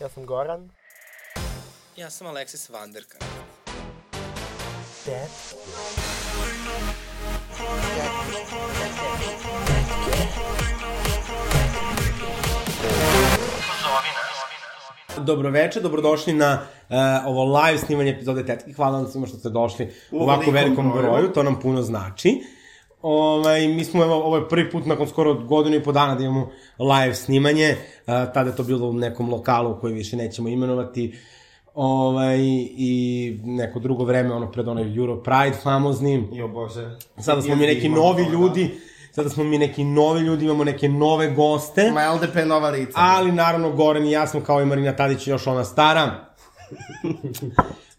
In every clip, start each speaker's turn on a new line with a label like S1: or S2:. S1: Ja sam Goran.
S2: Ja sam Alexis Vanderka.
S1: Dead.
S3: Dobroveče, dobrodošli na uh, ovo live snimanje epizode Tetke. Hvala vam svima što ste došli u ovako
S4: velikom
S3: velikom
S4: broju.
S3: broju, to nam puno znači. Ovaj, mi smo, evo, ovo je prvi put nakon skoro godinu i po dana da imamo live snimanje. Uh, tada je to bilo u nekom lokalu koji više nećemo imenovati. Ovaj, I neko drugo vreme, ono pred onaj Euro Pride famozni.
S4: Jo bože.
S3: Sada smo mi neki novi
S4: da.
S3: ljudi, sada smo mi neki novi ljudi, imamo neke nove goste.
S4: Ma LDP nova lica.
S3: Ali naravno Goran i ja smo kao i Marina Tadić još ona stara.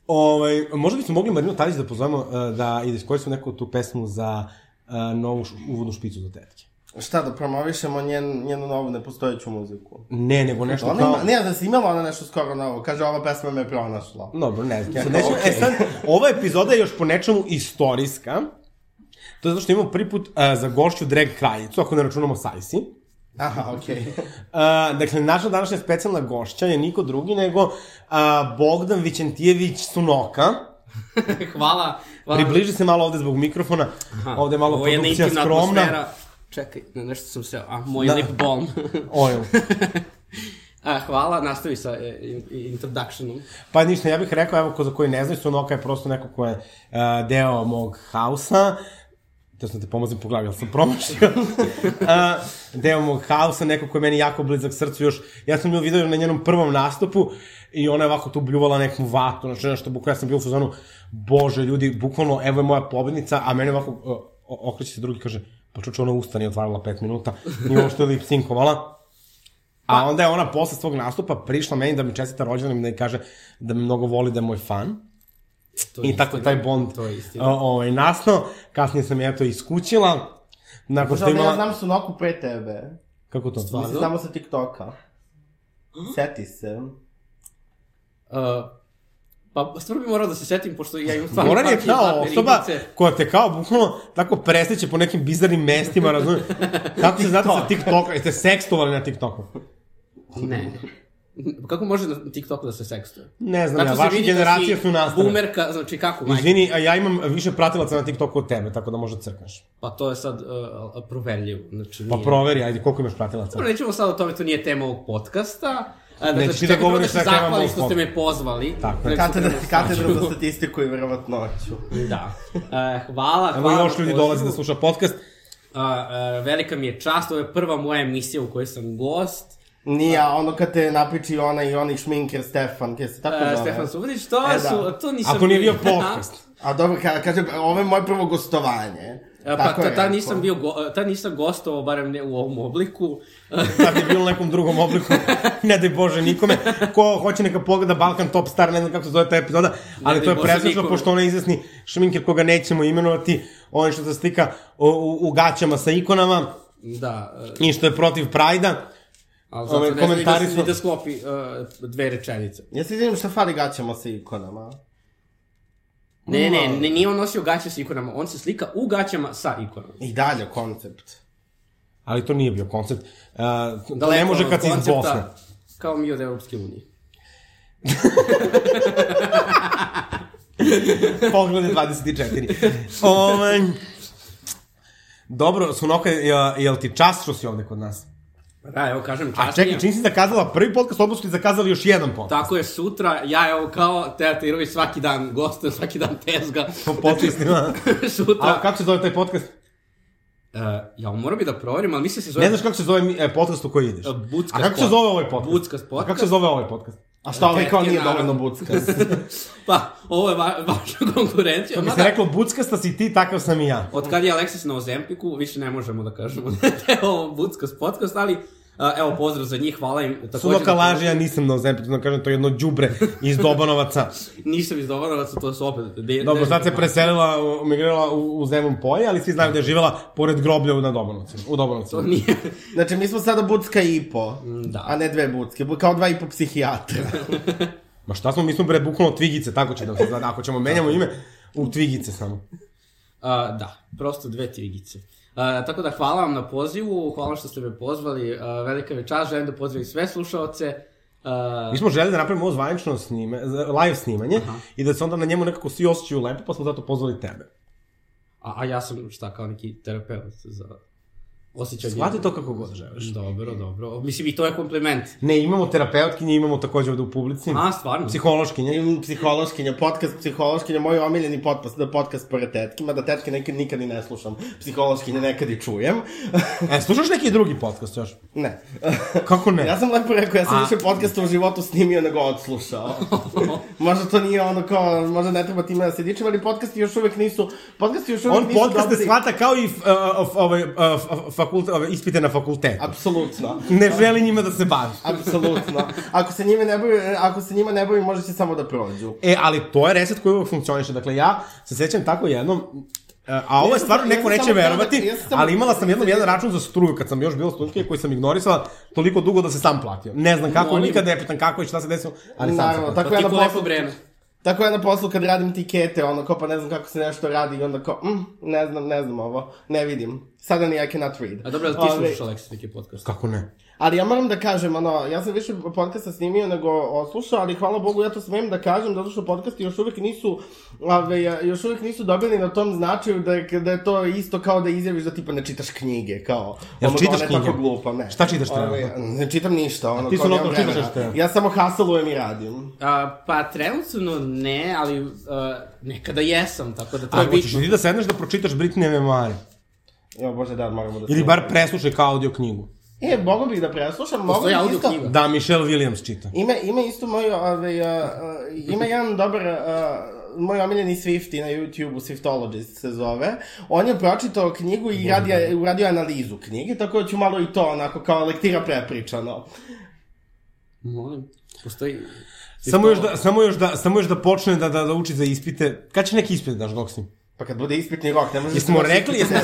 S3: ovaj, možda bismo mogli Marinu Tadić da pozovemo eh, da i da iskoristimo neku tu pesmu za eh, novu š- uvodnu špicu za tetke.
S4: Šta da promovišemo njen, njenu novu nepostojeću muziku?
S3: Ne, nego nešto
S4: Ona
S3: kao...
S4: ima, ne, da si imala ona nešto skoro novo. Kaže, ova pesma me pronašla.
S3: Dobro, ne znam. Sad nećemo- E sad, ova epizoda je još po nečemu istorijska. To je zato što imamo prvi put eh, za gošću drag kraljicu, ako ne računamo Sajsi.
S4: Aha, okej.
S3: A, dakle, naša današnja specijalna gošća je niko drugi nego a, Bogdan Vićentijević Sunoka.
S5: Hvala. Hvala.
S3: Približi se malo ovde zbog mikrofona.
S5: Aha,
S3: Ovde je malo
S5: ovo je jedna
S3: produkcija
S5: intimna
S3: skromna.
S5: atmosfera. Čekaj, na nešto sam se... A, moj
S3: Da.
S5: da. lip balm.
S3: Ojo.
S5: a, hvala, nastavi sa e, in- introductionom.
S3: Pa ništa, ja bih rekao, evo, ko za koji ne znaju, Sunoka je prosto neko ko je a, deo mog hausa. Teo sam te pomozim po glavi, ali sam promašio. a, deo mog hausa, neko ko je meni jako blizak srcu još. Ja sam nju vidio na njenom prvom nastupu i ona je ovako tu bljuvala neku vatu, znači nešto, bukvalno ja sam bio u fazonu, bože ljudi, bukvalno, evo je moja pobednica, a mene ovako o, o- okreće se drugi i kaže, pa čuče, ona usta nije otvarala pet minuta, nije ovo što je lip sinkovala.
S5: Pa-
S3: A onda je ona posle svog nastupa prišla meni da mi čestita rođendan i da mi kaže da me mnogo voli, da je moj fan.
S5: To
S3: I tako je taj bond
S5: To je istina.
S3: o, ovaj, nasno. Kasnije sam ja to iskućila. Nakon što
S4: Što
S3: je
S4: ja
S3: imala...
S4: znam su noku pre tebe.
S3: Kako to?
S5: Stvarno?
S4: Mislim, samo sa TikToka. Seti se.
S5: Uh, pa stvarno bi morao da se setim, pošto ja imam stvarno...
S3: Goran je
S5: pamtim
S3: kao
S5: zlatne
S3: osoba
S5: ribice.
S3: koja te kao bukvalno tako presreće po nekim bizarnim mestima, razumiješ? Kako se znate sa TikToka? Jeste sekstovali na TikToku?
S5: Ne. Kako može na TikToku da se sekstuje?
S3: Ne znam
S5: Zato
S3: ja,
S5: se
S3: vaše
S5: vidi
S3: generacije
S5: da si
S3: su nastale.
S5: Boomerka, znači kako, majke?
S3: Izvini, a ja imam više pratilaca na TikToku od tebe, tako da možda crkneš.
S5: Pa to je sad uh, proverljivo. Znači,
S3: Pa
S5: nije-
S3: proveri, ajde, koliko imaš pratilaca?
S5: Dobro, nećemo sad o tome, to nije tema ovog podcasta. A, Dakle,
S3: Nećeš ti da
S5: čekaj, prvo
S3: govoriš
S5: se
S3: na tema
S5: zahvalim
S3: mog
S5: što ste me pozvali.
S3: Tako je.
S5: Nek se
S4: Katedra,
S5: prvo
S4: katedra
S5: saču.
S4: za statistiku i verovatnoću.
S5: Da. E, hvala,
S3: Evo
S5: hvala.
S3: još ljudi
S5: pozivu.
S3: dolaze da sluša podcast.
S5: A, e, velika mi je čast, ovo je prva moja emisija u kojoj sam gost. E,
S4: Nije, a ono kad te napiči ona i oni šminker Stefan, kje se tako
S5: E,
S4: zove?
S5: Stefan Subotić, to,
S4: E, da.
S5: su, to nisam...
S3: Ako nije bio podcast.
S4: A dobro, ka, kažem, ovo je moje prvo gostovanje.
S5: E, Pa
S4: Tako je
S5: ta, ta,
S4: rekao.
S5: nisam bio, go, e, ta nisam gostovao, barem ne u ovom obliku. E,
S3: Sad je bilo u nekom drugom obliku, ne daj Bože nikome. Ko hoće neka pogleda Balkan Top Star, ne znam kako se zove ta epizoda, ali
S5: daj
S3: to je
S5: Bože
S3: preslično,
S5: nikome.
S3: pošto onaj izvesni šminker koga nećemo imenovati, on što se slika u, u, u gaćama sa ikonama
S5: Da, e,
S3: i što je protiv Prajda. Ove,
S5: ali zato ne znam ni da,
S3: komentari
S5: ni
S3: su-
S5: da sklopi e, dve rečenice.
S4: Ja se izvinim što fali gaćama sa ikonama.
S3: Mm.
S5: Ne, ne, ne, nije on nosio gaće sa ikonama, on se slika u gaćama sa ikonama.
S4: I dalje koncept.
S3: Ali to nije bio koncept. Uh, to
S5: Daleko
S3: ne može
S5: od
S3: kad si iz
S5: koncepta,
S3: Bosne.
S5: Kao mi od Evropske unije.
S3: Poglede 24. Ove, Ovaj, dobro, Sunoka, je, je li ti čast što si ovde kod nas?
S5: Da, evo kažem,
S3: A
S5: čast mi
S3: čekaj,
S5: je.
S3: čim si zakazala prvi podcast, odnosno ti zakazali još jedan podcast.
S5: Tako je sutra, ja evo kao Teja Tirović svaki dan gostujem, svaki dan tezga. Znači,
S3: Po podcastima. A
S5: sutra.
S3: kako se zove taj podcast?
S5: E, ja moram bi da proverim, ali mislim se zove...
S3: Ne znaš kako se zove e, podcast u koji ideš?
S5: E, Buckas
S3: A kako se
S5: podcast.
S3: zove ovaj podcast?
S5: Buckas
S3: A kako
S5: podcast.
S3: se zove ovaj podcast?
S4: A šta ovaj kao
S5: Tetke,
S4: nije
S5: naravno. Da,
S4: dovoljno bucka?
S5: Pa, ovo je va vaša konkurencija.
S3: Pa Mi se
S5: mada,
S3: reklo buckasta si ti, takav sam i ja.
S5: Od kad je Aleksis na Ozempiku, više ne možemo da kažemo da je ovo Buckas podcast, ali a, evo pozdrav za njih, hvala im. Takođe,
S3: Sunoka
S5: da-
S3: laže, ja nisam na Ozempitu, da kažem, to je jedno đubre iz Dobanovaca.
S5: Nisam iz Dovanovaca, to su opet... De,
S3: Dobro,
S5: de-
S3: sad se preselila, u- migrirala u, u Zemun polje, ali svi znaju da je živjela pored groblja u- na Dobanovcima. U
S5: To
S3: Dobanovcima.
S5: nije...
S4: Znači, mi smo sada bucka i po,
S5: da.
S4: a ne dve bucke, bu- kao dva i po psihijatra.
S3: Ma šta smo, mi smo bre, bukvalno tvigice, tako će da se zna. Ako ćemo menjamo ime, u tvigice samo.
S5: A, da, prosto dve tigice. A, tako da hvala vam na pozivu, hvala što ste me pozvali, a, velika mi je čast, želim da pozdravim sve slušaoce. Uh,
S3: Mi smo želi da napravimo ovo zvanično snime, live snimanje Aha. i da se onda na njemu nekako svi osjećaju lepo, pa smo zato pozvali tebe.
S5: a, a ja sam šta, kao neki terapeut za osjećanje.
S3: Shvati to kako god želiš.
S5: Dobro, dobro. Mislim, i to je kompliment.
S3: Ne, imamo terapeutkinje, imamo takođe ovde u publici.
S5: A, stvarno?
S3: Psihološkinje.
S4: Imam Psihološkinja, podcast psihološkinja, moj omiljeni podcast, da podcast pored tetke, mada tetke nekad nikad i ne slušam, psihološkinje nekad i čujem.
S3: E, slušaš neki drugi podcast još?
S4: ne.
S3: Kako ne?
S4: ja sam lepo rekao, ja sam
S5: A.
S4: više podcasta u životu snimio nego odslušao. možda to nije ono kao, možda ne treba time da se dičem, ali podcasti još uvek nisu, podcasti još uvek
S3: On
S4: nisu
S3: podcaste
S4: dobri.
S3: shvata kao i f- uh, f- ove, uh, f- fakulte, ove, ispite na fakultetu.
S4: Apsolutno.
S3: Ne želi njima da se bavi.
S4: Apsolutno. Ako se njime ne bavi, ako se njima ne bavi, može će samo da prođu.
S3: E, ali to je reset koji uvek funkcioniše. Dakle, ja se sećam tako jednom, e, a ovo
S4: Ja
S3: je
S4: sam
S3: stvarno,
S4: samo- ja
S3: neko
S4: sam
S3: neće
S4: samo
S5: da-
S4: tada-
S3: verovati,
S4: ja sam samo-
S3: ali imala sam jednom jedan račun za struju kad sam još bila studentkinja koji sam ignorisala toliko dugo da se sam platio. Ne znam kako,
S5: Molim.
S3: nikad ne pitam kako i šta se desilo, ali sam sam
S4: Naravno,
S3: platio.
S4: tako
S5: Tako
S4: ja
S5: Pa je
S4: na
S5: lepo
S4: poslu,
S5: vreme.
S4: tako ja na poslu kad radim tikete, ono kao pa ne znam kako se nešto radi i onda kao, mm, ne znam, ne znam ovo, ne vidim. Sada ni I cannot read.
S5: A dobro, ali ti
S4: Ove,
S5: slušaš Aleksa neki podcast.
S3: Kako ne?
S4: Ali ja moram da kažem, ono, ja sam više podcasta snimio nego oslušao, ali hvala Bogu ja to smem da kažem, zato što podcasti još uvek nisu, ove, još uvek nisu dobili na tom značaju da je, da je to isto kao da izjaviš da tipa ne čitaš knjige, kao.
S3: Jel
S4: ono,
S3: čitaš
S4: ona je tako
S3: knjige?
S4: glupa, ne.
S3: Šta čitaš
S4: Ove,
S3: trenutno?
S4: ne čitam ništa, ono,
S3: ti
S4: kao
S3: su
S4: nemam
S3: lokalno čitaš
S4: vremena.
S3: šta je?
S4: Ja samo hasalujem i radim.
S5: A, pa trenutno ne, ali uh, nekada jesam, tako da to
S3: A
S5: je
S3: hoćeš
S5: bitno.
S3: ti da sedneš da pročitaš Britney memoare?
S4: Jo, bože, da, moramo da...
S3: Ili bar preslušaj kao audio knjigu?
S4: E, mogu bih da preslušam, mogu
S5: Postoji
S4: bih
S5: audio
S4: isto...
S5: knjiga.
S3: Da, Michelle Williams čita.
S4: Ima, ima isto moj, ove, a, a, ima jedan dobar, a, moj omiljeni Swifty na YouTube-u, Swiftologist se zove. On je pročitao knjigu i
S3: da.
S4: radio, uradio analizu knjige, tako da ću malo i to onako kao lektira prepričano.
S5: Molim, postoji...
S3: Samo još da, samo još da, samo još da počne da, da, da uči za ispite. Kad će neki ispit da daš dok si?
S4: Pa kad bude ispitni rok, ne možeš... da
S3: Jesmo rekli, jesmo,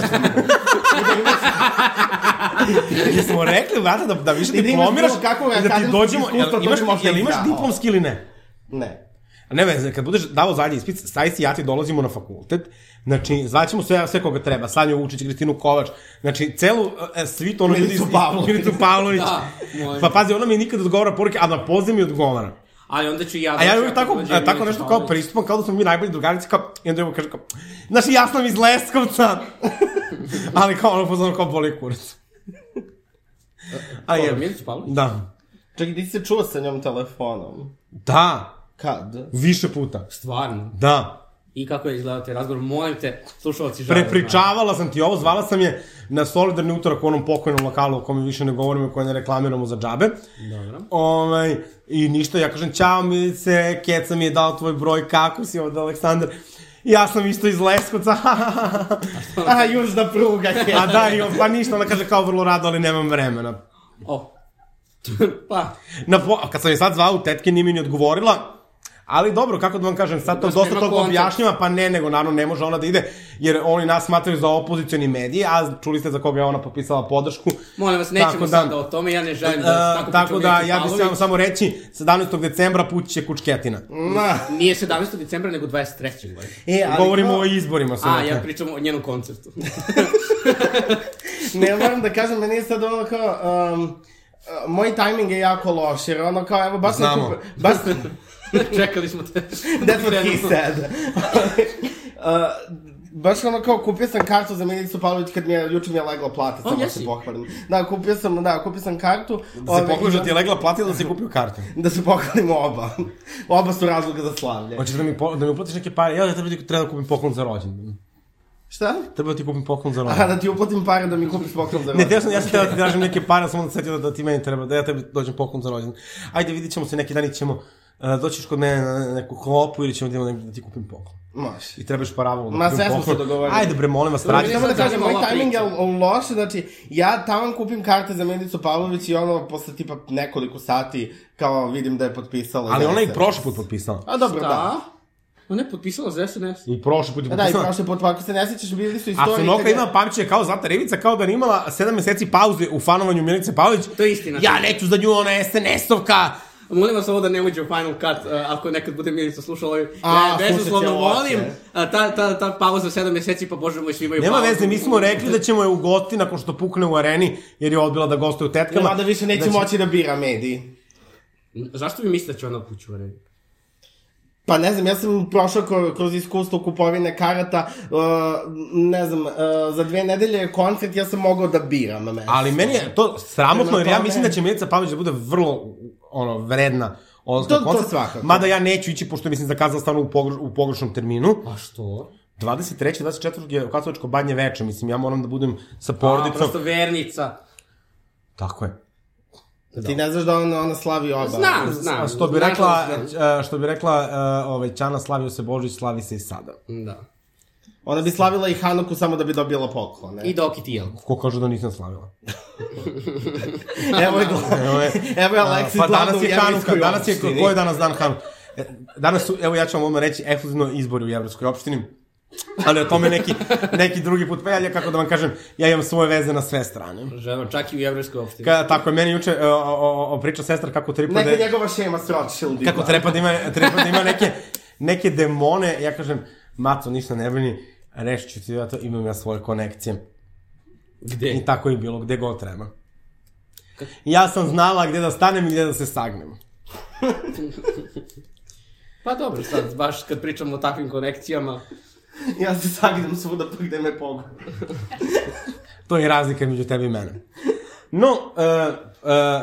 S3: jesmo rekli, vrata, da, da više
S4: I da imaš
S3: diplomiraš
S4: bilo kakvo
S3: i da ti
S4: akademsko
S3: dođemo,
S4: iskustvo,
S3: jel
S4: to
S3: imaš,
S4: bi možda
S3: jel
S4: i
S3: imaš
S4: dao.
S3: diplomski ili ne?
S4: Ne.
S3: A ne veze, kad budeš davo zadnji ispit, Sajs i ja ti dolazimo na fakultet, znači, zvaćemo sve, sve koga treba, Sanju Vučić, Kristinu Kovač, znači, celu e, svit, ono ljudi...
S4: Milicu Pavlović.
S3: Milicu Pavlović.
S5: Da, molim.
S3: pa pazi, ona mi nikad odgovara poruke, a na poziv mi odgovara.
S5: Ali onda ću i ja...
S3: A ja
S5: doći,
S3: uvijek
S5: Znači, ako
S3: tako,
S5: dođe
S3: a, tako
S5: Milić
S3: nešto kao
S5: Pavlović.
S3: pristupam, kao da smo mi najbolji drugarici, kao, i onda drugo kaže kao, znaš, ja sam iz Leskovca, ali kao ono pozvano kao boli kurac. A
S5: Koga,
S3: je,
S5: Milić Pavlović?
S3: da.
S4: Čekaj, ti si se čuo sa njom telefonom.
S3: Da,
S4: Kad?
S3: više puta.
S5: Stvarno.
S3: Da.
S5: I kako je izgledao taj razgovor, molim te, slušalci žele. da,
S3: Prepričavala sam ti ovo, zvala sam je na solidarni utorak u onom pokojnom lokalu o kome više ne govorimo i koje ne reklamiramo za džabe.
S5: Dobro.
S3: Ovaj, I ništa, ja kažem, čao Milice, Keca mi je dao tvoj broj, kako si ovde Aleksandar? Ja sam isto iz Leskovca,
S4: A, južna pruga, je.
S3: A da, i on, pa ništa, ona kaže kao vrlo rado, ali nemam vremena.
S5: O. pa,
S3: Na po, a kad sam je sad zvao, tetke nije mi ni odgovorila, ali dobro, kako da vam kažem, sad to
S5: Baš
S3: dosta
S5: nema
S3: toga
S5: kontekst.
S3: objašnjava, pa ne, nego naravno ne može ona da ide, jer oni nas smatraju za opozicioni mediji, a čuli ste za koga je ona potpisala podršku.
S5: molim vas, nećemo
S3: Tako da-
S5: sada o tome, ja ne želim da...
S3: E,
S5: tako,
S3: tako
S5: pričam
S3: da,
S5: Milić
S3: ja bih
S5: Pavlović. Mm.
S3: samo, samo reći, 17. decembra pući će Kučketina.
S4: Ma.
S5: Nije 17. decembra, nego 23. godine.
S4: E, ali
S3: Govorimo
S4: kao-
S3: o izborima. sve
S5: A,
S3: neke.
S5: ja pričam o njenom koncertu.
S4: ne, ja moram da kažem, meni je sad ono kao... Um, uh, moj tajming je jako loš, jer ono kao, evo, baš...
S3: Znamo.
S4: Kupe, baš,
S5: Čekali smo te.
S4: that's what he said. uh, baš ono kao, kupio sam kartu za Milicu Pavlović kad mi je, juče mi je legla plata, samo da se
S5: jesi?
S4: pohvalim. Da, kupio sam, da, kupio sam kartu.
S3: Da se
S4: ove,
S3: pokuša
S4: i
S3: ti je legla platila da si kupio kartu.
S4: Da se pohvalimo oba. oba su razloga za slavlje.
S3: Hoćeš da mi, po, da mi uplatiš neke pare? Ja, ja treba, ti- treba da kupim poklon za rođendan.
S4: Šta?
S3: Treba da ti kupim poklon za rođendan.
S4: A, da ti uplatim pare da mi kupiš poklon
S3: Ne,
S4: za rođendan.
S3: teo sam, ja sam teo da ti tražim neke pare, ali sam onda setio da, da ti meni treba, da ja tebi dođem poklon za rođendan. Ajde, vidit ćemo se neki dan ili ćemo, uh, doćiš kod mene na neku klopu ili ćemo da idemo negde da ti kupim poklon.
S4: Može.
S3: I trebaš paravolu da
S4: Ma,
S3: kupim
S4: sve smo
S3: poklon.
S4: se dogovorili.
S3: Ajde bre, molim vas,
S5: Dobro,
S3: vraćam.
S4: Samo da kažem,
S5: Ova
S4: moj timing je
S5: priča.
S4: l- loš, znači, ja taman kupim karte za Milicu Pavlović i ono, posle tipa nekoliko sati, kao vidim da je potpisala.
S3: Ali ona je i
S4: SNS.
S3: prošli put potpisala.
S4: A dobro, da.
S5: Da. Ona je potpisala za SNS.
S3: I prošli put je
S4: Da, da, i
S3: potpisala.
S4: prošli put, pa ako se ne sjećaš, bili su
S3: A
S4: istorije...
S3: Sunoka
S4: kad je-
S3: ima pamćenje kao Zlata Rivica, kao da je imala 7 meseci pauze u fanovanju Milice Pavlić.
S5: To je istina.
S3: Ja neću za nju, ona je SNS-ovka.
S5: Molim vas ovo da ne uđe u Final Cut, uh, ako nekad bude Milica slušala ovaj
S4: A,
S5: e, bezuslovno
S4: slušat će ovo,
S5: volim.
S4: sve.
S5: A, ta, ta, ta pauza sedam meseci, pa bože moj, svi imaju
S3: Nema
S5: pauzu.
S3: veze, mi smo rekli da ćemo je ugostiti nakon što pukne u areni, jer je odbila da gostuje u tetkama.
S4: Mada više neće
S3: Da će-
S4: moći da bira mediji.
S5: Zašto vi mislite da će ona ući u red?
S4: Pa ne znam, ja sam prošao kro- kroz iskustvo kupovine karata, uh, ne znam, uh, za dve nedelje je koncert, ja sam mogao da biram mesto.
S3: Ali meni je to sramotno,
S4: Prema
S3: jer ja
S4: tome-
S3: mislim da će Milica Pavlić da bude vrlo ono, vredna odlaska
S4: To-
S3: na
S4: to
S3: koncert.
S4: svakako.
S3: Mada ja neću ići, pošto mislim zakazala stvarno u, pogr u pogrešnom terminu.
S5: A što?
S3: 23. 24. je u Katoličko badnje veče, mislim, ja moram da budem sa
S5: A,
S3: porodicom.
S5: prosto vernica.
S3: Tako je.
S4: Ti ne znaš da ona, ona slavi oba.
S5: Znam, znam.
S3: A što bi
S5: Znam
S3: rekla,
S5: da znam.
S3: e, što bi rekla e, ovaj, Ćana, slavio se Božić, slavi se i sada.
S5: Da.
S4: Ona bi slavila i Hanuku samo da bi dobila poklone.
S5: I Doki Tijel.
S3: Ko kaže da nisam slavila?
S4: Evo je, gla-
S3: Evo je,
S4: evo je Alexis
S3: pa
S4: Lado
S3: danas
S4: u
S3: je Hanuka,
S4: Jevrijskoj
S3: danas je,
S4: opštini.
S3: ko je danas dan Hanuka? E, Danas su, evo ja ću vam odmah reći, ekskluzivno izbori u Jevropskoj opštini. Ali o tome neki, neki drugi put. Pa ja, ja, kako da vam kažem, ja imam svoje veze na sve strane.
S5: Ženo, čak i u Jevrijskoj opštini.
S3: Ka, tako je, meni juče e, o, o, o, priča sestra kako treba
S4: Neka
S3: da...
S4: njegova šema s Rothschildima.
S3: Kako treba da ima, treba da ima neke, neke demone, ja kažem, maco, ništa ne brini, rešit ću ti ja to, imam ja svoje konekcije. I
S5: Gde?
S3: tako je bilo, gde god treba. Ja sam znala gde da stanem i gde da se sagnem.
S5: Pa dobro, sad, baš kad pričamo o takvim konekcijama.
S4: Ja se sagnem svuda pa gde me pogodi.
S3: To je razlika među tebe i mene. No, e, e,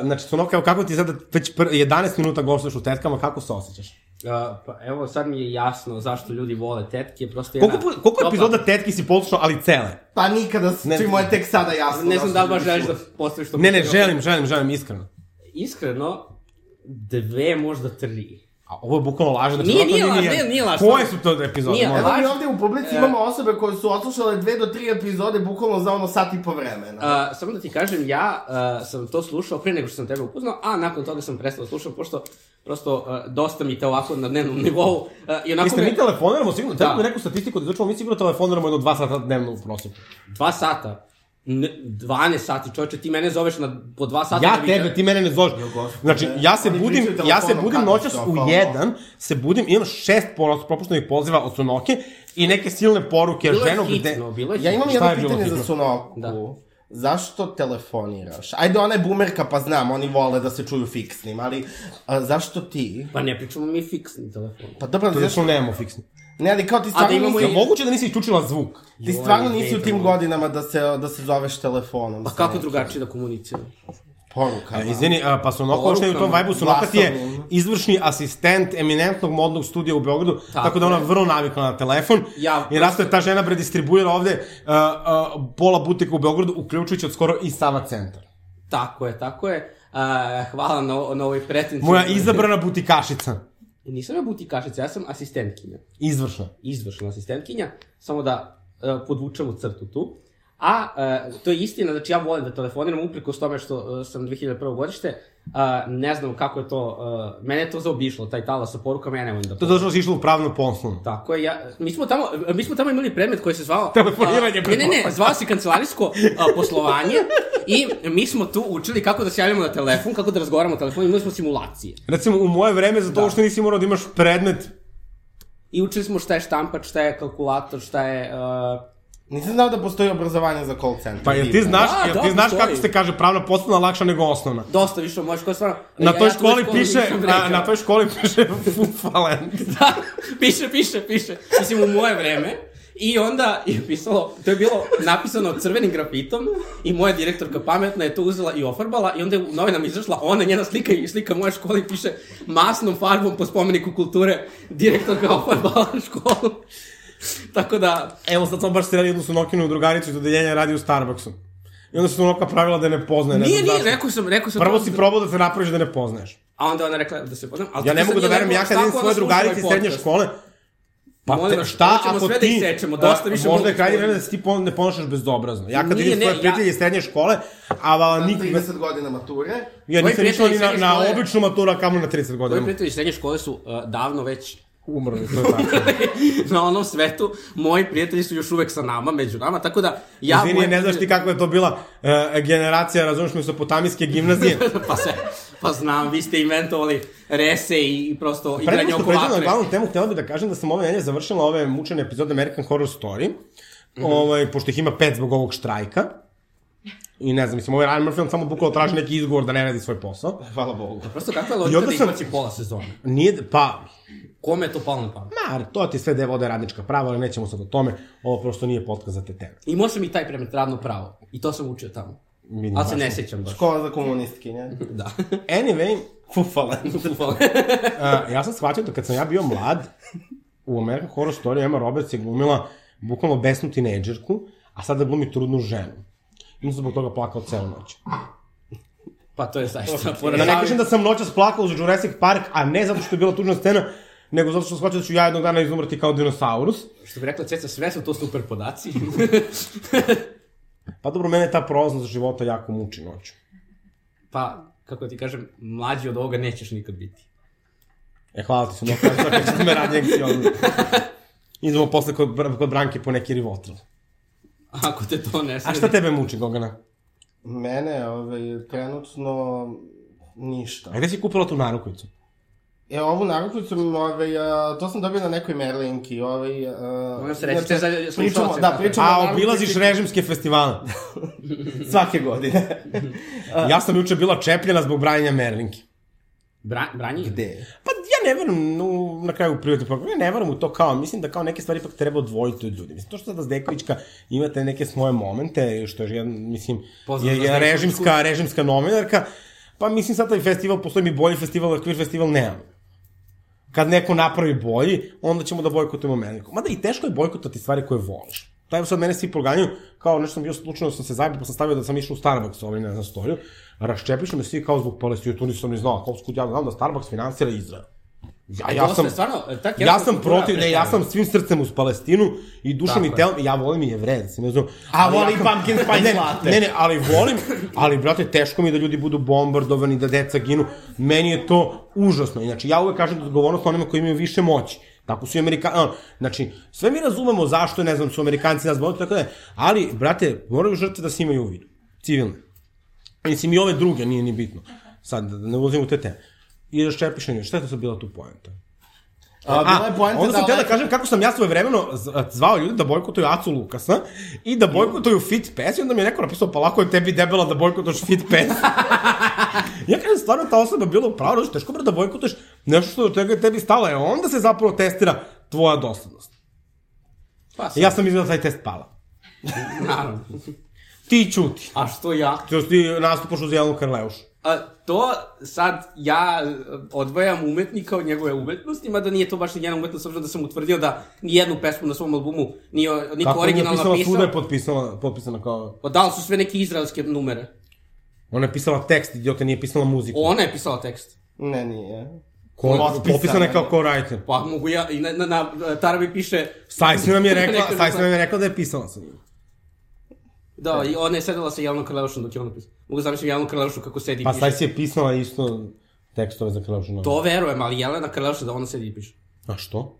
S3: znači, Sunoka, evo kako ti sada već pr- 11 minuta gostaš u tetkama, kako se osjećaš?
S5: A, pa evo, sad mi je jasno zašto ljudi vole tetke, prosto jedna...
S3: Koliko, pu- koliko
S5: Opa,
S3: epizoda tetki si poslušao, ali cele?
S4: Pa nikada,
S3: Ne-
S4: ne, čim je tek sada jasno.
S5: Ne znam da li baš
S4: su ljudi
S5: želiš da postaviš to
S3: Ne, ne,
S5: pitanje.
S3: želim, želim, želim, iskreno.
S5: Iskreno, dve, možda tri.
S3: A ovo je bukvalno lažno. Znači,
S5: Nije,
S3: ovako
S5: nije laž,
S3: nijedna.
S5: nije, nije laž.
S3: Koje su to epizode?
S5: Nije
S3: molim?
S5: laž.
S4: Evo mi ovde u
S5: E.
S4: publici imamo osobe koje su odslušale dve do tri epizode bukvalno za ono sat i po vremena.
S5: A, samo da ti kažem, ja a, sam to slušao pre nego što sam tebe upoznao, a nakon toga sam prestao da slušam, pošto prosto a, dosta mi te ovako na dnevnom nivou. A, I onako
S3: Jeste
S5: me-
S3: mi telefoniramo sigurno?
S5: Da.
S3: Treba bi neku statistiku da izučemo, mi sigurno telefoniramo jedno dva sata dnevno u prosjeku.
S5: Dva sata. Ne, 12 sati, čoveče, ti mene zoveš na, po dva sata.
S3: Ja
S5: da bi-
S3: tebe, ti mene ne zoveš.
S4: gospode.
S3: Znači, ja se
S4: Oni
S3: budim,
S4: pričaju
S3: ja se
S4: telefonom
S3: budim
S4: kako
S3: noćas
S4: se
S3: u
S4: opalo.
S3: jedan, se budim, imam šest ponos- propuštenih poziva od Sunoke i neke silne poruke,
S5: Bilo je
S3: ženo gde...
S5: hitno, bilo je
S4: ja imam
S3: šta
S4: jedno
S3: je bilo
S4: pitanje
S3: hitno?
S4: za Sunoku.
S5: Da.
S4: Zašto telefoniraš? Ajde, ona je bumerka, pa znam, oni vole da se čuju fiksnim, ali a, zašto ti?
S5: Pa ne pričamo mi fiksni telefon.
S4: Pa dobro,
S3: To je
S4: znaš,
S3: što nemamo fiksno.
S4: ne, ali kao ti stvarno,
S5: imamo
S4: nisi,
S3: Je moguće da nisi isključila zvuk?
S4: ti stvarno
S5: Joj,
S4: nisi u tim godinama da se, da se zoveš telefonom.
S5: Pa
S4: sa
S5: kako
S4: nekim
S5: drugačije da komuniciramo?
S4: Porukama.
S3: E, izvini, a, pa Sunoka uopšte je u tom
S5: Porukama,
S3: vajbu, Sunoka ti je
S4: glasom.
S3: izvršni asistent eminentnog modnog studija u Beogradu, tako, da je ona
S5: je.
S3: vrlo navikla na telefon.
S5: Ja-
S3: I rasto je ta žena predistribuira ovde a, a, pola butika u Beogradu, uključujući od skoro i Sava centar.
S5: Tako je, tako je. A, hvala na, na ovoj pretenci.
S3: Moja izabrana butikašica.
S5: Nisam ja butikašica, ja sam asistentkinja.
S3: Izvršna.
S5: izvršna asistentkinja, samo da uh, podvučemo crtu tu. A uh, to je istina, znači ja volim da telefoniram uprkos tome što uh, sam 2001. godište, uh, ne znam kako je to, uh, mene je to zaobišlo, taj talas sa porukama, ja ne volim da...
S3: To je zašto si išla u pravno poslovno.
S5: Tako je, ja, mi, smo tamo, mi smo tamo imali predmet koji se zvao...
S3: Telefoniranje
S5: a, Ne, ne, ne, zvao se kancelarijsko a, poslovanje i mi smo tu učili kako da se javljamo na telefon, kako da razgovaramo na telefon, imali smo simulacije.
S3: Recimo, u moje vreme, zato da. što nisi morao da imaš predmet,
S5: I učili smo šta je štampač, šta je kalkulator, šta je... Uh,
S4: Nisam znao da postoji obrazovanje za call center.
S3: pa jel ti
S4: Divno.
S3: znaš,
S5: Da,
S3: jel
S5: da,
S3: ti znaš
S5: postoji.
S3: kako se kaže pravna poslovna lakša nego osnovna?
S5: dosta više možeš, koja stvarno...
S3: Na toj
S5: ja tu
S3: školi
S5: školu
S3: piše,
S5: nisam
S3: na,
S5: rekao.
S3: na toj školi piše fufalen.
S5: da, piše, piše, piše. Mislim, u moje vreme. I onda je pisalo, to je bilo napisano crvenim grafitom i moja direktorka pametna je to uzela i ofarbala i onda je u novinama izašla ona njena slika i slika moje škole i piše masnom farbom po spomeniku kulture direktorka ofarbala školu. Tako da,
S3: Evo sad sam baš sreli jednu sunokinu drugaricu iz odeljenja radi u Starbucksu. I onda se sunoka pravila da je ne poznaje, ne
S5: nije,
S3: znam
S5: nije,
S3: zašto.
S5: rekao sam, rekao sam.
S3: Prvo
S5: to-
S3: si probao da se napraviš da ne poznaješ.
S5: A onda ona rekla da se poznam. Ali
S3: Ja
S5: to
S3: ne
S5: sad
S3: mogu da
S5: nije
S3: verujem,
S5: lepo,
S3: ja kad
S5: šta
S3: vidim
S5: ako
S3: svoje
S5: ona sluša ovaj
S3: drugarice iz srednje
S5: podcast?
S3: škole, Pa
S5: Molim
S3: te,
S5: vas,
S3: šta
S5: hoćemo
S3: ako
S5: sve da
S3: ti...
S5: isečemo, dosta
S3: a,
S5: više
S3: Možda je krajnje
S5: mogu spomenuti.
S3: vreme da se ti pon- ne ponašaš bezobrazno. Ja kad
S5: Nije,
S3: vidim
S5: ne,
S3: svoje
S5: ja-
S3: prijatelje iz srednje škole, a vala
S4: Na
S3: nikoga...
S4: 30 godina mature.
S3: Ja
S5: Moji
S3: nisam išao
S5: prijatelji
S3: ni
S5: iz
S3: na,
S5: srednje
S3: na
S5: škole-
S3: običnu maturu, a kamoli na 30
S5: Moji
S3: godina.
S5: prijatelji iz srednje škole su uh, davno već
S3: Umrli, to je tako.
S5: na onom svetu, moji prijatelji su još uvek sa nama, među nama, tako da ja...
S3: Izvini,
S5: moje
S3: ne znaš ti kako je to bila e, generacija, razumiješ, mesopotamijske gimnazije.
S5: pa se, pa znam, vi ste inventovali rese i, i prosto
S3: Pre
S5: igranje
S3: nego što
S5: oko
S3: pređemo na
S5: vatre.
S3: glavnu temu, htjela bih da kažem da sam ove nedelje završila ove
S5: Mhm.
S3: mučene epizode American Horror Story, ovaj, pošto ih ima pet zbog ovog štrajka. I ne znam, mislim, ovaj Ryan Murphy on samo bukvalo traži neki izgovor da ne radi svoj posao.
S4: Hvala Bogu.
S5: Prosto kakva
S3: I
S5: je logika
S3: onda
S5: da
S3: sam-
S5: izbaci pola sezone?
S3: Nije, pa,
S5: Kome je to palo na pamet?
S3: ma, to ti sve da vode radnička prava, ali nećemo sad o tome, ovo prosto nije podcast za te teme.
S5: I može mi taj predmet radno pravo. I to sam učio tamo.
S3: Vidim,
S5: Ali se
S3: baš
S5: ne
S3: to.
S5: sjećam baš.
S4: Škola za komunistkinje.
S5: Da.
S3: Anyway,
S4: Fufala.
S3: uh, ja sam shvatio da kad sam ja bio mlad, u American Horror Story Emma Roberts je glumila bukvalno besnu tinejdžerku, a sada glumi trudnu ženu. I onda sam zbog toga plakao celu noć.
S5: pa to je zaista.
S3: Da ne kažem da sam noćas plakao uz Jurassic Park, a ne zato što je bila tužna scena, nego zato što sam shvatio da ću ja jednog dana izumrti kao dinosaurus.
S5: Što bi rekla Ceca, sve su to super podaci.
S3: Pa dobro, mene ta prolaznost života jako muči noću.
S5: pa, kako ti kažem, mlađi od ovoga nećeš nikad biti.
S3: E, hvala ti se, mnogo kažem, kako ste me radnje anksiozno. Idemo posle kod, Br- kod Branke po neki rivotril.
S5: Ako te to ne
S3: A
S5: sredi.
S3: šta tebe muči, Gogana?
S4: Mene, ovaj, trenutno ništa.
S3: A gde si kupila tu narukvicu?
S4: E, ovu narukvicu, ovaj, a, to sam dobio na nekoj Merlinki, ovaj... a,
S5: Moram se reći, to je za
S4: pričamo,
S5: slušalce,
S4: da,
S5: tako.
S4: pričamo o
S3: A,
S4: narukvici
S3: obilaziš režimske festivale.
S4: svake godine.
S3: Ja sam juče bila čepljena zbog branjenja Merlinke.
S5: Bra, branji?
S4: Gde?
S3: Pa ja ne verujem, no, na kraju u privatnom programu, ja ne verujem u to kao, mislim da kao neke stvari ipak treba odvojiti od ljudi. Mislim, to što sada Zdekovićka imate neke svoje momente, što je, jedan, mislim,
S5: Poznata
S3: je, je
S5: Zdekovićku.
S3: režimska, režimska novinarka, pa mislim sad taj festival, postoji mi bolji festival, ali queer festival nemam. Kad neko napravi bolji, onda ćemo da bojkotujemo Merlinku. Mada i teško je bojkotati stvari koje voliš. To je sad mene svi proganjaju, kao nešto sam bio slučajno, sam se zabio, pa sam stavio da sam išao u Starbucks, ovaj, ne znam, storiju. Raščepišu me svi kao zbog Palestine, tu nisam ni znao, kao skud ja znam da Starbucks finansira Izrael. Ja, ja
S5: To
S3: sam,
S5: ste stvarno, e, ta
S3: ja sam
S5: kultura
S3: protiv, ne, ja
S5: pretjerana.
S3: sam svim srcem uz Palestinu i dušom
S5: Tako
S3: i
S5: je.
S3: telom, ja volim i jevreje, da se ne znam.
S4: A volim pumpkin spice
S3: ne,
S4: latte.
S3: Ne, ne, ali volim, ali brate, teško mi je da ljudi budu bombardovani, da deca ginu. Meni je to užasno. Znači, ja uvek kažem da je odgovornost onima koji imaju više moći. Tako su i Amerikanci. Znači, sve mi razumemo zašto, ne znam, su Amerikanci nas bolili, tako da, ali, brate, moraju žrtve da se imaju u vidu. Civilne. Mislim, i ove druge, nije ni bitno. Sad, da ne ulazim u te teme. I raščepiš na nju. Šta je to sad bila tu poenta?
S4: A, bila je poenta
S3: onda sam teo da
S4: ovaj-
S3: kažem kako sam ja svoje vremeno zvao ljude da bojkotuju Acu Lukasa i da bojkotuju Fit Pass i onda mi je neko napisao pa lako je tebi debela da bojkotuješ Fit Pass. ja kažem stvarno ta osoba je bila u pravu, znači teško bre da bojkotuješ nešto što do tega je tebi stalo, e onda se zapravo testira tvoja doslednost.
S5: Pa
S3: E,
S5: sam,
S3: ja sam izgledao taj test pala.
S5: naravno.
S3: Ti ćuti.
S5: A što ja?
S3: Znači ti nastupaš uz Jelenu Karleušu.
S5: A, to sad ja e, odvajam umetnika od njegove umetnosti, mada nije to baš ni njena umetnost, s obzirom da sam utvrdio da nijednu pesmu na svom albumu nije o- niko
S3: Kako je
S5: originalno
S3: napisala,
S5: napisao.
S3: svuda je potpisala, potpisana kao...
S5: Pa dali su sve neke izraelske numere.
S3: Ona je pisala tekst, idiote, nije pisala muziku.
S5: Ona je pisala tekst.
S4: Ne, nije.
S3: Ko,
S4: potpisana.
S3: potpisana je kao co-writer.
S5: Pa mogu ja, i na, na, na Tarabi piše,
S3: Sajsna nam da je rekla,
S5: Nekad
S3: Sajsna nam je rekla da je pisala sa njim.
S5: da, i ona je sedela sa Jelnom Krlevušom dok je ona pisala. Mogu zamisliti Jelnu Krlevušu kako sedi i
S3: Pa
S5: piše.
S3: Sajs je pisala isto tekstove za Krlevušu novu.
S5: To verujem, ali Jelena Krlevuša da ona sedi i piše.
S3: A što?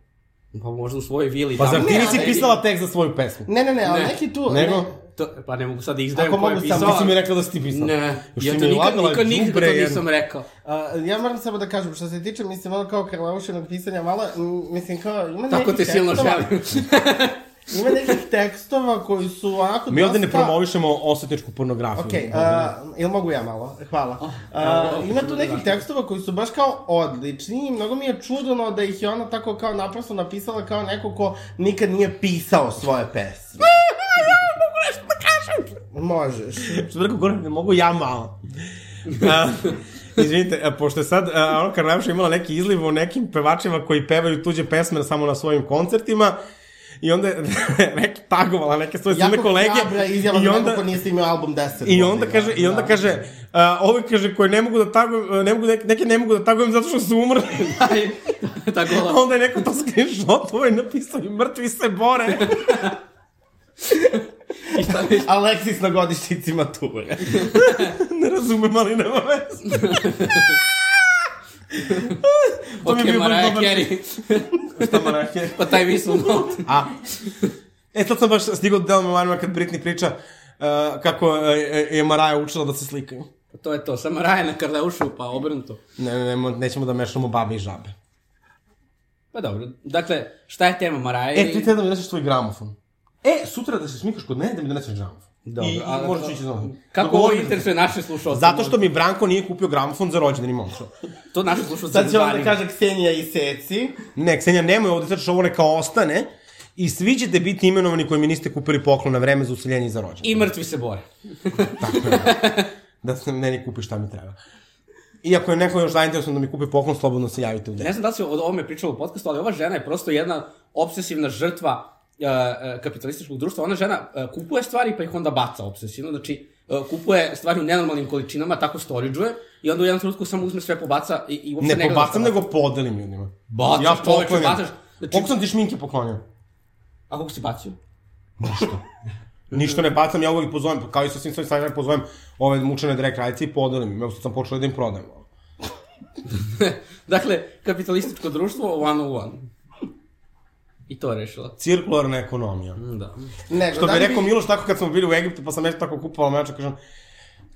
S5: Pa možda u svojoj vili.
S3: Pa
S5: tamo.
S3: zar ti
S5: Ne,
S3: nisi
S5: ali-
S3: pisala tekst za svoju pesmu?
S4: Ne, ne, ne, ali
S5: Ne.
S4: neki tu...
S3: Nego?
S4: ne-
S5: To, pa ne mogu sad da izdajem
S4: Ako
S5: ko je
S4: mogu sam-
S5: pisao.
S3: Ti si mi rekla da si ti pisala.
S5: Ne,
S3: Još
S5: ja
S3: si
S5: to
S3: mi
S5: nikad,
S3: lagala,
S5: nikad, nikad
S3: đubre
S5: to
S3: jedno.
S5: nisam rekao.
S4: A, ja moram samo da kažem, što se tiče, mislim, ono kao Karlaušenog pisanja, malo, m, mislim, kao, ima
S5: Tako
S4: nekih
S5: te silno
S4: tekstova-
S5: želim.
S4: Ima nekih tekstova koji su onako...
S3: Mi ovde ne
S4: dosta-
S3: promovišemo osetničku pornografiju.
S4: Okej, okay, ili mogu ja malo? Hvala.
S3: Oh,
S4: Uh, ima tu nekih tekstova koji su baš kao odlični i mnogo mi je čudno da ih je ona tako kao naprosto napisala kao neko ko nikad nije pisao svoje pesme. Možeš.
S3: da Što bi rekao, gore, ne mogu ja malo. A, izvinite, a, pošto je sad a, ono Karnavša imala neki izliv o nekim pevačima koji pevaju tuđe pesme samo na svojim koncertima, I onda je neki tagovala neke svoje silne
S4: Jako
S3: kolege.
S4: hrabra izjava
S3: i
S5: da
S4: za
S3: onda,
S4: neko ko nije snimio album 10
S3: I onda
S4: godina.
S3: kaže, i onda
S4: Da.
S3: kaže, uh, ove kaže koje ne mogu da tagujem, ne mogu neke, neke ne mogu da tagujem zato što su umrli.
S5: Da. Tako
S3: A
S5: da,
S3: onda je neko to screenshotovo i napisao i mrtvi se bore.
S5: i šta već.
S4: Aleksis na godišnjici mature.
S3: ne razumem, ali nema veze. to
S5: Ok,
S3: mi je bio baš
S5: Mariah
S3: dobar-
S5: Carey.
S3: Šta Mariah Carey?
S5: Pa taj whistle note.
S3: A, e, sad sam baš stigao do delom Marima kad Britney priča uh, kako uh, je Mariah učila da se slikaju.
S5: Pa To je to, samo Raja na Krleušu, pa obrnuto.
S3: Ne, ne, ne, mo- nećemo da mešamo babe i žabe.
S5: Pa dobro, dakle, šta je tema Maraje?
S3: E, ti treba da mi doneseš tvoj gramofon. E, sutra da se smikaš kod mene da mi doneseš gramofon. Dobro, I, i možda ću ići znovu.
S5: Kako ovo interesuje naše slušalce?
S3: Zato što mi Branko nije kupio gramofon za rođendan i momčo.
S5: To naše slušalce
S3: Da
S4: Sad će onda
S5: zanima.
S4: kaže Ksenija i Seci.
S3: Ne, Ksenija, nemoj ovde sad što ovo neka ostane i svi ćete biti imenovani koji mi niste kupili poklon na vreme za useljenje i za rođendan.
S5: I mrtvi se bore.
S3: Da se meni kupi šta mi treba. I ako je neko još zainteresovan da mi kupi poklon, slobodno se javite u
S5: Ne
S3: dne.
S5: znam da li se o ovome pričalo u podcastu, ali ova žena je prosto jedna obsesivna žrtva e, e, kapitalističkog društva. Ona žena e, kupuje stvari pa ih onda baca obsesivno, znači e, kupuje stvari u nenormalnim količinama, tako storidžuje i onda u jednom trenutku samo uzme sve pobaca i, i uopšte
S3: Ne,
S5: ne, gleda šta
S3: pobacam,
S5: baca.
S3: nego podelim ljudima.
S5: Bacaš, čoveče,
S3: poklanjam.
S5: bacaš. Znači-
S3: Koliko sam ti šminke poklonio?
S5: A kako si bacio?
S3: Ništa ne bacam, ja uvek pozovem, kao i sa svim svojim sajima pozovem ove mučene drag radice i podelim im. Evo sad sam počeo da im prodajem.
S5: dakle, kapitalističko društvo one on one. I to je rešila.
S3: Cirkularna ekonomija.
S5: Da.
S4: Nego,
S3: Što
S4: da
S3: bi
S4: li
S3: rekao Miloš tako kad smo bili u Egiptu, pa sam nešto tako kupao meča, kažem,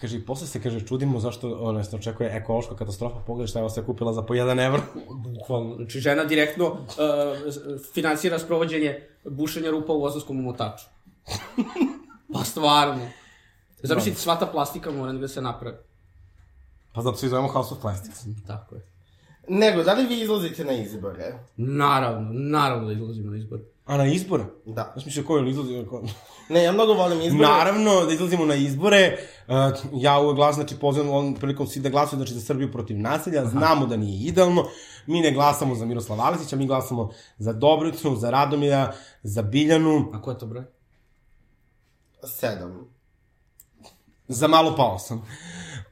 S3: kaže, i posle se, kaže, čudimo zašto, ono, se očekuje ekološka katastrofa, pogledaj šta je se kupila za po 1 evro.
S5: Bukvalno. Znači, žena direktno uh, finansira sprovođenje bušenja rupa u ozonskom umotaču. pa stvarno. Zamislite, sva ta plastika mora da se napravi.
S3: Pa zato se i zovemo House of Plastics.
S5: Tako je.
S4: Nego, da li vi izlazite na izbore?
S5: Naravno, naravno da izlazimo na izbor.
S3: A na izbore?
S4: Da.
S3: Znaš mi se koji izlazi? Ko...
S4: Ne, ja mnogo volim izbore.
S3: Naravno, da izlazimo na izbore, uh, ja uvek glas, znači pozivam on prilikom svi da glasuju, znači za Srbiju protiv nasilja, znamo da nije idealno, mi ne glasamo za Miroslava Aleksića, mi glasamo za Dobricu, za Radomira, za Biljanu,
S5: A ko je to broj?
S4: Sedam.
S3: Za malo pao sam.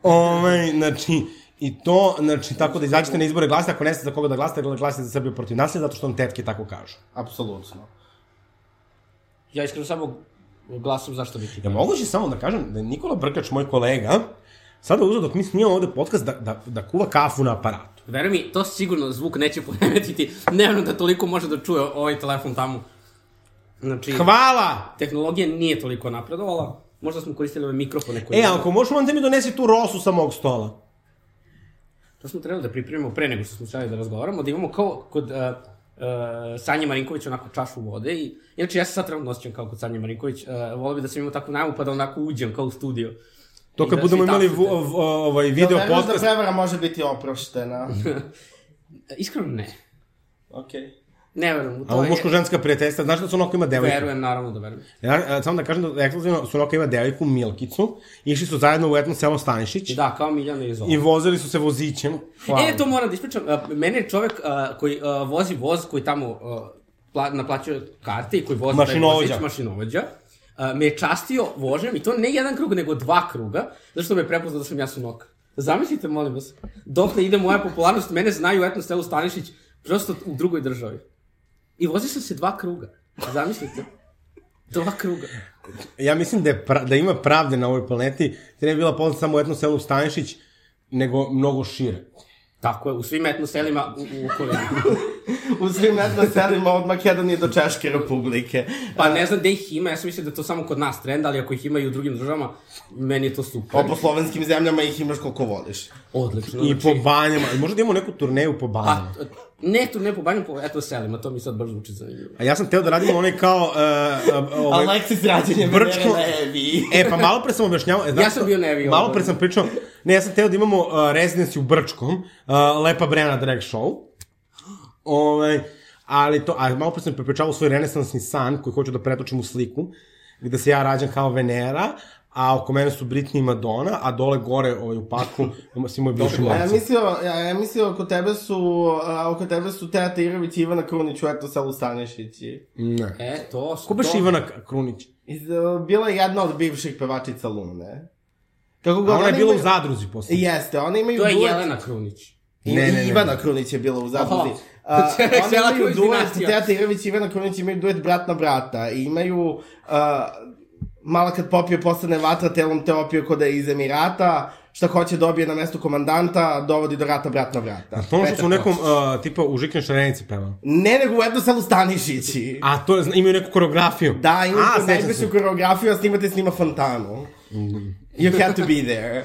S3: Ove, znači, i to, znači, tako da izađete na izbore glasite, ako ne znate za koga da glasite, glasite za Srbiju protiv nasilja, zato što vam tetke tako kažu.
S4: Apsolutno.
S5: Ja iskreno samo glasom zašto biti.
S3: Ja moguće samo da kažem da je Nikola Brkač, moj kolega, sada uzao dok mi snijemo ovde podcast da, da, da kuva kafu na aparatu.
S5: Veruj mi, to sigurno zvuk neće poremetiti. Nevno da toliko može da čuje ovaj telefon tamo. Znači,
S3: Hvala!
S5: tehnologija nije toliko napredovala. Možda smo koristili ove mikrofone koje...
S3: E, ako možeš, onda mi donesi tu rosu sa mog stola.
S5: To smo trebali da pripremimo pre nego što smo sjeli da razgovaramo, da imamo kao kod uh, uh, Sanje Marinković onako čašu vode i inače ja se sad trenutno osjećam kao kod Sanje Marinković, uh, volio bi da sam imao takvu najavu pa da onako uđem kao u studio.
S3: To
S5: I
S3: kad
S5: da
S3: budemo
S5: svi
S3: imali v,
S5: tapšete.
S3: v, ovaj video
S4: Jel veruješ da
S3: podcast,
S4: prevara može biti oproštena?
S5: E, Iskreno ne.
S4: Okej.
S5: Ne verujem u to.
S3: a ovo
S5: je-
S3: muško-ženska prijateljstva, znaš da su onako ima devojka?
S5: Verujem, naravno da verujem.
S3: Ja, e, samo da kažem da ekskluzivno Sunoka ima devojku Milkicu, išli su zajedno u etno selo Stanišić
S5: Da, kao Miljana i Zola.
S3: i vozili su se vozićem. Hvala.
S5: E, to moram da ispričam. Uh, Mene je čovek uh, koji uh, vozi voz, koji tamo uh, pla, naplaćuje karte i koji vozi taj
S3: Mašinovođa.
S5: vozić, mašinovođa, uh, me je častio vožnjom i to ne jedan krug, nego dva kruga, zato što me je prepoznao da sam ja sunoka. Zamislite, molim vas, dok ne ide moja popularnost, mene znaju u etno selu Stanišić, prosto u drugoj državi. I vozio sam se dva kruga. Zamislite. Dva kruga.
S3: Ja mislim da, je pra, da ima pravde na ovoj planeti, da ne bi bila poznata samo u etno selu Stanišić, nego mnogo šire.
S5: Tako je, u svim etno selima u, u okolini.
S4: U svim etno selima od Makedonije do Češke republike.
S5: Pa ne znam gde ih ima, ja sam mislio da to samo kod nas trend, ali ako ih ima i u drugim državama, meni je to super.
S4: A po slovenskim zemljama ih imaš koliko voliš.
S5: Odlično.
S3: I
S5: znači,
S3: po banjama. Možda da imamo neku turneju po banjama.
S5: A, t- ne tu, ne po banju, po eto selima, to mi sad baš zvuči zanimljivo.
S3: A ja sam teo da radimo onaj kao... Uh, uh, ovaj,
S4: Aleksis rađenje Venere
S3: Brčko-
S4: Levi.
S3: E, pa malo pre sam objašnjavao... e, znaš
S5: Ja sam
S3: šta?
S5: bio nevio.
S3: Malo pre sam pričao... Ne, ja sam teo da imamo uh, rezidenciju u Brčkom, uh, Lepa Brena drag show. Ovaj, ali to, a malo pre sam prepričavao svoj renesansni san koji hoću da pretočim u sliku, gde se ja rađam kao Venera, a oko mene su Britney i Madonna, a dole gore ovaj, u parku svi moji bivši
S4: A ja
S3: momci.
S4: mislio, a ja mislio oko tebe su, a, oko tebe su Teata Irović i Ivana Krunić u eto selu Stanišići.
S3: Ne.
S5: E, to... su-
S3: Ko baš
S5: to-
S3: Ivana K- Krunić?
S4: Iz, a, bila je jedna od bivših pevačica Lune. Kako
S3: A
S4: god
S3: ona je bila u
S4: imaju-
S3: zadruzi posle.
S4: Jeste, one imaju
S5: To je
S4: duet-
S5: Jelena Krunić.
S4: I,
S3: Ne,
S4: ne,
S3: ne, ne.
S4: Ivana Krunić je bila u
S5: Aha.
S4: zabludi. A, Oni
S5: Sela
S4: imaju
S5: Krunić
S4: duet,
S5: dinastija.
S4: Teata Irović i Ivana Krunić imaju duet brat na brata i imaju... A, mala kad popio postane vatra, telom te opio ko da je iz Emirata, šta hoće dobije na mestu komandanta, dovodi do rata brat na brata.
S3: To ono što
S4: Petar
S3: su u nekom,
S4: Kočić.
S3: uh, tipa, u Žikne Šarenici pevali.
S4: Ne, nego u jednu selu Stanišići.
S3: A to je, imaju neku koreografiju.
S4: Da, imaju
S3: A,
S4: tu
S3: sećam se.
S4: najveću koreografiju, a snimate s njima fontanu. You had to be there.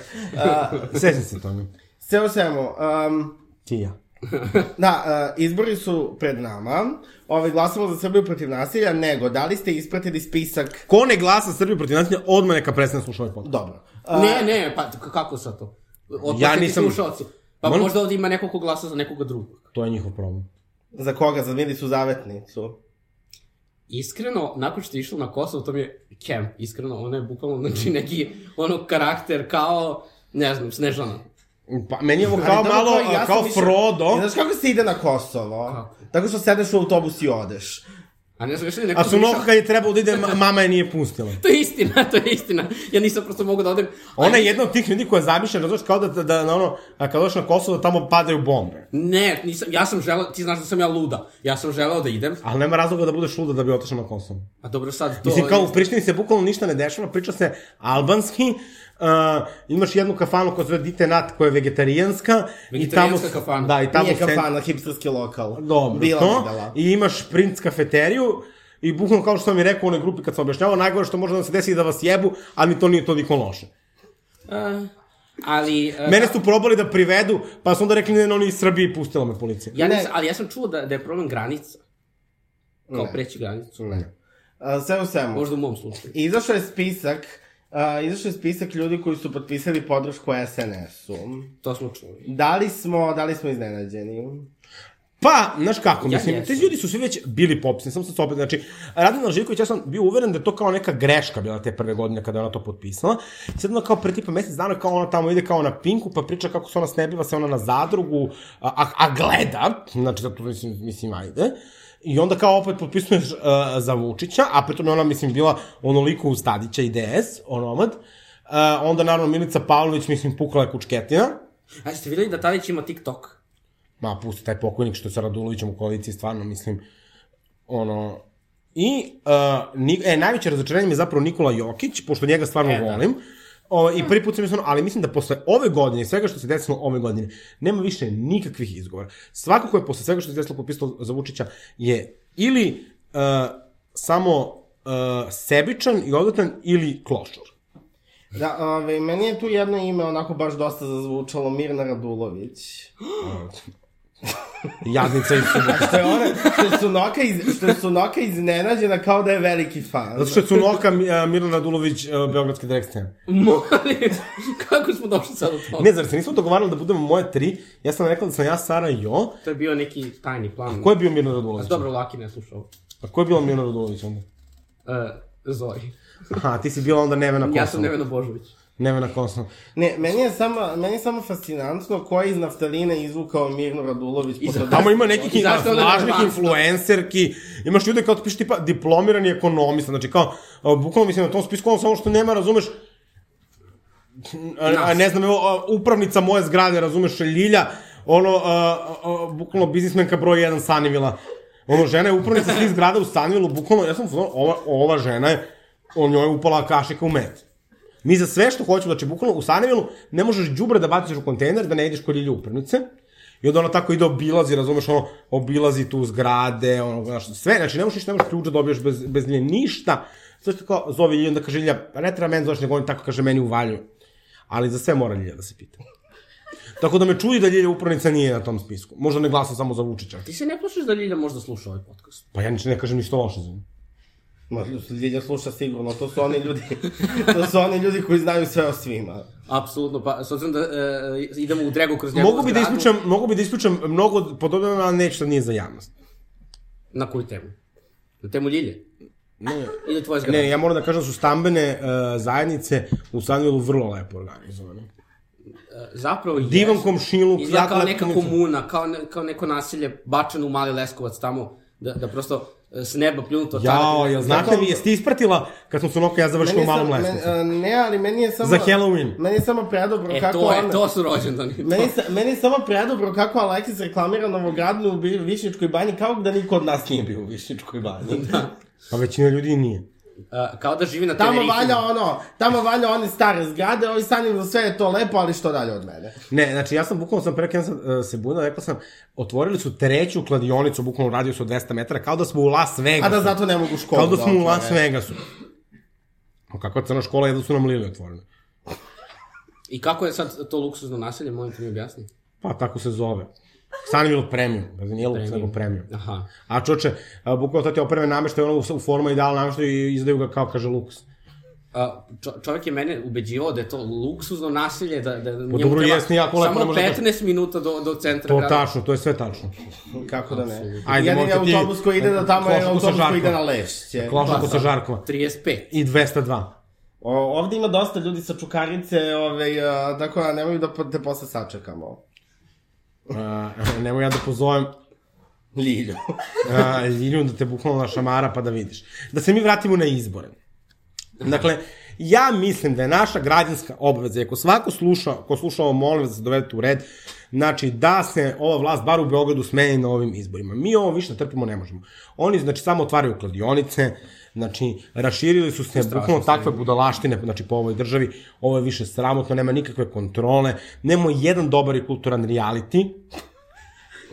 S4: Uh,
S3: Sećam se toga.
S4: sve o svemu, um,
S3: Ti i ja.
S4: Da, e, izbori su pred nama. Ovaj, glasamo za Srbiju protiv nasilja, nego, da li ste ispratili spisak?
S3: Ko ne glasa Srbiju protiv nasilja, odmah neka prestane slušati ovaj podcast.
S4: Dobro. E,
S5: Ne, ne, pa k- kako sad to? Otpustiti
S3: Ja nisam-
S5: Slušalci. Pa
S3: Molim?
S5: možda ovdje ima neko ko glasa za nekoga drugog.
S3: To je njihov problem.
S4: Za koga? Za Milicu Zavetnicu.
S5: Iskreno, nakon što je išlo na Kosovo, to mi je kem, iskreno, ona je bukvalno, znači, neki, ono, karakter kao, ne znam, Snežana.
S3: Pa, meni je ovo
S4: Ali
S3: kao
S4: dobro,
S3: malo,
S4: kao i ja
S3: kao
S4: sam mislio-
S3: Frodo.
S4: I Znaš kako se ide na Kosovo?
S5: Kako?
S4: Tako što sedneš u autobus i odeš.
S5: A ne znam, još li je neko
S3: A su
S5: slušao?
S3: noka kad je trebalo da ide, ma- mama je nije pustila.
S5: To je istina, to je istina. Ja nisam prosto mogu da odem.
S3: Ona je jedna od tih ljudi koja zamišlja, razumiješ, kao da, da, da na ono, a kad dođeš na Kosovo, da tamo padaju bombe.
S5: Ne, nisam, ja sam želeo, ti znaš da sam ja luda. Ja sam želeo da idem,
S3: Ali nema razloga da budeš luda da bi otišao na Kosovo.
S5: a dobro sad to...
S3: Mislim, kao u Prištini se bukvalno ništa ne dešava, priča se albanski, uh, imaš jednu kafanu koja se zove Dite Nat, koja je vegetarijanska. i tamo,
S5: Vegetarijanska kafana.
S3: Da, i tamo
S4: Nije
S3: se-
S4: kafana, hipsterski lokal.
S3: Dobro,
S4: Bila
S3: to.
S4: Videla.
S3: I imaš princ kafeteriju, i bukvalno kao što sam i rekao u onoj grupi kad sam objašnjavao, najgore što može da se desi je da vas jebu, ali ni to nije toliko loše.
S5: A, ali... e, a,
S3: Mene su probali da privedu, pa su onda rekli ne, ne, oni iz Srbije i pustila me policija.
S5: Ja
S4: Ne.
S5: nisam, ali ja sam čuo da, da je problem granica. Kao preći granicu.
S4: Ne. A, sve u svemu.
S5: Možda u mom slučaju.
S4: Izašao je spisak, a, izašao je spisak ljudi koji su potpisali podršku SNS-u.
S5: To smo čuli.
S4: Da li smo, da li smo iznenađeni?
S3: Pa, znaš kako,
S5: Ja
S3: mislim, ti
S5: jesam.
S3: ljudi su svi već bili popisani, sam se opet, znači, Radan Alživković, ja sam bio uveren da je to kao neka greška bila te prve godine kada je ona to potpisala, i sad ona kao pre tipa mesec dana, kao ona tamo ide kao na pinku, pa priča kako se ona snebiva, se ona na zadrugu, a, a, a gleda, znači, zato mislim, mislim, ajde, I onda kao opet potpisuješ uh, za Vučića, a pritom je ona, mislim, bila onoliko uz Tadića i DS, onomad. Uh, onda, naravno, Milica Pavlović, mislim, pukla je kučketina.
S5: A ste vidjeli da Tadić ima TikTok?
S3: Ma, pusti taj pokojnik što je sa Radulovićem u koaliciji, stvarno, mislim, ono... I, uh, ni, e, najveće razočarenje mi je zapravo Nikola Jokić, pošto njega stvarno e, volim. O, I prvi put sam mislio, ali mislim da posle ove godine, i svega što se desilo ove godine, nema više nikakvih izgovora. Svako ko je posle svega što se desilo popisalo za Vučića je ili uh, samo uh, sebičan i odvratan ili klošar.
S4: Da, ove, meni je tu jedno ime onako baš dosta zazvučalo, Mirna Radulović.
S3: Jadnica i subotica.
S4: Što je ona, što je Sunoka, iz, što je Sunoka iznenađena kao da je veliki fan.
S3: Zato što je Cunoka uh, Milana Dulović, uh, Beogradski direkcija.
S5: Molim, kako smo došli sad do toga?
S3: Ne, zar se nismo dogovarali da budemo moje tri? Ja sam rekla da sam ja, Sara i Jo.
S5: To je bio neki tajni plan.
S3: Ko je bio Mirna
S5: A
S3: Radulović?
S5: Dobro, Laki ne slušao. Uh,
S3: A ko je bila Mirna Radulović onda?
S5: Zoji.
S3: Aha, ti si bila onda Nevena Kosovo.
S5: Ja sam Neveno Božović.
S3: Nevena Kosovo.
S4: Ne, meni je samo, meni je samo fascinantno ko je iz naftaline izvukao Mirnu Radulović. da-
S5: Iza-
S4: posle-
S3: Tamo ima nekih
S5: I zašto onda
S3: lažnih
S5: relevantno?
S3: influencerki, imaš ljude kao piše tipa diplomirani ekonomista, znači kao, a, bukvalno mislim na tom spisku, ono samo što nema, razumeš, a, a, ne znam, evo, a, upravnica moje zgrade, razumeš, Ljilja, ono, a, a, a, bukvalno biznismenka broj 1 Sanivila. Ono, žena je upravnica svih zgrada u Sanivilu, bukvalno, ja sam, u fazonu, ova, ova žena je, on njoj je upala kašika u met. Mi za sve što hoćemo, znači bukvalno u Sanavilu ne možeš đubre da baciš u kontejner da ne ideš kod Ljilje upravnice. I onda ona tako ide obilazi, razumeš, ono, obilazi tu zgrade, ono, znaš, sve, znači ne možeš ništa, ne možeš ključ da dobiješ bez, bez nje ništa. Sve što kao zove Ljilje, onda kaže Ljilja, pa ne treba meni zoveš, nego on tako kaže meni u valju. Ali za sve mora Ljilja da se pita. Tako da me čudi da Ljilja upravnica nije na tom spisku. Možda ne glasa samo za Vučića.
S5: Ti se ne plašiš da Ljilja možda sluša ovaj podcast?
S3: Pa ja ništa ne kažem ništa loše za nju.
S4: Ma, Ljilja sluša sigurno, to su oni ljudi, to su oni ljudi koji znaju sve o svima.
S5: Apsolutno, pa s obzirom da e, idemo u dregu kroz njegovu
S3: Mogu bi da
S5: zgradu,
S3: isključam, mogu bi da isključam mnogo podobno, ali neću, sad nije za javnost.
S5: Na koju temu? Na temu Ljilje?
S3: Ne.
S5: Ili tvoje zgrade?
S3: Ne, ja moram da kažem da su stambene uh, zajednice u Sanvilu vrlo lepo organizovane.
S5: Zapravo je.
S3: Divan komšiluk,
S5: Izgleda
S3: jako
S5: kao
S3: lepo
S5: neka
S3: komunica.
S5: komuna, kao, ne, kao neko nasilje bačeno u Mali Leskovac tamo, da, da prosto e, s neba pljunuto.
S3: Jao,
S5: tamo.
S3: jel znate vi, jeste ispratila kad smo Sunoka i ja završili u
S4: Meni je
S3: malom
S4: sam-
S3: lesnicu?
S4: men- a, Ne, ali meni je samo...
S3: Za Halloween.
S4: Meni je samo predobro
S5: E,
S4: kako
S5: to
S4: ona-
S5: je, to su rođendani. E,
S4: Meni, je sa- meni je samo predobro kako Aleksis reklamira Novogradnu u Bi- Višničkoj banji, kao da niko od nas nije bio u Višničkoj banji.
S3: Pa većina ljudi i nije.
S5: A, kao da živi na
S4: Tamo
S5: Tenerife.
S4: valja ono, tamo valja one stare zgrade, ovi sanjim sve je to lepo, ali što dalje od mene.
S3: Ne, znači ja sam bukvalno sam preko sam uh, se bunao, rekao sam, otvorili su treću kladionicu, bukvalno radio su 200 metara, kao da smo u Las Vegasu.
S4: A da zato ne mogu školu.
S3: Kao da smo u
S4: otvore.
S3: Las Vegasu. A kakva crna škola, jedno su nam lili otvorene.
S5: I kako je sad to luksuzno nasilje, molim te mi objasni.
S3: Pa tako se zove. Stani bilo premium, znači nije luks, nego premium.
S5: Aha.
S3: A čoče, bukvalo to ti je opreme nameštaj, ono u, u formu i dalo nameštaj i izdaju ga kao, kaže, luks.
S5: A, čo, čovjek je mene ubeđivao da je to luksuzno nasilje, da, da njemu
S3: Pa dobro, jesni, jako lepo, ne
S5: samo
S3: može da-
S5: 15 minuta do, do centra
S3: To
S4: Da.
S5: grada.
S3: tačno, to je sve tačno.
S4: Kako da ne?
S3: Ajde,
S4: Ajde, Jedini
S3: možda ti-
S4: autobus koji ide da tamo je
S3: Klošaku sa
S4: autobus
S3: žarkom.
S4: koji ide na lešće.
S3: Klošak
S5: Pa,
S3: sa Žarkova.
S5: 35.
S3: I 202.
S4: da. O, ovde ima dosta ljudi sa čukarice, ovaj, a, tako da nemoj da po- te posle sačekamo.
S3: Uh, nemoj ja da pozovem
S4: Lilju.
S3: uh, Ljilju da te bukvalno našamara pa da vidiš. Da se mi vratimo na izbore. Dakle, ja mislim da je naša građanska obaveza, i ako svako sluša, ko sluša ovo, molim vas da se dovedete u red, znači da se ova vlast, bar u Beogradu, smeni na ovim izborima. Mi ovo više da trpimo ne možemo. Oni, znači, samo otvaraju kladionice, znači, raširili su se bukvalno takve budalaštine, znači, po ovoj državi, ovo je više sramotno, nema nikakve kontrole, nema jedan dobar i kulturan reality,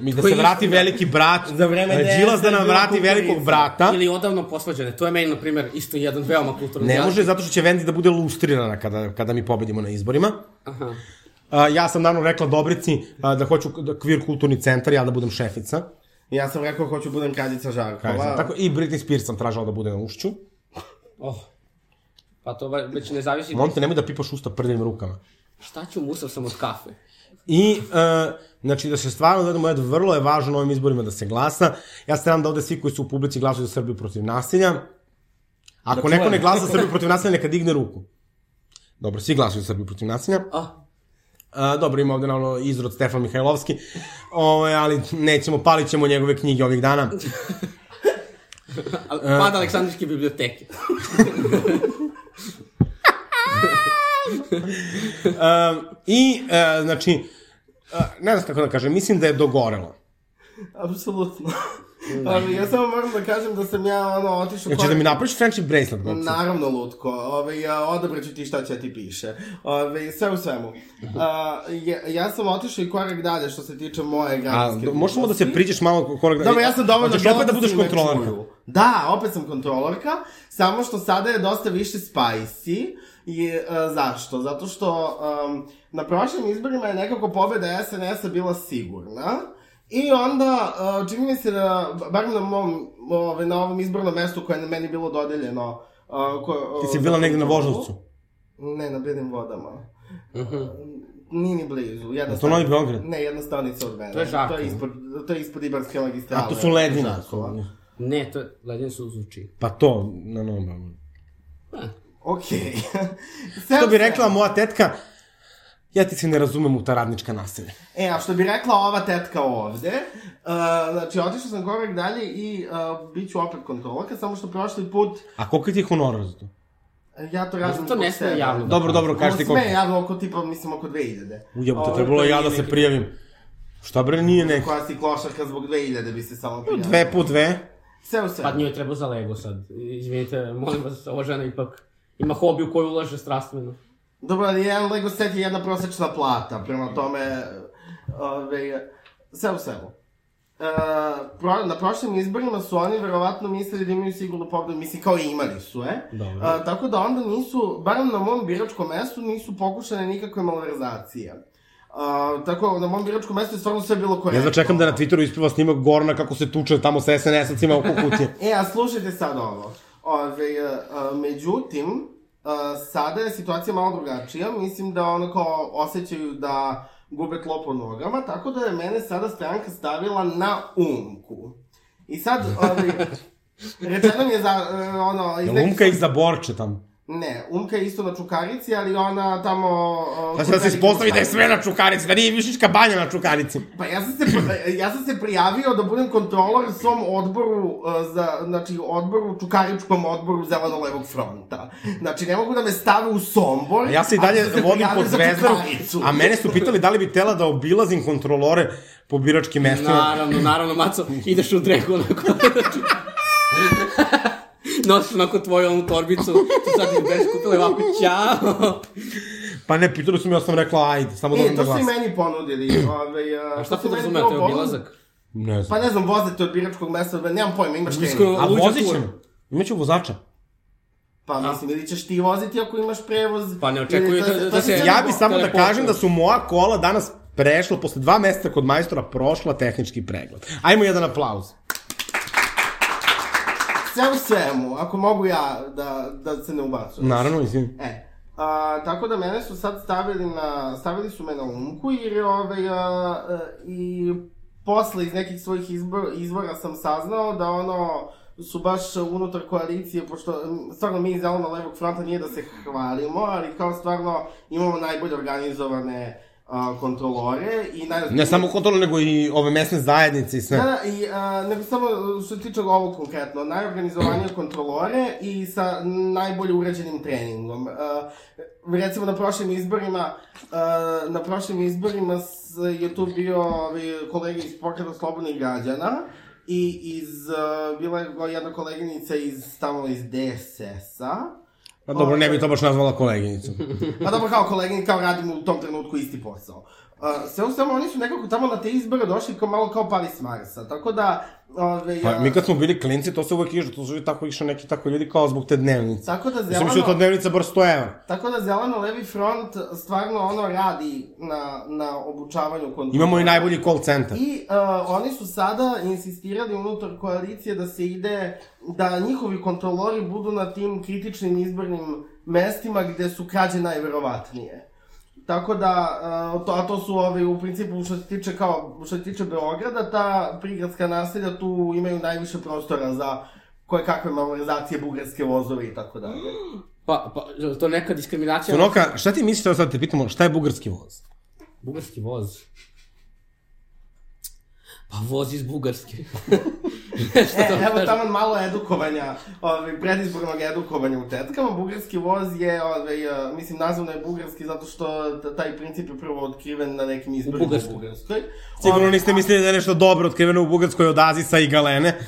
S3: Mi da
S5: Koji
S3: se
S5: je
S3: vrati
S5: isto-
S3: veliki brat,
S4: Za vreme
S3: e, Đilas da
S4: DS-a
S3: nam
S4: je bila
S3: vrati velikog
S4: kulturica.
S3: brata.
S5: Ili odavno posvađane. To je meni, na primjer, isto jedan veoma kulturni
S3: Ne
S5: jaz.
S3: može, zato što će Vendi da bude lustrirana kada, kada mi pobedimo na izborima.
S5: Aha.
S3: A, ja sam naravno rekla Dobrici a, da hoću da kvir kulturni centar, ja da budem šefica.
S4: Ja sam rekao hoću budem kraljica
S3: Kaj znam,
S4: Žarkova.
S3: Tako, I Britney Spears sam tražila da bude na ušću.
S5: Oh. Pa to va- već ne zavisi.
S3: Molim te, nemoj da pipaš usta prljavim rukama.
S5: Šta ću, musav sam od kafe.
S3: I, e, znači, da se stvarno gledamo, jed, vrlo je važno na ovim izborima da se glasa. Ja se nadam da ovde svi koji su u publici glasuju za Srbiju protiv nasilja. Ako neko ne glasa za Srbiju protiv nasilja, neka digne ruku. Dobro, svi glasuju za Srbiju protiv nasilja.
S5: A,
S3: A, dobro, ima ovde naravno izrod Stefan Mihajlovski, Ove, ali nećemo, palit ćemo njegove knjige ovih dana.
S5: a pad Aleksandričke biblioteke.
S3: E, I, e, znači, e, ne znam kako da kažem, mislim da je dogorelo.
S4: Apsolutno. Ali ja samo moram da kažem da sam ja ono otišao
S3: Znači da mi napraviš friendship bracelet, Bobce.
S4: Naravno, Lutko, ovaj, a, odabrat ću ti šta će ti piše. Ovaj, sve u svemu.
S3: Mhm.
S4: A, ja, ja sam otišao i korak dalje što se tiče moje
S3: A,
S4: građanske...
S3: do, možemo da se priđeš malo korak...
S4: Dobro, ja sam dovoljno
S3: Hoćeš opet
S4: dobar
S3: da budeš
S4: svi me
S3: kontrolanka.
S4: čuju. Da, opet sam kontrolorka, samo što sada je dosta više spicy. I e, zašto? Zato što um, na prošlim izborima je nekako pobeda SNS-a bila sigurna. I onda, e, čini mi se da, bar na mom, ove, na ovom izbornom mestu koje je na meni bilo dodeljeno, a, ko,
S3: Ti si bila negde na Voždovcu.
S4: Ne, na Belim vodama. Uh, Nije ni blizu. Jedna
S3: Je Mhm. to Novi Beograd?
S4: Ne, jedna stanica od mene.
S5: To je Žarkovo.
S4: To je ispod, to je ispod Ibarske magistrale.
S3: A to su ledina.
S4: Žarkova.
S5: Ne, to je ledin su uzuči.
S3: Pa to, na novom Beogradu.
S4: Okej.
S3: Što bi rekla moja tetka, ja ti se ne razumem u ta radnička naselja.
S4: E, a što bi rekla ova tetka ovde, uh, znači, otišao sam korak dalje i uh, bit ću opet kontrolka, samo što prošli put
S3: A koliko ti je honorar za to?
S4: ja to radim...
S5: To ne
S4: zbog
S5: sme
S4: sebe.
S5: javno. da
S3: Dobro, dobro,
S4: Ovo
S3: kaži ti
S4: sme
S3: koliko.
S4: javno oko tipa, mislim, oko 2000.
S3: Ujebote,
S5: Ovo,
S3: trebalo
S5: to
S3: je ja
S5: nije
S3: da se
S5: neki-
S3: prijavim. Šta bre, nije neki.
S4: Koja si klošarka zbog 2000 bi se samo prijavila.
S3: Dve po dve.
S4: Sve u
S5: Pa
S4: svemu.
S5: njoj treba za Lego sad. Izvinite, molim vas, ova žena ipak ima hobi u koju ulaže strastveno.
S4: Dobro, ali jedan Lego set je jedna prosečna plata, prema tome, ove, sve u svemu. E, pro, na prošlim izborima su oni verovatno mislili da imaju sigurnu pobedu, mislim kao i imali su, e?
S5: Dobro.
S4: E, tako da onda nisu, barem na mom biračkom mestu, nisu pokušane nikakve malverzacije. E, tako, na mom biračkom mestu je stvarno sve bilo korektno.
S3: Ja jedva čekam da na Twitteru ispliva snimak Gorana kako se tuče tamo sa SNS-acima oko kutije.
S4: E, a slušajte sad ovo. Ove, a, a, međutim, a, sada je situacija malo drugačija. Mislim da ono kao osjećaju da gube tlo po nogama, tako da je mene sada stranka stavila na umku. I sad, ove, rečeno mi je za, e, ono... iz
S3: Jel
S4: nekih-
S3: Umka ih zaborče tamo.
S4: Ne, umka je isto na čukarici, ali ona tamo... o,
S3: Pa sad
S4: kod
S3: se
S4: velikog
S3: ispostavi da je
S4: Čukarice.
S3: sve na čukarici, da nije višiška banja na čukarici.
S4: Pa ja sam se, ja sam se prijavio da budem kontroler svom odboru, uh, za, znači odboru, čukaričkom odboru zeleno-levog fronta. Znači ne mogu da me stave u Sombor.
S3: A ja se i dalje
S4: ako sam se
S3: vodim
S4: prijavio
S3: pod
S4: za
S3: zvezdaru,
S4: Čukaricu.
S3: a mene su pitali da li bi tela da obilazim kontrolore po biračkim mestima.
S5: Naravno, naravno, maco, ideš u dreku onako. Nosiš onako tvoju onu torbicu, tu sad mi beš kupila i ovako, ćao.
S3: Pa ne, pitali su mi, ja sam rekla, ajde, samo da
S4: E,
S3: budem da
S4: to su i
S3: glasam.
S4: meni ponudili. Ove, uh,
S5: A šta
S4: to su meni
S5: podrazumeva, to je
S4: prvo
S5: obilazak?
S3: Ne
S4: Pa
S3: znam.
S4: ne znam, vozite od biračkog mesta, do- nemam pojma, imaš
S5: Iskoro-
S4: krenik.
S3: A
S5: Luđa
S3: vozit
S5: tur.
S3: ćemo. Imaću vozača.
S4: Pa mislim, ili ćeš ti voziti ako imaš prevoz.
S5: Pa ne očekuju
S4: ili to-
S5: da-
S4: to
S5: da
S4: će
S5: se-
S4: sve
S3: Ja
S4: drugo.
S3: bi samo da
S5: Teleportu.
S3: kažem da su moja kola danas prešla, posle dva meseca kod majstora, prošla tehnički pregled. Ajmo jedan aplauz.
S4: Sve u svemu, ako mogu ja da, da se ne ubacujem.
S3: Naravno, mislim.
S4: E, a, tako da mene su sad stavili na, stavili su me na umku jer je ovaj, a, a, i posle iz nekih svojih izbor, izvora sam saznao da ono, su baš unutar koalicije, pošto m, stvarno mi iz Zeleno levog fronta nije da se hvalimo, ali kao stvarno imamo najbolje organizovane a, kontrolore i najozbiljnije...
S3: Ne samo kontrolu, nego i ove mesne zajednice i sve.
S4: Da, da, i a, nego samo e, što se tiče ovo konkretno, najorganizovanije kontrolore i sa najbolje uređenim treningom. A, recimo na prošlim izborima, a, na prošlim izborima s, je tu bio ovaj, kolega iz pokreta slobodnih građana i iz, a, bila je go- jedna koleginica iz, tamo iz DSS-a.
S3: Pa dobro, ne bi to baš nazvala koleginicom.
S4: Pa dobro, kao kolegini, kao radimo u tom trenutku isti posao. Uh, sve u svemu, oni su nekako tamo na te izbore došli kao malo kao pali s Marsa, tako da... Ove,
S3: Pa, mi kad smo bili klinci, to se uvek išlo, to su uvek tako išli neki tako ljudi kao zbog te dnevnice.
S4: Tako da
S3: Ja sam mislio da ta
S4: zeleno,
S3: dnevnica bar 100 evra.
S4: tako da zeleno levi front stvarno ono radi na, na obučavanju kontrola.
S3: Imamo i najbolji call centar.
S4: I uh, oni su sada insistirali unutar koalicije da se ide, da njihovi kontrolori budu na tim kritičnim izbornim mestima gde su krađe najverovatnije. Tako da, uh, to, a to su ovaj, u principu što se tiče kao, što se tiče Beograda, ta prigradska naselja tu imaju najviše prostora za koje kakve malorizacije, bugarske vozove i tako dalje.
S5: Pa, pa, je to neka diskriminacija?
S3: Sonoka, šta ti misliš, evo sad te pitamo, šta je bugarski voz?
S5: Bugarski voz. Pa voz iz Bugarske. da
S4: E, evo tamo malo edukovanja, ovaj, predizbornog edukovanja u tetkama. Bugarski voz je, ovaj, eh, mislim, nazvano je bugarski zato što t- taj princip je prvo otkriven na nekim izborima
S5: Bugarskoj.
S4: u Bugarskoj.
S3: Sigurno
S4: Ovaj,
S3: niste mislili da je nešto dobro otkriveno u Bugarskoj od Azisa i Galene.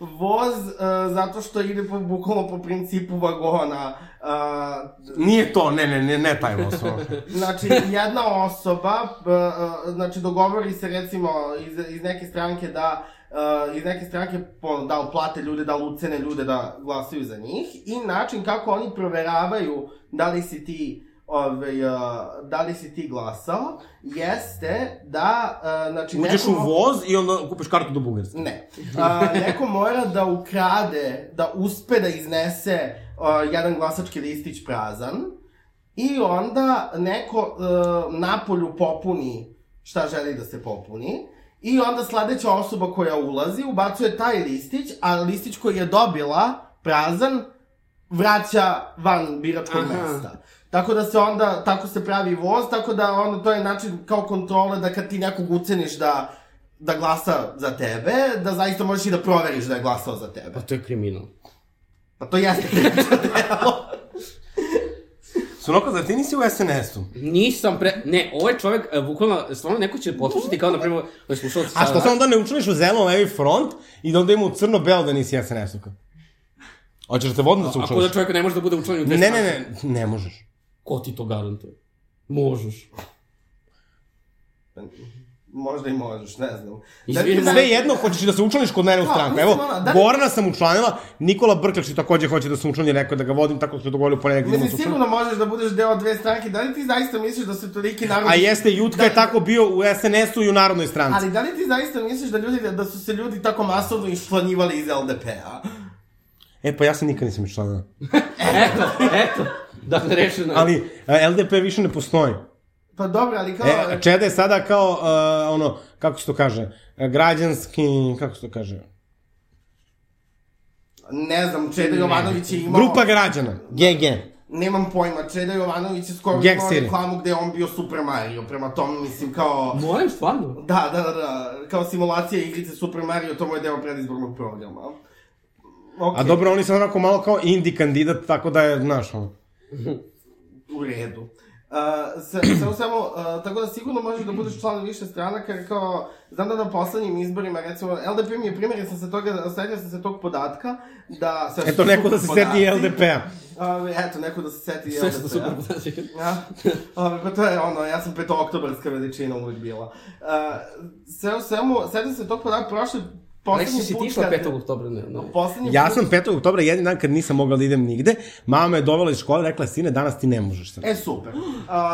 S4: Voz eh, zato što ide po, bukvalno po principu vagona. eh,
S3: Nije to, ne, ne, ne, ne taj voz. Sonoka.
S4: Znači, jedna osoba, b, e, znači, dogovori se recimo iz, iz neke stranke da e, iz neke stranke po, da uplate ljude, da ucene ljude da glasaju za njih i način kako oni proveravaju da li si ti ove, da li si ti glasao jeste da e, znači
S3: Uđeš u
S4: neko-
S3: voz i onda kupiš kartu do Bugarske.
S4: Ne. A, neko mora da ukrade, da uspe da iznese a, jedan glasački listić prazan i onda neko a, napolju popuni šta želi da se popuni i onda sledeća osoba koja ulazi ubacuje taj listić, a listić koji je dobila prazan vraća van biračkog
S5: Aha.
S4: mesta. Tako da se onda, tako se pravi voz, tako da ono, to je način kao kontrole da kad ti nekog uceniš da, da glasa za tebe, da zaista možeš i da proveriš da je glasao za tebe.
S5: Pa to je kriminal.
S4: Pa to jeste krivično delo.
S3: Sonoka, zar ti nisi u SNS-u?
S5: Nisam pre... Ne, ovaj čovjek, e, bukvalno, stvarno neko će potpušiti kao, na primjer, da slušalac...
S3: A što se onda ne učiniš u zeleno levi front i da onda ima u crno-belo da nisi SNS-ovka? Hoćeš da te vodno da se
S5: Ako da
S3: učiniš?
S5: čovjek ne može da bude učlanjen u dve
S3: Ne, ne,
S5: stranke.
S3: ne, ne možeš.
S5: Ko ti to garantuje? Možeš.
S4: Možda i možeš, ne znam.
S5: Izvini,
S4: Da-
S3: Sve jedno, hoćeš i da se učlaniš kod mene u
S4: Da,
S3: stranku.
S4: mislim,
S3: Evo,
S4: ono, da li-
S3: Gorana sam učlanila, Nikola Brkljač i takođe hoće da se učlani, rekao je da ga vodim, tako smo dogovorili u ponedjeljak da idemo
S4: Mislim,
S3: se učlani.
S4: sigurno možeš da budeš deo dve stranke, da li ti zaista misliš da su toliki narod...
S3: A jeste, Jutka je tako bio u SNS-u i u Narodnoj stranci.
S4: Da. Ali da li ti zaista misliš da ljudi, da su se ljudi tako masovno išlanjivali iz P-a? LDP-a?
S3: E, pa ja se nikad nisam učlanila.
S4: Da.
S5: Eto, eto. Dakle, rešeno. je.
S3: Ali e, LDP više ne postoji.
S4: Pa dobro, ali kao...
S3: E, Čeda je sada kao, uh, ono, kako se to kaže, e, građanski, kako se to kaže,
S4: Ne znam, Čeda Jovanović je imao...
S3: Mm. grupa građana, GG.
S4: Nemam pojma, Čeda Jovanović je skoro
S3: Gag
S4: imao
S3: City.
S4: reklamu gde je on bio Super Mario, prema tom mislim kao...
S5: Molim, stvarno.
S4: Da, da, da, da, kao simulacija igrice Super Mario, to mu je deo predizbornog programa. Okay,
S3: A dobro, oni su onako malo kao indie kandidat, tako da je, znaš, ono.
S4: U redu. Uh, se, samo, samo, uh, tako da sigurno možeš da budeš član više stranaka, jer kao, znam da na poslednjim izborima, recimo, LDP mi je primjer, jer sam se toga, setio sam se tog podatka, da... sve što
S3: Eto,
S4: su
S3: neko da se
S4: podaci-
S3: seti LDP-a.
S4: Ove, eto, neko da se seti
S5: Sve što
S4: LDP-a.
S5: super podaci.
S4: Ja, ove, pa to je ono, ja sam E, petooktobarska veličina uvijek bila. Uh, sve u svemu, sedim se tog podatka, prošle
S5: Aleksa,
S4: poslednji
S5: si ti
S4: put
S5: išla
S4: kad...
S5: 5. oktobra? Ne, no.
S4: Poslednji
S3: Ja
S4: put-
S3: sam 5. oktobra jedan dan kad nisam mogla da idem nigde, mama me dovela iz škole, rekla je, sine, danas ti ne možeš. Sad.
S4: E, super.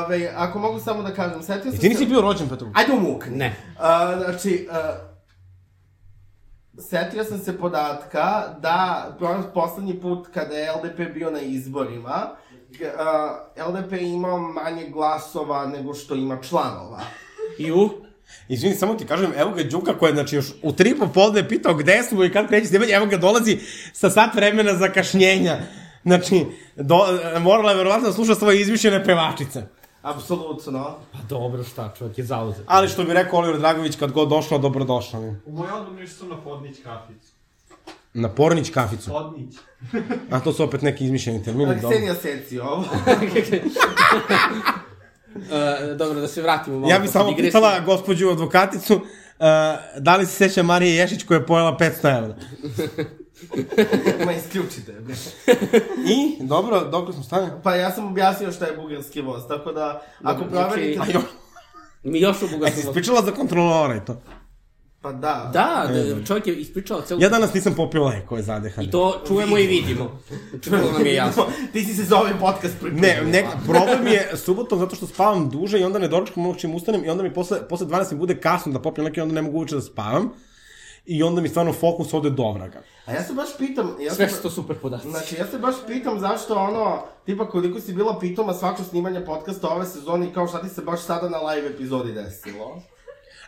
S4: Ove, ako mogu samo da kažem, setio sam
S3: I ti nisi bio rođen 5. oktobra?
S4: Ajde umukni.
S5: Ne.
S4: A, znači, a, setio sam se podatka da pro- poslednji put kada je LDP bio na izborima, g- e, a, LDP je imao manje glasova nego što ima članova.
S5: I u...
S3: Izvini, samo ti kažem, evo ga Đuka koja je, znači, još u tri popolne je pitao gde smo i kad kreće snimanje, evo ga dolazi sa sat vremena zakašnjenja. Znači, do, morala je verovatno da sluša svoje izmišljene pevačice.
S4: Apsolutno.
S5: Pa dobro, šta, čovjek je zauzet.
S3: Ali što bi rekao Oliver Dragović, kad god došao, dobrodošao mi.
S1: U mojoj odnom nešto sam na podnić kaficu.
S3: Na Pornić kaficu.
S1: Podnić.
S3: A to su opet neki izmišljeni termini. dobro.
S4: Ksenija seci ovo.
S5: E, dobro, da se vratimo malo.
S3: Ja bih
S5: posle
S3: samo
S5: digresije.
S3: pitala gospođu advokaticu uh, da li se seća Marije Ješić koja je pojela 500 evra.
S4: Ma isključite. bre.
S3: I, dobro, dok smo stane?
S4: Pa ja sam objasnio šta je bugarski voz, tako da ako
S5: Dobro, znači-
S4: proverite...
S5: Ajde. Mi još u
S3: E, si
S5: Bugarskoj.
S3: ispričala za kontrolora i to.
S4: Pa da.
S5: Da, da, čovjek je ispričao celu...
S3: Ja danas nisam popio lekove zadehane.
S5: I to čujemo i vidimo. Čujemo nam je jasno.
S4: Ti si se za ovaj podcast pripremio.
S3: Ne, ne, problem je subotom zato što spavam duže i onda ne doručkam ono čim ustanem i onda mi posle, posle 12 mi bude kasno da popijem leke i onda ne mogu uveče da spavam. I onda mi stvarno fokus ode do vraga.
S4: A ja se baš pitam... Ja
S5: Sve
S4: se-
S5: su to super podaci.
S4: Znači, ja se baš pitam zašto ono, tipa koliko si bila pitoma svako snimanje podcasta ove sezone i kao šta ti se baš sada na live epizodi desilo.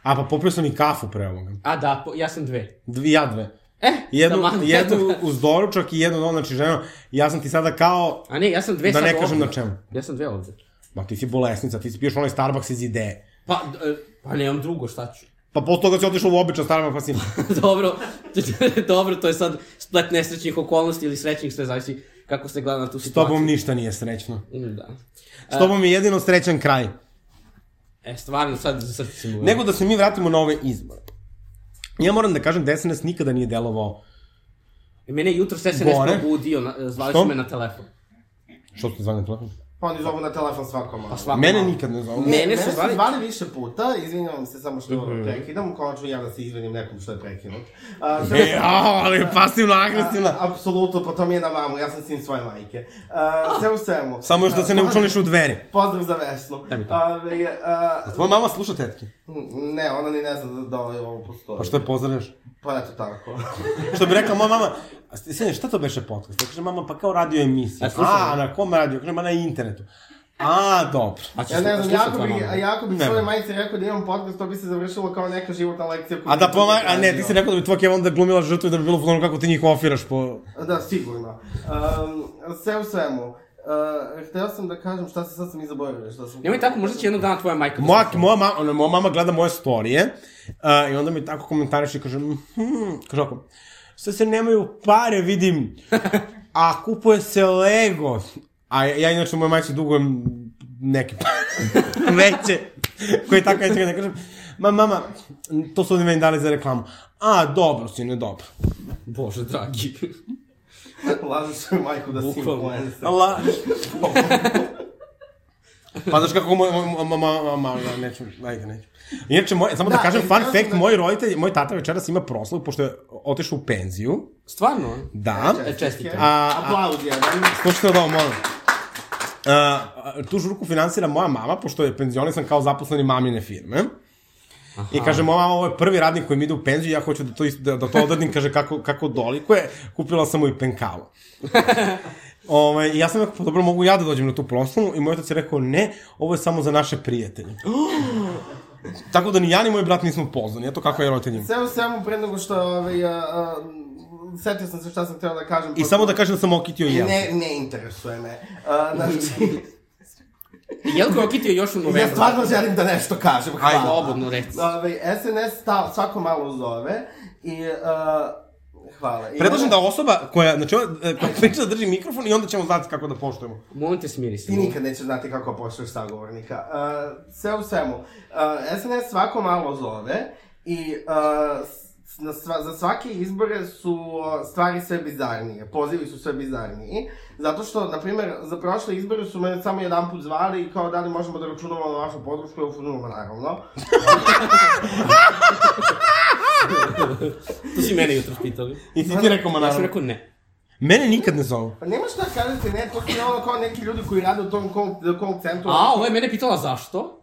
S3: A pa popio sam i kafu pre ovoga.
S5: A da, po, ja sam dve.
S3: Dvi, ja dve.
S5: E,
S3: Jednu,
S5: taman,
S3: jednu
S5: eto.
S3: uz doručak i jednu, ono, znači, ženo, ja sam ti sada kao
S5: A ne, ja sam dve
S3: Da
S5: E, sad
S3: ne kažem
S5: ovde.
S3: na čemu.
S5: Ja sam dve ovde.
S3: Ma ti si bolesnica, ti si piješ onaj Starbucks iz ideje.
S5: Pa, e, pa nemam drugo, šta ću?
S3: Pa posle toga si otišao u običan Starbucks pa si...
S5: dobro, dobro, to je sad splet nesrećnih okolnosti ili srećnih, sve zavisi kako se gleda na tu
S3: S
S5: situaciju.
S3: tobom ništa nije srećno.
S5: Mm, Da.
S3: S tobom je jedino srećan kraj.
S5: E, stvarno, sad za srce sam
S3: Nego da se mi vratimo na ove izbore. Ja moram da kažem da SNS nikada nije delovao...
S5: E, Mene je jutro sve se
S3: Bore?
S5: nešto budio, na, zvali
S3: Što?
S5: su me na telefon.
S3: Što ste zvali na telefon?
S4: Pa oni zovu na telefon svako malo.
S5: Svako
S3: Mene
S5: malo.
S3: nikad ne zovu.
S5: Ne. Pa Mene su
S4: su
S5: zvali- Mhm.
S4: zvali... više puta, izvinjavam se samo što prekidam, konačno ja da se izvinim nekom što je prekinut. A, sve-
S3: E, a, ali je pasivno, agresivna.
S4: A, apsolutno, pa to mi je na mamu, ja sam sin svoje majke. A, sve u svemu. E,
S3: Samo još da se ne učlaniš u dveri.
S4: Pozdrav za Vesnu.
S5: mi to.
S4: Ove, a,
S3: Tvoja mama sluša tetke.
S4: ne, ona ni ne zna da, da ovo postoji.
S3: Pa što je pozdravljaš?
S4: Pa eto tako.
S3: Što bi rekla moja mama, a ste- sine, šta to beše podcast? Ja kažem, mama, pa kao radio emisija.
S5: A, slušam.
S3: A, na kom radio? Kažem, ma na internetu. A, dobro.
S5: A ćeš
S4: Ja ne znam,
S5: slušat
S4: jako
S5: tvoja
S4: bi,
S5: mama?
S4: a jako bi
S3: Ne.
S4: svoje majice rekao da imam podcast, to bi se završilo kao neka životna lekcija. koju
S3: A da
S4: nisam
S3: poma... A ne, ti
S4: radio.
S3: si rekao da bi tvoj Kevin onda glumila žrtvu i da bi bilo ono kako ti njih ofiraš po...
S4: Da, sigurno. Um, sve u svemu. Uh, hteo sam da kažem šta se sad sam i zaboravio šta sam...
S5: Nemoj tako, možda će jednog dana tvoja majka...
S3: Moja, moja, mama, ona, moja mama gleda moje storije uh, i onda mi tako komentariš i kaže, hmm, kaže ovako, sve se nemaju pare, vidim, a kupuje se Lego. A ja, ja inače moje majci dugujem neke pare, veće, koje tako ja ne kažem, ma mama, to su oni meni dali za reklamu. A, dobro, sine, dobro.
S5: Bože, dragi.
S4: Lažeš svoju majku da si
S5: Bukvalno.
S4: influencer.
S3: Allah. pa znaš kako moj, moj, moj, moj, moj, moj, ja neću, ajde, neću. Inače, moj, samo da,
S4: Da,
S3: kažem
S4: e,
S3: fun
S4: ja sam
S3: fact,
S4: da-
S3: moj roditelj, moj tata večeras ima proslavu, pošto je otišao u penziju.
S5: Stvarno?
S3: Da.
S5: E, čestite.
S3: A- a-
S4: Aplauz jedan.
S3: Slušajte ovo, molim. Uh, tu žurku finansira moja mama, pošto je penzionisan kao zaposleni mamine firme. Aha. I kaže, moja mama, ovo je prvi radnik koji mi ide u penziju, ja hoću da to, ist- da, da to odradim, kaže, kako, kako dolikuje, kupila sam mu i penkalu. Ove, i ja sam rekao, pa dobro, mogu ja da dođem na tu proslavu i moj otac je rekao, ne, ovo je samo za naše prijatelje. Tako da ni ja ni moj brat nismo pozvani, eto kako je roditelj ima.
S4: Sve u svemu, pre nego što... Ovaj, a, a, setio sam se šta sam hteo da kažem.
S3: I samo da kažem da sam okitio i jel.
S4: Ne, ne interesuje me. Uh, znači,
S5: Jelko je okitio još u novembru.
S4: ja stvarno želim da nešto kažem. Hvala. Ovaj,
S5: Ajde, slobodno reci.
S4: Ove, SNS stav, svako malo zove i... Uh, hvala. I
S3: Predlažem
S4: onda-
S3: da osoba koja, znači, ova, e, koja priča da drži mikrofon i onda ćemo znati kako da poštujemo.
S5: Molim te, smiri se.
S4: Ti nikad nećeš znati kako pošleš sagovornika. Uh, sve u svemu. Uh, SNS svako malo zove i uh, s- na sva, za svake izbore su uh, stvari sve bizarnije. Pozivi su sve bizarniji. Zato što, na primer, za prošle izbore su me samo jedan put zvali i kao da li možemo da računamo na vašu podršku, ja ufunujemo naravno.
S5: To si mene jutro pitali.
S3: I ti ti rekao
S5: Ja sam
S3: Manaru.
S5: rekao ne.
S3: Mene nikad ne zovu.
S4: Pa nema šta kažete, ne, to su ne ono kao neki ljudi koji rade u tom call, call centru.
S5: A, ovo je mene pitala zašto?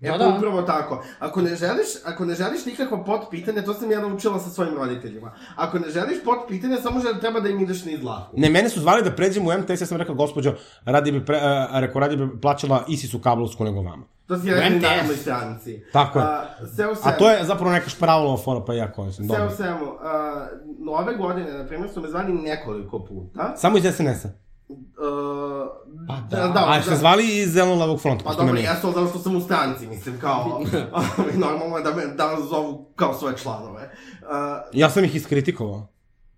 S4: Evo,
S5: da.
S4: E, pa upravo tako. Ako ne želiš, ako ne želiš nikakva potpitanja, to sam ja naučila sa svojim roditeljima. Ako ne želiš potpitanja, samo že treba da im ideš niz dlaku.
S3: Ne, mene su zvali da pređem u MTS, ja sam rekao, gospođo, radi bi, pre, a, rekao, radi bi plaćala Isisu kablovsku nego vama.
S4: To si rekli
S5: MTS.
S4: narodnoj stranci.
S3: Tako je.
S4: A, sve u svemu.
S3: A to je zapravo neka špravlova fora, pa ja koristim.
S4: Sve u
S3: Dobro.
S4: svemu. A, ove godine, na primjer, su me zvali nekoliko puta.
S3: Samo iz SNS-a.
S4: A,
S5: Pa da.
S3: A što zvali iz Zeleno-Lavog fronta.
S4: Pa
S3: pošto me
S4: dobro,
S3: nije.
S4: jesu, ali zato što sam u stranci, mislim, kao, ovaj, normalno je da me danas zovu kao svoje članove. A,
S3: Ja sam ih iskritikovao.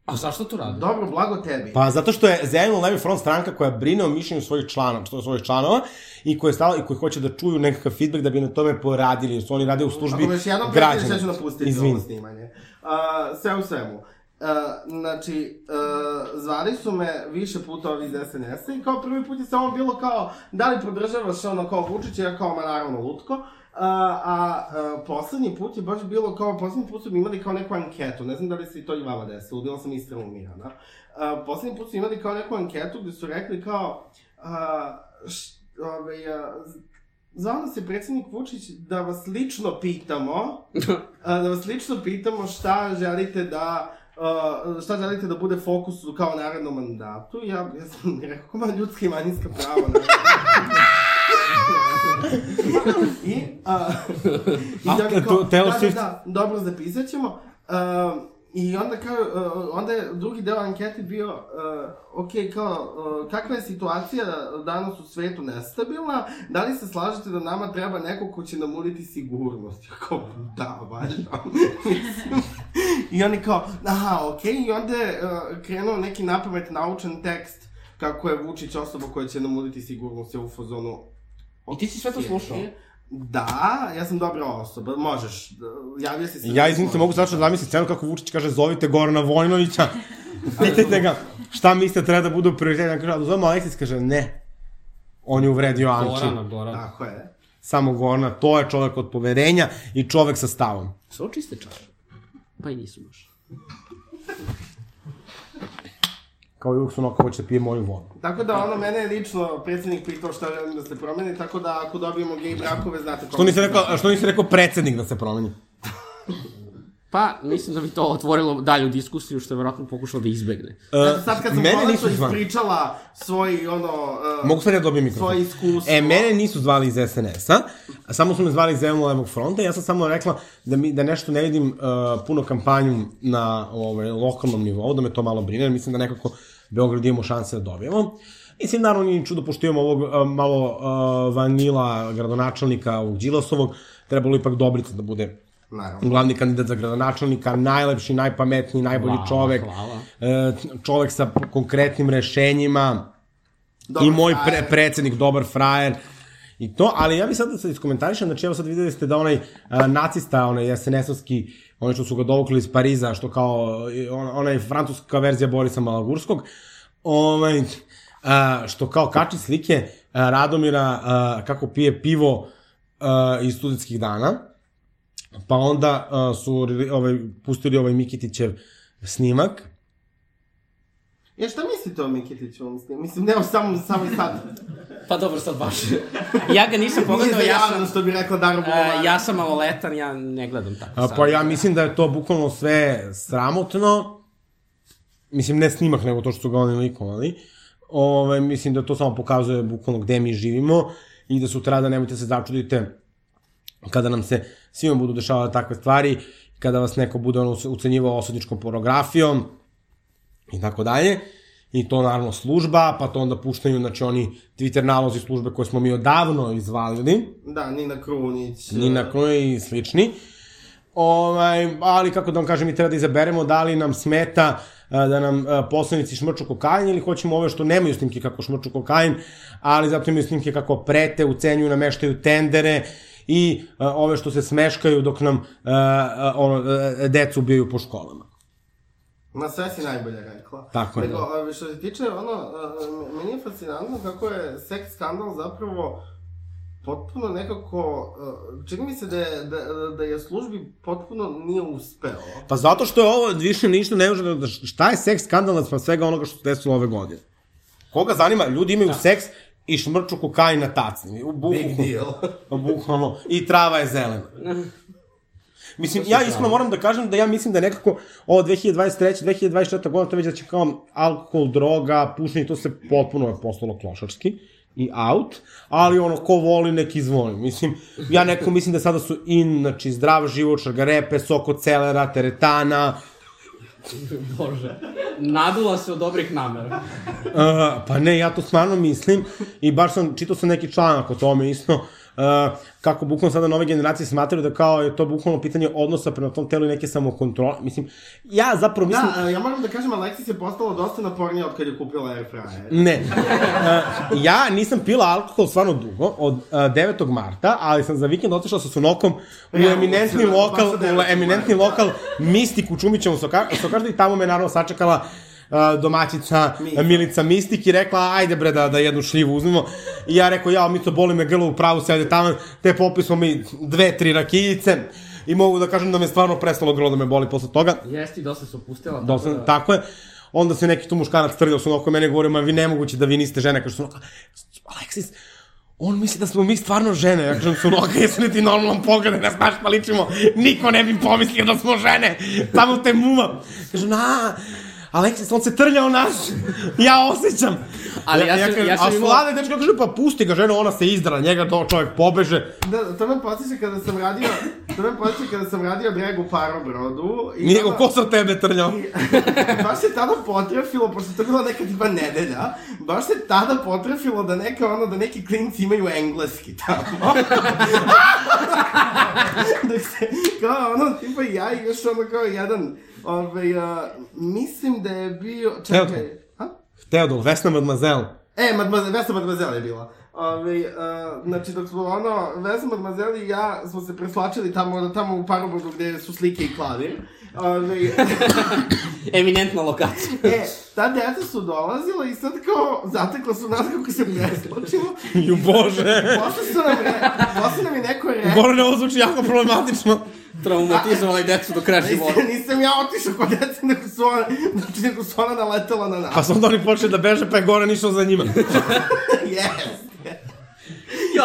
S5: A zašto to radi?
S4: dobro, blago tebi.
S3: Pa zato što je Zeleno Levi Front stranka koja brine o mišljenju svojih člana, što- svojih članova i koje stalo i koji hoće da čuju nekakav feedback da bi na tome poradili, jer su oni rade u službi
S4: Ako me još jednom prekineš, ja ću da
S3: građana.
S4: napustiti
S3: Izvini.
S4: ovo snimanje. A, sve u svemu. Uh, znači, uh, zvali su me više puta ovi iz SNS-a i kao prvi put je samo bilo kao da li podržavaš ono kao Vučića, ja kao ma naravno lutko. a, a, a poslednji put je baš bilo kao, poslednji put su mi imali kao neku anketu, ne znam da li se i to i vama desilo, bila sam iskreno umirana. A, poslednji put su imali kao neku anketu gde su rekli kao, a, š, ovaj, a, z- zvao nas je predsednik Vučić da vas lično pitamo, a, da vas lično pitamo šta želite da Uh, šta želite da bude fokus u kao narednom mandatu? Ja, ja sam rekao, ma ljudska i manjinska prava. naravno. I, uh, i
S3: A,
S4: ja bih kao,
S3: to- Taylor
S4: da, da,
S3: Swift?
S4: da, dobro, zapisat ćemo. Uh, I onda kao, uh, onda je drugi deo ankete bio, uh, ok, kao, uh, kakva je situacija danas u svetu nestabilna, da li se slažete da nama treba neko ko će nam uliti sigurnost? Ja kao, da, valjda. Mislim. I oni kao, aha, okej, i onda je uh, krenuo neki napamet naučen tekst kako je Vučić osoba koja će nam uliti sigurnost je u fazonu,
S5: I ti si sve to slušao?
S4: Da, ja sam dobra osoba, možeš, da, javio si se.
S3: Ja izvinite, mogu zašto da zamislim scenu kako Vučić kaže zovite Gorana Vojnovića, pitajte ga šta mislite treba da budu prioriteti, ja kaže, zovemo Aleksis, kaže ne, on je uvredio
S5: Gorana,
S3: Anči,
S5: Gorana.
S4: Tako je.
S3: samo Gorana, to je čovek od poverenja i čovek sa stavom.
S5: Sve čiste čaše. Pa i nisu baš.
S3: Kao i uvijek su onako hoće da pije moju vodu.
S4: Tako da, ono, mene je lično predsednik pitao šta želim da se promeni, tako da ako dobijemo gej brakove, znate
S3: Što
S4: kako...
S3: nisi rekao, što nisi rekao predsednik da se promeni?
S5: Pa, mislim da bi to otvorilo dalju diskusiju, što je verovatno pokušao da izbegne.
S4: Zato sad kad sam
S3: e, mene
S4: konačno
S3: nisu zvali.
S4: ispričala svoj, ono... Uh,
S3: Mogu sad ja da dobijem mikrofon?
S4: Svoje iskustvo.
S3: E, mene nisu zvali iz SNS-a, a samo su me zvali iz Zeleno-levog fronta. Ja sam samo rekla da, mi, da nešto ne vidim uh, puno kampanju na ovaj, lokalnom nivou, da me to malo brine, jer mislim da nekako Beograd imamo šanse da dobijemo. Mislim, naravno, nije čudo, pošto imamo ovog uh, malo uh, vanila gradonačelnika, ovog Đilasovog, trebalo ipak Dobrica da bude
S4: Naravno.
S3: glavni kandidat za gradonačelnika, najlepši, najpametniji, najbolji
S5: Hvala,
S3: čovek,
S5: hvala.
S3: e, čovek sa p- konkretnim rešenjima,
S4: Dobar
S3: i moj pre,
S4: frajer.
S3: predsednik, dobar frajer, i to, ali ja bih sad da se iskomentarišem, znači evo sad videli ste da onaj a, nacista, onaj SNS-ovski, onaj što su ga dovukli iz Pariza, što kao, e, on, onaj francuska verzija Borisa Malagurskog, onaj, a, što kao kači slike a, Radomira a, kako pije pivo a, iz studijskih dana, Pa onda uh, su re- ovaj, pustili ovaj Mikitićev snimak.
S4: Ja, šta mislite o Mikitiću? Mislim, mislim, ne o samom, samo i sad.
S5: Pa dobro, sad baš. ja ga nisam
S4: Nije
S5: pogledao,
S4: za
S5: ja
S4: javno,
S5: sam...
S4: što bi rekla Dara Bulovara.
S5: Uh, ja sam maloletan, ja ne gledam tako
S3: A,
S5: sad.
S3: pa ja mislim da je to bukvalno sve sramotno. Mislim, ne snimak, nego to što su ga oni likovali. Ove, mislim da to samo pokazuje bukvalno gde mi živimo i da sutrada nemojte se začudite kada nam se svima budu dešavale takve stvari, kada vas neko bude ono ucenjivao osudničkom pornografijom, i tako dalje. I to naravno služba, pa to onda puštaju, znači oni Twitter nalozi službe koje smo mi odavno izvalili,
S4: Da, Nina Krunić.
S3: Nina Kruje i slični. Ovaj, ali kako da vam kažem, mi treba da izaberemo da li nam smeta a, da nam a, poslanici šmrču kokain ili hoćemo ove što nemaju snimke kako šmrču kokain, ali zato imaju snimke kako prete, ucenjuju, nameštaju tendere i a, ove što se smeškaju dok nam a, a, ono, a, decu ubijaju po školama.
S4: Na sve si najbolje rekla.
S3: Tako je,
S4: Nego,
S3: da.
S4: a, što se tiče, ono, a, meni je fascinantno kako je seks skandal zapravo potpuno nekako, uh, čini mi se da je, da, da je službi potpuno nije uspeo.
S3: Pa zato što je ovo više ništa ne može da- da... Šta je seks skandal naspram svega onoga što se desilo ove godine? Koga zanima? Ljudi imaju da. seks i šmrču kokain na tacni. U buku.
S4: Big deal.
S3: Bukvalno. I trava je zelena. Mislim, ja iskreno moram da kažem da ja mislim da nekako ovo 2023. 2024. godina to već da će kao alkohol, droga, pušenje, to se potpuno je postalo klošarski i out, ali ono, ko voli, nek izvoli. Mislim, ja nekako mislim da sada su in, znači, zdrav život, šargarepe, soko celera, teretana,
S5: Bože. Nadula se od dobrih namera.
S3: Uh, pa ne, ja to stvarno mislim i baš sam, čitao sam neki članak o tome isto, uh, kako bukvalno sada nove generacije smatraju da kao je to bukvalno pitanje odnosa prema tom telu i neke samokontrole. Mislim, ja zapravo mislim...
S4: Da, a, ja moram da kažem, Alexis je postala dosta napornija od kad je kupila air fryer.
S3: Ne. Uh, ja nisam pila alkohol stvarno dugo, od uh, 9. marta, ali sam za vikend otišao sa Sunokom u
S4: Ja,
S3: eminentni
S4: uopće, da,
S3: lokal,
S4: baš sa 9.
S3: u eminentni
S4: marta.
S3: lokal Mistik u Čumićevom soka, sokaždu i tamo me naravno sačekala uh, domaćica uh, Milica Mistik i rekla ajde bre da, da jednu šljivu uzmemo i ja rekao ja mi to boli me grlo u pravu sede tamo te popismo mi dve tri rakijice i mogu da kažem da me stvarno prestalo grlo da me boli posle toga
S5: Jesti, dosta se opustila.
S3: Da, sam, tako je. Onda se neki tu muškarac trljao su oko mene i govorio, ma vi nemoguće da vi niste žene. Kaže Sunoka, Aleksis, on misli da smo mi stvarno žene. Ja kažem, Sunoka, jesi li ti normalan pogled, nas baš pa ličimo, niko ne bi pomislio da smo žene. Tamo te muma. Kaže, na, Aleksis, on se trljao nas, ja osjećam.
S5: Ali ja sam-
S3: kažem,
S5: ja sam
S3: a
S5: imao-
S3: slada je dečka, kaže, pa pusti ga, žena, ona se izdra, njega to čovjek pobeže.
S4: Da, to me posjeća kada sam radio, to me posjeća kada sam radio drag u Parobrodu. I
S3: Nije,
S4: tada-
S3: ko sam tebe trljao?
S4: baš se tada potrefilo, pošto je to bila neka tipa nedelja, baš se tada potrefilo da neka ono, da neki klinci imaju engleski tamo. Dok se, kao ono, tipa ja i još ono kao jedan, ovaj, a, mislim da je bio, čekaj,
S3: Teodor.
S4: a?
S3: Teodol, Vesna Mademoiselle.
S4: E, Madmaze, Vesa Madmazela je bila. Ove, uh, znači, dok smo ono, Vesa Madmazela i ja smo se preslačili tamo, tamo u Parobogu gde su slike i klavir. Ovaj, Ove,
S5: Eminentna lokacija.
S4: E, ta deca su dolazila i sad kao, zatekla su nas kako se preslačimo.
S3: Ju bože.
S4: Posle su nam, re, posle nam je neko rekao,
S3: Gorane, ovo zvuči jako problematično.
S5: Traumatizovala i decu do kraja života.
S4: nisam, nisam ja otišao kod dece, nego su ona, znači, nego su ona naletela na nas.
S3: Pa su onda oni počeli da beže, pa je Goran išao za njima.
S4: Yes.
S5: Jo,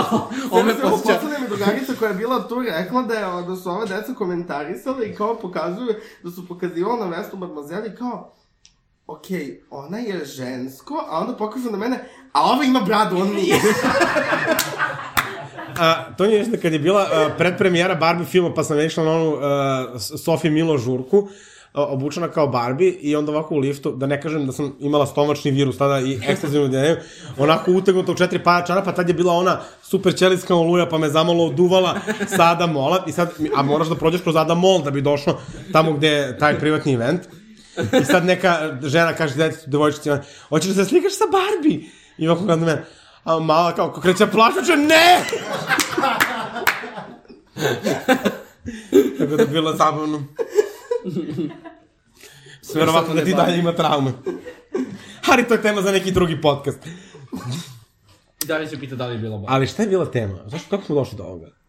S5: ovo me
S4: Ome
S5: posjeća.
S4: Poslala mi drugarica koja je bila tu rekla da, je, da su ova deca komentarisala i kao pokazuju, da su pokazivala na vestu Mademoiselle i kao, ok, ona je žensko, a onda pokažu na mene, a ova ima bradu, on nije.
S3: A, to mi je nešto kad je bila a, predpremijera Barbie filma, pa sam išla na onu a, Sofi Milo žurku, a, obučena kao Barbie i onda ovako u liftu, da ne kažem da sam imala stomačni virus tada i ekstazivnu dijaneju, onako utegnuta u četiri para čarapa, tad je bila ona super ćelijska oluja, pa me zamalo oduvala sa Adam Mola, i sad, a moraš da prođeš kroz Adam Mol da bi došao tamo gde je taj privatni event. I sad neka žena kaže detetu, devojčici, ona, hoćeš da se slikaš sa Barbie? I ovako gleda na mene, a mala kao ko kreće plašuće, ne! Tako da je bilo zabavno. Verovatno da ti dalje ima traume. Ali to je tema za neki drugi podcast.
S5: I dalje će pita da li je bilo bolje.
S3: Ali šta je bila tema? Zašto, kako smo došli do ovoga?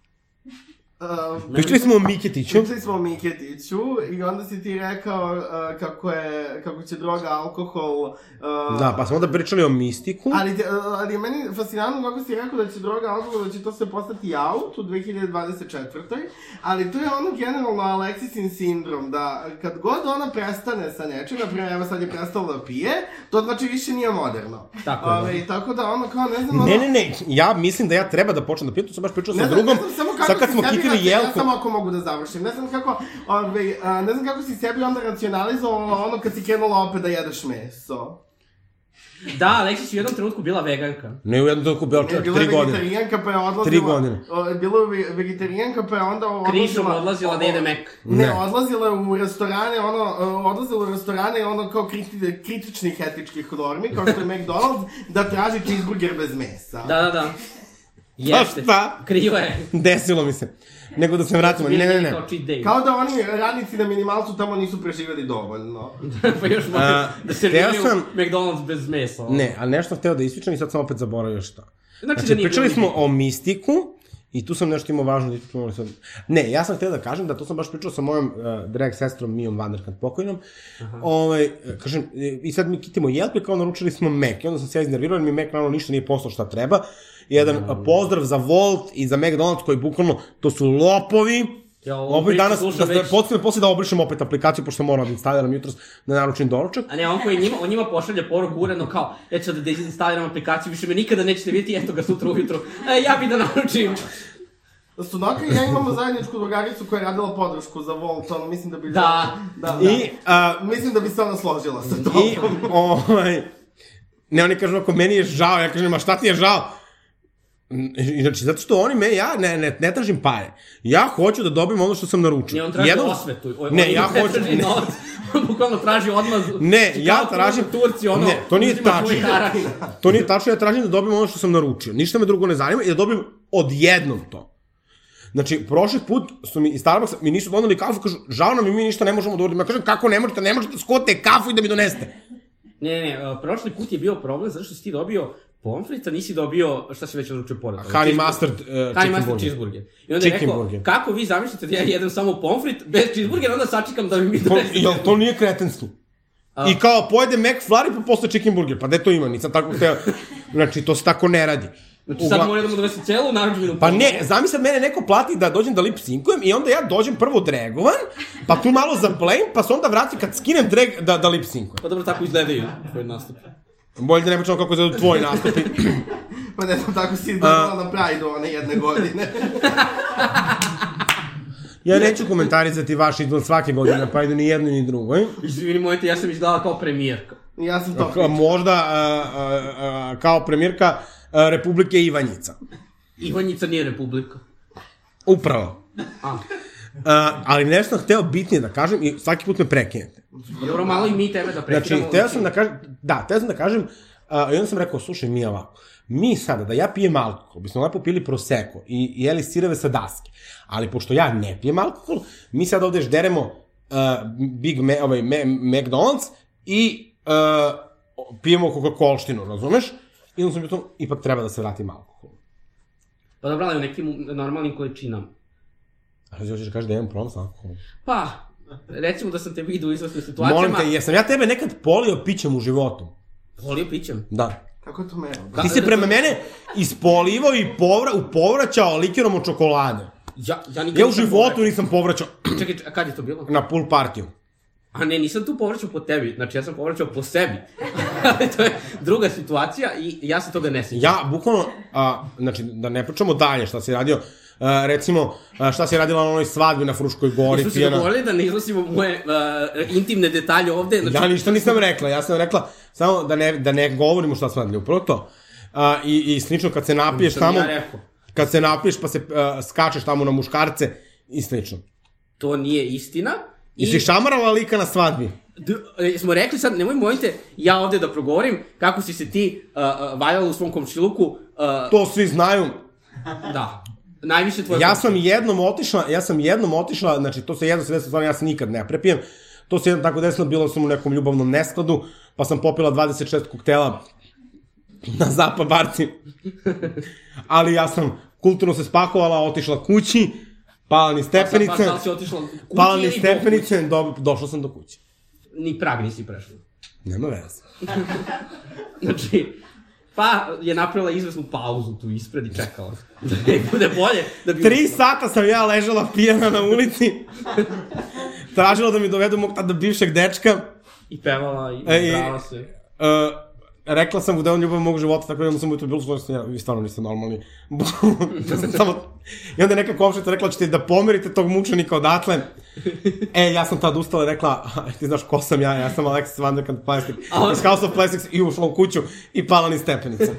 S4: Um,
S3: Pričali smo o Miketiću.
S4: Pričali smo o Miketiću i onda si ti rekao uh, kako, je, kako će droga, alkohol... Uh,
S3: Da, pa smo onda pričali o Mistiku.
S4: Ali, te- uh, ali je meni fascinantno kako si rekao da će droga, alkohol, da će to sve postati out u 2024. Ali to je ono generalno Alexisin sindrom, da kad god ona prestane sa nečim, na primjer, evo sad je prestala da pije, to znači više nije moderno.
S5: Tako je, da.
S4: Ove, tako da ono kao, ne znam, ono...
S3: Ne, ne, ne, ja mislim da ja treba da počnem da pijem, to sam baš pričao sa
S4: Ne znam,
S3: drugom.
S4: ne znam samo kako
S3: Sad kad
S4: si
S3: smo
S4: sebi
S3: kitili
S4: raci- Ja
S3: jelku,
S4: samo ako mogu da završim. Ne znam kako, ove, a, ne znam kako si sebi onda racionalizovala ono kad si krenula opet da jedeš meso.
S5: Da, Aleksić je u jednom trenutku bila veganka.
S3: Ne, u jednom trenutku bila
S4: Je,
S3: čak
S4: bila je
S3: tri godine.
S4: vegetarijanka pa je odlazila...
S3: Tri godine.
S4: O, bila je ve- vegetarijanka pa je onda odlazila...
S5: Krišom odlazila da jede mek.
S4: Ne,
S3: Ne.
S4: odlazila je u restorane, ono, e, odlazila u restorane ono kao kriti, kritičnih etičkih normi, kao što je McDonald's, da traži cheeseburger bez mesa.
S5: Da, da, da.
S3: Pa šta?
S5: Krivo je.
S3: Desilo mi se. Nego da se vratimo. Ne, ne, ne.
S5: Kao cheat day.
S4: Kao da oni radnici na minimalcu tamo nisu preživjeli dovoljno.
S5: pa još može
S3: A,
S5: da se vidio
S3: hteo sam-
S5: McDonald's bez mesa.
S3: Ne, ali nešto sam hteo da ispričam i sad sam opet zaboravio šta.
S5: Ovaj. Znači, da
S3: Znači,
S5: nije
S3: pričali
S5: bilo
S3: smo
S5: nigdje.
S3: o mistiku i tu sam nešto imao važno da ispričamo sad. Ne, ja sam htio da kažem da to sam baš pričao sa mojom uh, drag sestrom Mijom Vanderkant pokojnom. Ovaj, e, kažem, e, i sad mi kitimo jelku i kao naručili smo Mac. I onda sam se ja iznervirao jer mi Mac naravno ništa nije poslao šta treba. Jedan
S5: Mm.
S3: a, pozdrav za Volt i za McDonald's koji bukvalno, to su lopovi.
S5: Ja ovu
S3: Lopovi
S5: priču
S3: danas, da
S5: slušam
S3: ste
S5: već-
S3: postavili posle da obrišem opet aplikaciju, pošto moram da instaliram jutros da naručim doručak.
S5: A ne, on koji njima, on njima pošalje poruku uredno kao, ja ću sad da instaliram aplikaciju, više me nikada nećete vidjeti, eto ga sutra ujutro. E, ja bi da naručim.
S4: Sunoka Da i ja imamo zajedničku drugaricu koja je radila podršku za Volt, ono, mislim da bi...
S5: Da.
S4: da, da.
S3: I a,
S4: Mislim da bi se ona složila sa to.
S3: I, ovaj, ne, oni kažu, ako meni je žao, ja kažem, ma šta ti je žao? N- i- Znači, zato što oni me, ja ne, ne, ne tražim pare. Ja hoću da dobijem ono što sam naručio.
S5: Ne, on traži
S3: Jednom-
S5: osvetu. O,
S3: Ne,
S5: on
S3: ja
S5: ne
S3: hoću-
S5: traži
S3: ne.
S5: Novac. On bukvalno traži odmaz.
S3: Ne,
S5: Kao
S3: ja
S5: to
S3: tražim...
S5: ono Turci, ono,
S3: ne, to nije
S5: uzima tvoj
S3: tačno.
S5: harač.
S3: To nije tačno, ja tražim da dobijem ono što sam naručio. Ništa me drugo ne zanima i da dobijem odjednom to. Znači, prošli put su mi iz Starbucksa, mi nisu doneli kafu, kažu, žao nam je, mi ništa ne možemo da uradimo. Ja kažem, kako ne možete, ne možete, skote kafu i da mi donesete.
S5: Ne, ne, ne, prošli put je bio problem zato što si ti dobio pomfrica, nisi dobio, šta si već naručio pored. toga?
S3: Honey
S5: Cheeseburger.
S3: mustard, uh,
S5: Honey
S3: chicken
S5: mustard
S3: burger.
S5: cheeseburger. I onda je
S3: Chicken
S5: rekao,
S3: burger.
S5: kako vi zamišljate da ja jedem samo pomfrit bez cheeseburgera, onda sačekam da mi mi
S3: To,
S5: donesete.
S3: jel to nije kretenstvo? I kao pojede McFlurry pa posle chicken burger. Pa gde to ima? Nisam tako hteo. Znači, to se tako ne radi.
S5: Znači sad
S3: Ugla-
S5: moram da mu donese celu narudžbinu.
S3: Pa ne, zamisli sad mene neko plati da dođem da lip sinkujem i onda ja dođem prvo dregovan, pa tu malo zablejim, pa se onda vratim kad skinem dreg da, da lip sinkujem.
S5: Pa dobro, tako izgledaju tvoj nastup.
S3: Bolje da ne pričamo kako izgledaju tvoji nastupi.
S4: Pa ne znam, tako si izgledala na Pride-u one jedne godine.
S3: Ja neću komentarizati vaš izgled svake godine, pa idu ni jednoj ni drugoj.
S5: Izvini, mojte, ja sam izgledala kao premijerka.
S4: Ja sam to
S3: Ka- Možda a, a, a, kao premijerka a, Republike Ivanjica.
S5: Ivanjica nije republika.
S3: Upravo.
S5: A,
S3: A, ali nešto sam hteo bitnije da kažem i svaki put me prekinete.
S5: dobro, malo i mi tebe da
S3: Znači,
S5: prekidamo.
S3: teo sam da kažem, da, teo sam da kažem, a, i onda sam rekao, slušaj, mi ovako, mi sada, da ja pijem alkohol, bismo lepo pili proseko i jeli sireve sa daske, ali pošto ja ne pijem alkohol, mi sad ovde žderemo uh, Big Ma, ovaj, Ma, McDonald's i uh, pijemo Coca-Colštinu, razumeš? I onda sam bio to, ipak treba da se vratim alkohol.
S5: Pa dobro, ali u nekim normalnim količinama.
S3: A znači, da kažeš da imam problem sa alkoholom.
S5: Pa, recimo da sam te vidio u izvrsnim situacijama.
S3: Molim te, jesam ja tebe nekad polio pićem u životu?
S5: Volio pićem.
S3: Da.
S4: Kako je to mero?
S3: Ti si prema mene ispolivao i povra, upovraćao likirom od čokolade.
S5: Ja, ja, nikad
S3: Ja u
S5: nisam
S3: životu nisam povraćao
S5: povraćao. Čekaj, čekaj, a kad je to bilo?
S3: na pool partiju.
S5: A ne, nisam tu povraćao po tebi, znači ja sam povraćao po sebi. Ali to je druga situacija i ja se toga ne sjećam.
S3: Ja, bukvalno, a, znači, da ne pričamo dalje šta si radio, a, recimo, a, šta si radila na onoj svadbi na Fruškoj gori,
S5: Nisu se
S3: pijena.
S5: dogovorili da ne iznosimo moje uh, intimne detalje ovde, znači
S3: Ja ništa nisam rekla, ja sam rekla samo da ne, da ne govorimo šta smo radili, upravo to. A, i, I slično, kad se napiješ
S5: Nisam
S3: tamo,
S5: ja rekao.
S3: kad se napiješ pa se a, skačeš tamo na muškarce i slično.
S5: to nije istina.
S3: I, si šamarala lika na svadbi.
S5: D- e, smo rekli sad, nemoj mojte ja ovde da progovorim kako si se ti uh, uh, valjala u svom komšiluku. Uh,
S3: To svi znaju,
S5: da. Najviše tvoje...
S3: Ja sam jednom otišla, ja sam jednom otišla, znači to se jedno se desilo, stvarno ja se nikad ne prepijem. To se jednom tako desilo, bilo sam u nekom ljubavnom neskladu, pa sam popila 26 koktela na zapa barci. Ali ja sam kulturno se spakovala, otišla kući, pala ni
S5: stepenice.
S3: stepenice,
S5: Da li si otišla kući
S3: pala ni
S5: ili po kući?
S3: stepenice, do, došla sam do kuće.
S5: Ni prag nisi prešla.
S3: Nema veze.
S5: Znači, pa je napravila izvesnu pauzu tu ispred i čekala. Da je bude bolje. Da bi...
S3: Tri sata sam ja ležala pijana na ulici, tražila da mi dovedu mog tada bivšeg dečka,
S5: I pevala i
S3: E, i-
S5: e, brala se.
S3: Uh, rekla sam mu da je on ljubav mog života, tako da onda sam mu to bilo složio, sam ja, vi stvarno niste normalni. ja sam samo... I onda je neka komšnica rekla, ćete da pomerite tog mučenika odatle. E, ja sam tad ustala i rekla, "A, ti znaš ko sam ja, ja sam Alexis Vanderkant Plastic,
S5: A on-
S3: iz House of Plastics i ušla u kuću i pala ni stepenice.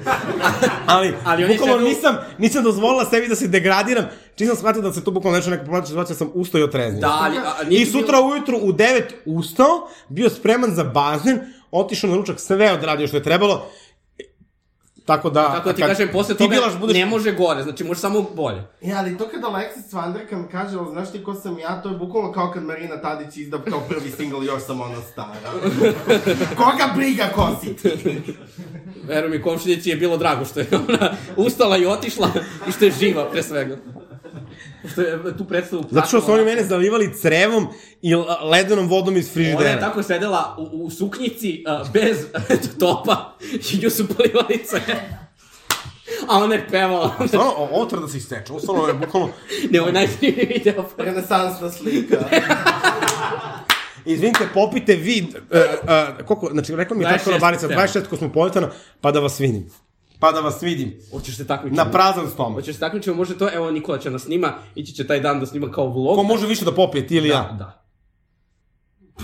S3: Ali,
S5: Ali
S3: Ali
S5: on je
S3: bukvalno
S5: sebe u-
S3: nisam, nisam dozvolila sebi da se degradiram, čim sam shvatio da se tu bukvalno nešto neka problematična situacija, sam ustao i otreznio.
S5: Da, ali... A, a, nije
S3: I
S5: ti bilo-
S3: sutra ujutru u 9 ustao, bio spreman za bazen, otišao na ručak, sve odradio što je trebalo, Tako da...
S5: Kako ti
S3: kad
S5: kažem, posle
S3: ti
S5: toga
S3: bilaš, budeš...
S5: ne može gore, znači može samo bolje.
S4: E, ali to kad Alexis Van Der Kamp kaže, ali znaš ti ko sam ja, to je bukvalno kao kad Marina Tadić izda kao prvi single, još sam ona stara. Koga briga ko si ti?
S5: Veruj mi, komšinici je bilo drago što je ona ustala i otišla i što je živa, pre svega. Što je tu predstavu...
S3: Zato što su oni mene zalivali crevom i l- ledenom vodom iz
S5: Ona je
S3: frižidera.
S5: tako sedela u, u suknjici a, bez topa i nju su polivali sve. A ona je pevala.
S3: Stvarno, o- ovo treba da se isteče. Ovo stvarno je bukvalno...
S5: Ne, ovo je najsnimljiv video.
S4: Renesansna slika.
S3: Izvinite, popite vi... Uh, uh, koliko, znači, rekla mi je tako
S5: 26,
S3: banica,
S5: evo.
S3: 26 kosmopolitana, pa da vas vidim. Pa da vas vidim.
S5: Hoćeš se takmičiti?
S3: Na prazan stomak.
S5: Hoćeš se takmičiti, može to, evo Nikola će nas snima, ići će taj dan da snima kao vlog.
S3: Ko može više da popije, ti ili ja?
S5: Da.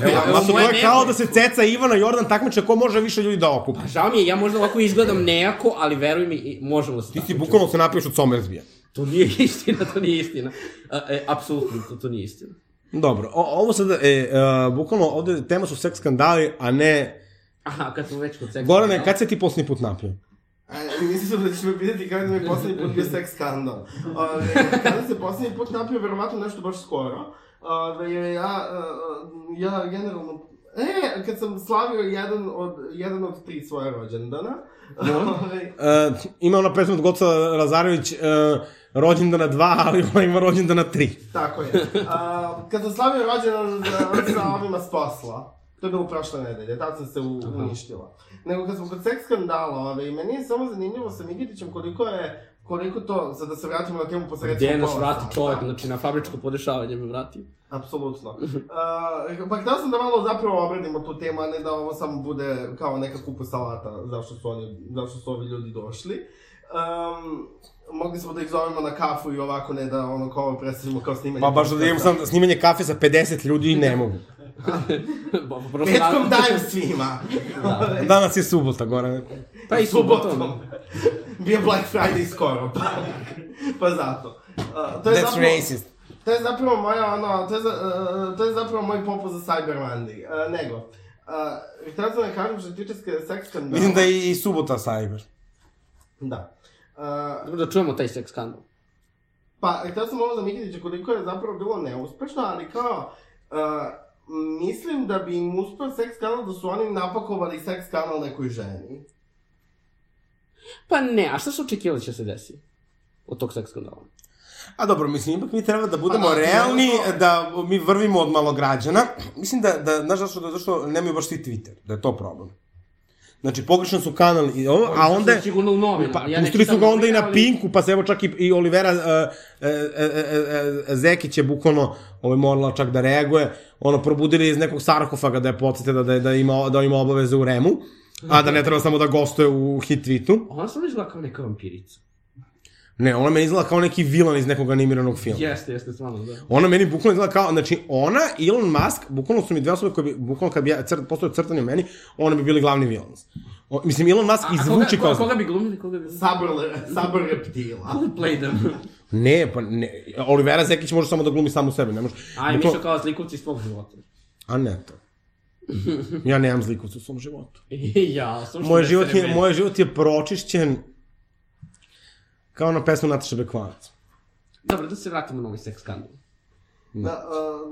S3: Evo,
S5: evo
S3: znači,
S5: moje
S3: to je kao
S5: nebo.
S3: da se ceca Ivana Jordan takmiče ko može više ljudi da okupi.
S5: Žao mi je, ja možda ovako izgledam nejako, ali veruj mi, i- možemo se
S3: Ti si
S5: takmičiti.
S3: bukvalno se napiješ od Somersbija.
S5: To nije istina, to nije istina. A, e, apsolutno, to, to nije istina.
S3: Dobro, o, ovo sada, e, e, bukvalno ovde tema su seks skandali, a ne...
S5: Aha, kad smo već kod seksa.
S3: Gorane, kad se ti posljednji put napio?
S4: E, Mislim da ćeš me pitati kada mi je poslednji put bio seks skandal. Ove, kada se poslednji put napio, verovatno nešto baš skoro. Ove, jer ja, e, ja generalno... E, kad sam slavio jedan od, jedan od tri svoja rođendana, ove,
S3: E, ima ona pesma od Goca Lazarević, e, rođendana 2, ali ona ima rođendana 3.
S4: Tako je. A, kad sam slavio rođendan za- sa ovima s posla, to je bilo prošle nedelje, tad sam se u, uništila. Nego kad smo kod seks skandala, ove, i meni je samo zanimljivo sa Nikitićem koliko je koliko to, sad da se vratimo na temu posredstva.
S5: Gde nas vrati čovjek, znači na fabričko podešavanje me vrati.
S4: Apsolutno.
S5: Mhm.
S4: Uh, pa htio sam da malo zapravo obradimo tu temu, a ne da ovo samo bude kao neka kupa salata zašto su, oni, zašto su ovi ljudi došli. Um, mogli smo da ih zovemo na kafu i ovako ne da ono kao ovo predstavimo kao snimanje.
S3: Pa baš da imam
S4: podcasta.
S3: sam snimanje kafe sa 50 ljudi i ne mogu.
S5: Ba- ba- prosto-
S4: Petkom dajem svima. Da.
S3: Danas je subota, Gorane.
S5: Pa i subotom.
S4: Subotom. Bio Black Friday skoro, pa, pa zato. Uh, to, je
S3: That's
S4: zapravo,
S3: racist.
S4: to je zapravo moja, ono, to je, za, uh, to je zapravo moj popus za Cyber Monday. Uh, nego, uh, htio sam da kažem što se tiče ske- seks skandala.
S3: Mislim da je i subota cyber.
S4: Da. Uh,
S5: Da čujemo taj seks skandal.
S4: pa, htio sam ovo za Mikitića koliko je zapravo bilo neuspešno, ali kao, uh, mislim da bi im uspeo seks skandal da su oni napakovali seks skandal nekoj ženi.
S5: Pa ne, a šta su očekivali da će se desi? Od tog seks skandala.
S3: A dobro, mislim, ipak mi treba da budemo
S4: Pa da,
S3: realni,
S4: realno.
S3: da mi vrvimo od malograđana. Mislim da, da znaš zašto, da, zašto nemaju baš svi Twitter, da je to problem. Znači, pogrešan su kanal i ovo, a onda...
S5: Sad su Sigurno u novinu.
S3: Pa, pustili su ga onda i na Pinku, pa se evo čak i, i Olivera uh, uh, uh, Zekić je bukvalno ovaj, morala čak da reaguje, ono, probudili iz nekog sarkofaga da je podsjete da, da, je- da, ima, da ima obaveze u Remu, a da ne treba samo da gostuje u hit tweetu.
S5: Ona sam izgleda kao neka vampirica.
S3: Ne, ona meni izgleda kao neki vilan iz nekog animiranog filma.
S5: Jeste, jeste, stvarno, da.
S3: Ona meni bukvalno izgleda kao, znači ona i Elon Musk, bukvalno su mi dve osobe koje bi, bukvalno kad bi ja crt, postao crtani u meni, ona bi bili glavni vilans. O, mislim, Elon Musk
S5: A- a koga-
S3: izvuče
S5: koga-
S3: kao...
S5: Koga bi glumili, koga bi glumili?
S4: Sabr, sabr reptila.
S5: Play them.
S3: Ne, pa ne, Olivera Zekić može samo da glumi samu sebe, ne može...
S5: Aj,
S3: Bukvalno-
S5: Mišo kao slikovci iz tvog života.
S3: A ne to. Ja nemam zlikovca u svom životu.
S5: ja, da sam
S3: Moj život, je, moj život je pročišćen kao na pesmu Nataša Bekvanac.
S5: Dobro, da se vratimo na ovaj seks skandal.
S4: Da,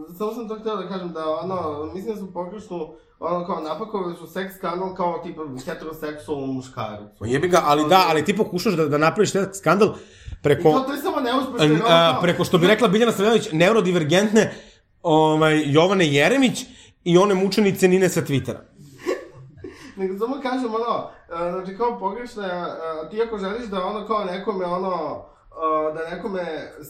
S4: uh, samo sam to htio da kažem da, ono, mislim da su pogrešno, ono, kao napakovali su seks kanal kao, tipa, heteroseksualnu muškaricu.
S3: Ma jebi ga, ali da, ali ti pokušaš da, da napraviš taj skandal
S4: I to,
S3: preko,
S4: to je samo neuspešno, jer
S3: n-
S4: ono,
S3: a,
S4: kao,
S3: preko što bi rekla Biljana Srljanović, neurodivergentne ovaj, Jovane Jeremić i one mučenice Nine sa Twittera.
S4: Nego samo kažem, ono, e, znači kao pogrešno je, e, ti ako želiš da ono kao nekome, ono, e, da nekome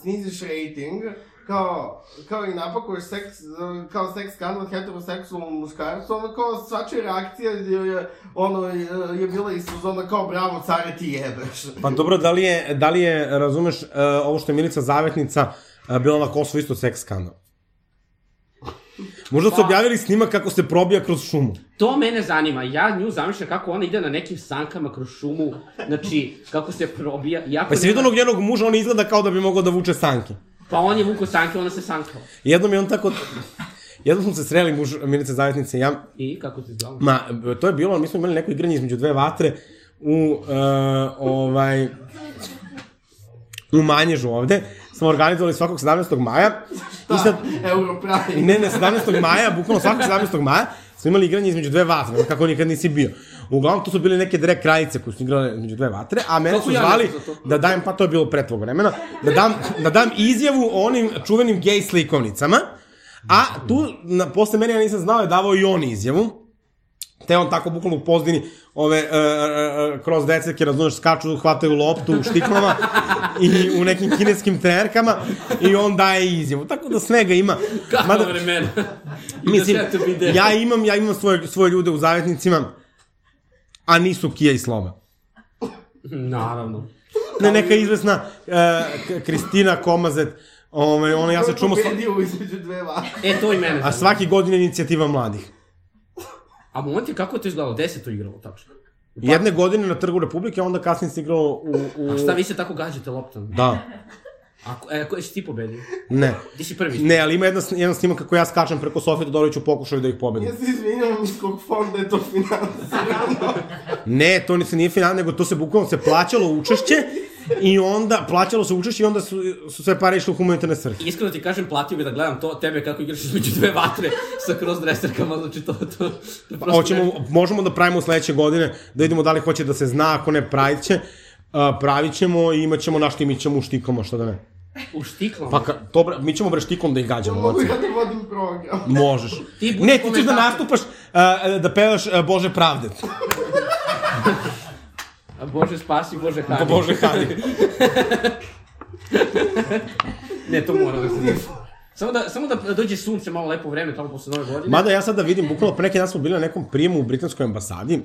S4: sniziš rating, kao, kao i napakuješ seks, e, kao seks skandal heteroseksualnom muškarcu, ono kao svačija reakcija je, je, ono, je, je bila iz sezona kao bravo care ti jebeš.
S3: Pa dobro, da li je, da li je razumeš, e, ovo što je Milica Zavetnica e, bila na Kosovo isto seks skandal? Možda
S4: Pa-
S3: su objavili snimak kako se probija kroz šumu.
S5: To mene zanima, ja nju zamišljam kako ona ide na nekim sankama kroz šumu, znači, kako se probija, jako...
S3: Pa jesi vidio onog njenog muža, on izgleda kao da bi mogao da vuče sanke.
S5: Pa on je vuko sanke, ona se sankala.
S3: Jednom je on tako... Jednom smo se sreli muž Milice Zavetnice i ja.
S5: I kako se zvala?
S3: Ma, to je bilo, mi smo imali neko igranje između dve vatre u, uh, ovaj, u Manježu ovde, smo organizovali svakog 17. maja. I sad,
S4: Europravi.
S3: ne, ne, 17. maja, bukvalno svakog 17. maja, smo imali igranje između dve vatre, ne znam kako nikad nisi bio. Uglavnom, to su bile neke direkt krajice koje su igrale između dve vatre, a mene
S5: Kako
S3: su
S5: ja
S3: zvali
S5: nisam za to?
S3: da dajem, pa to je bilo pre tvog vremena, da dam, da dam izjavu o onim čuvenim gej slikovnicama, a tu, na, posle mene ja nisam znao, je davao i on izjavu, te on tako bukvalno u pozdini ove uh, uh, kroz deceke, razumeš, skaču, hvataju loptu u štiklama i u nekim kineskim trenerkama i on daje izjavu. Tako da svega ima.
S5: Kako
S3: Mada-
S5: vremena.
S3: Mislim,
S5: Ideš, eto, vide.
S3: ja imam, ja imam svoje, svoje ljude u zavetnicima, a nisu Kija i Slova.
S5: Naravno.
S3: Ne, neka izvesna uh, Kristina Komazet, ovaj, ona, ja se čumo... Slo-
S4: Pobedio između dve vatre.
S5: E, to i mene.
S3: a
S5: zanima.
S3: svaki godin je inicijativa mladih.
S5: A Monti, kako je to izgledalo? Gde se to igralo, tačno?
S3: Jedne godine na Trgu Republike, a onda kasnije se igrao u... u...
S5: A šta vi se tako gađate loptom?
S3: Da,
S5: A, ko- e, ko si ti pobedio?
S3: ne.
S5: Ti si prvi.
S3: Ne, ali ima jedna, sn- jedan snimak kako ja skačem preko Sofije Todorovića u pokušaju da ih pobedim.
S4: Ja se izvinjam iz kog fonda je to finansirano.
S3: Ne, to ni se nije final, nego to se bukvalno se plaćalo učešće i onda, plaćalo se učešće i onda su, su sve pare išle u humanitarne svrhe.
S5: Iskreno ti kažem, platio bi da gledam to, tebe kako igraš između dve vatre sa cross dreserkama, znači to, to, to prosto
S3: Pa, Hoćemo,
S5: ne-
S3: možemo da pravimo sledeće godine, da vidimo da li hoće da se zna, ako ne pravit će. Uh, pravit ćemo i imat ćemo naš tim, mi ćemo u štiklama, što da ne.
S5: u štiklama.
S3: Pa ka, to, bre- mi ćemo bre štiklom da ih gađamo.
S4: Mogu
S3: oce.
S4: ja da vodim program.
S3: Možeš.
S5: Ti budi
S3: ne, ti ćeš da
S5: komentator.
S3: nastupaš, uh, da pevaš uh, Bože pravde.
S5: A Bože spasi, Bože hrani.
S3: Pa Bože hadi.
S5: Ne, to mora da se desi. Samo da, samo da dođe sunce malo lepo vreme tamo posle nove godine.
S3: Mada ja sad da vidim, bukvalno pre neki dan smo bili na nekom prijemu u britanskoj ambasadi,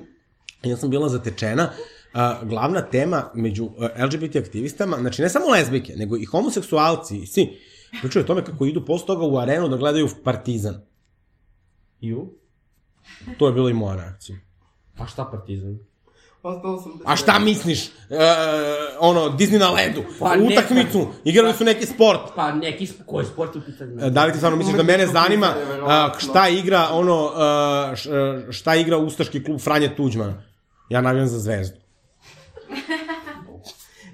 S3: ja sam bila zatečena, Uh, glavna tema među uh, LGBT aktivistama, znači ne samo lezbijke, nego i homoseksualci i svi, pričaju o tome kako idu posle toga u arenu da gledaju Partizan.
S5: Ju?
S3: To je bila i moja reakcija.
S5: Pa šta partizan?
S4: Ostao sam... bez
S3: A šta misliš? E, ono, Disney na ledu,
S5: Pa ne,
S3: utakmicu,
S5: pa-
S3: igrali su neki sport.
S5: Pa neki, sp- koji sport je u pitanju?
S3: E, Da li ti stvarno misliš da mene zanima a, šta igra ono, a, š- a, šta igra Ustaški klub Franje Tuđmana? Ja navijam za zvezdu.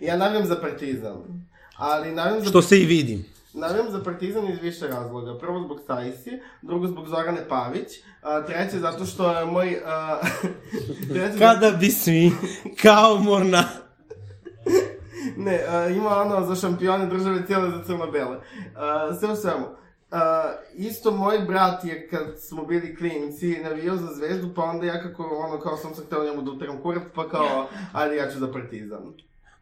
S4: Ja navijam za partizan. Ali navijam za,
S3: Što se i vidim.
S4: navijam za partizan iz više razloga. Prvo zbog Sajsi, drugo zbog Zorane Pavić, a, treće zato što je moj... A, treće
S3: Kada bi svi kao morna...
S4: Ne, a, ima ono za šampione države cijele za crno-bele. A, sve u svemu. A, isto moj brat je kad smo bili klinci navijao za zvezdu, pa onda ja kako ono kao sam se hteo njemu da utrem kurac, pa kao ajde ja ću za partizan.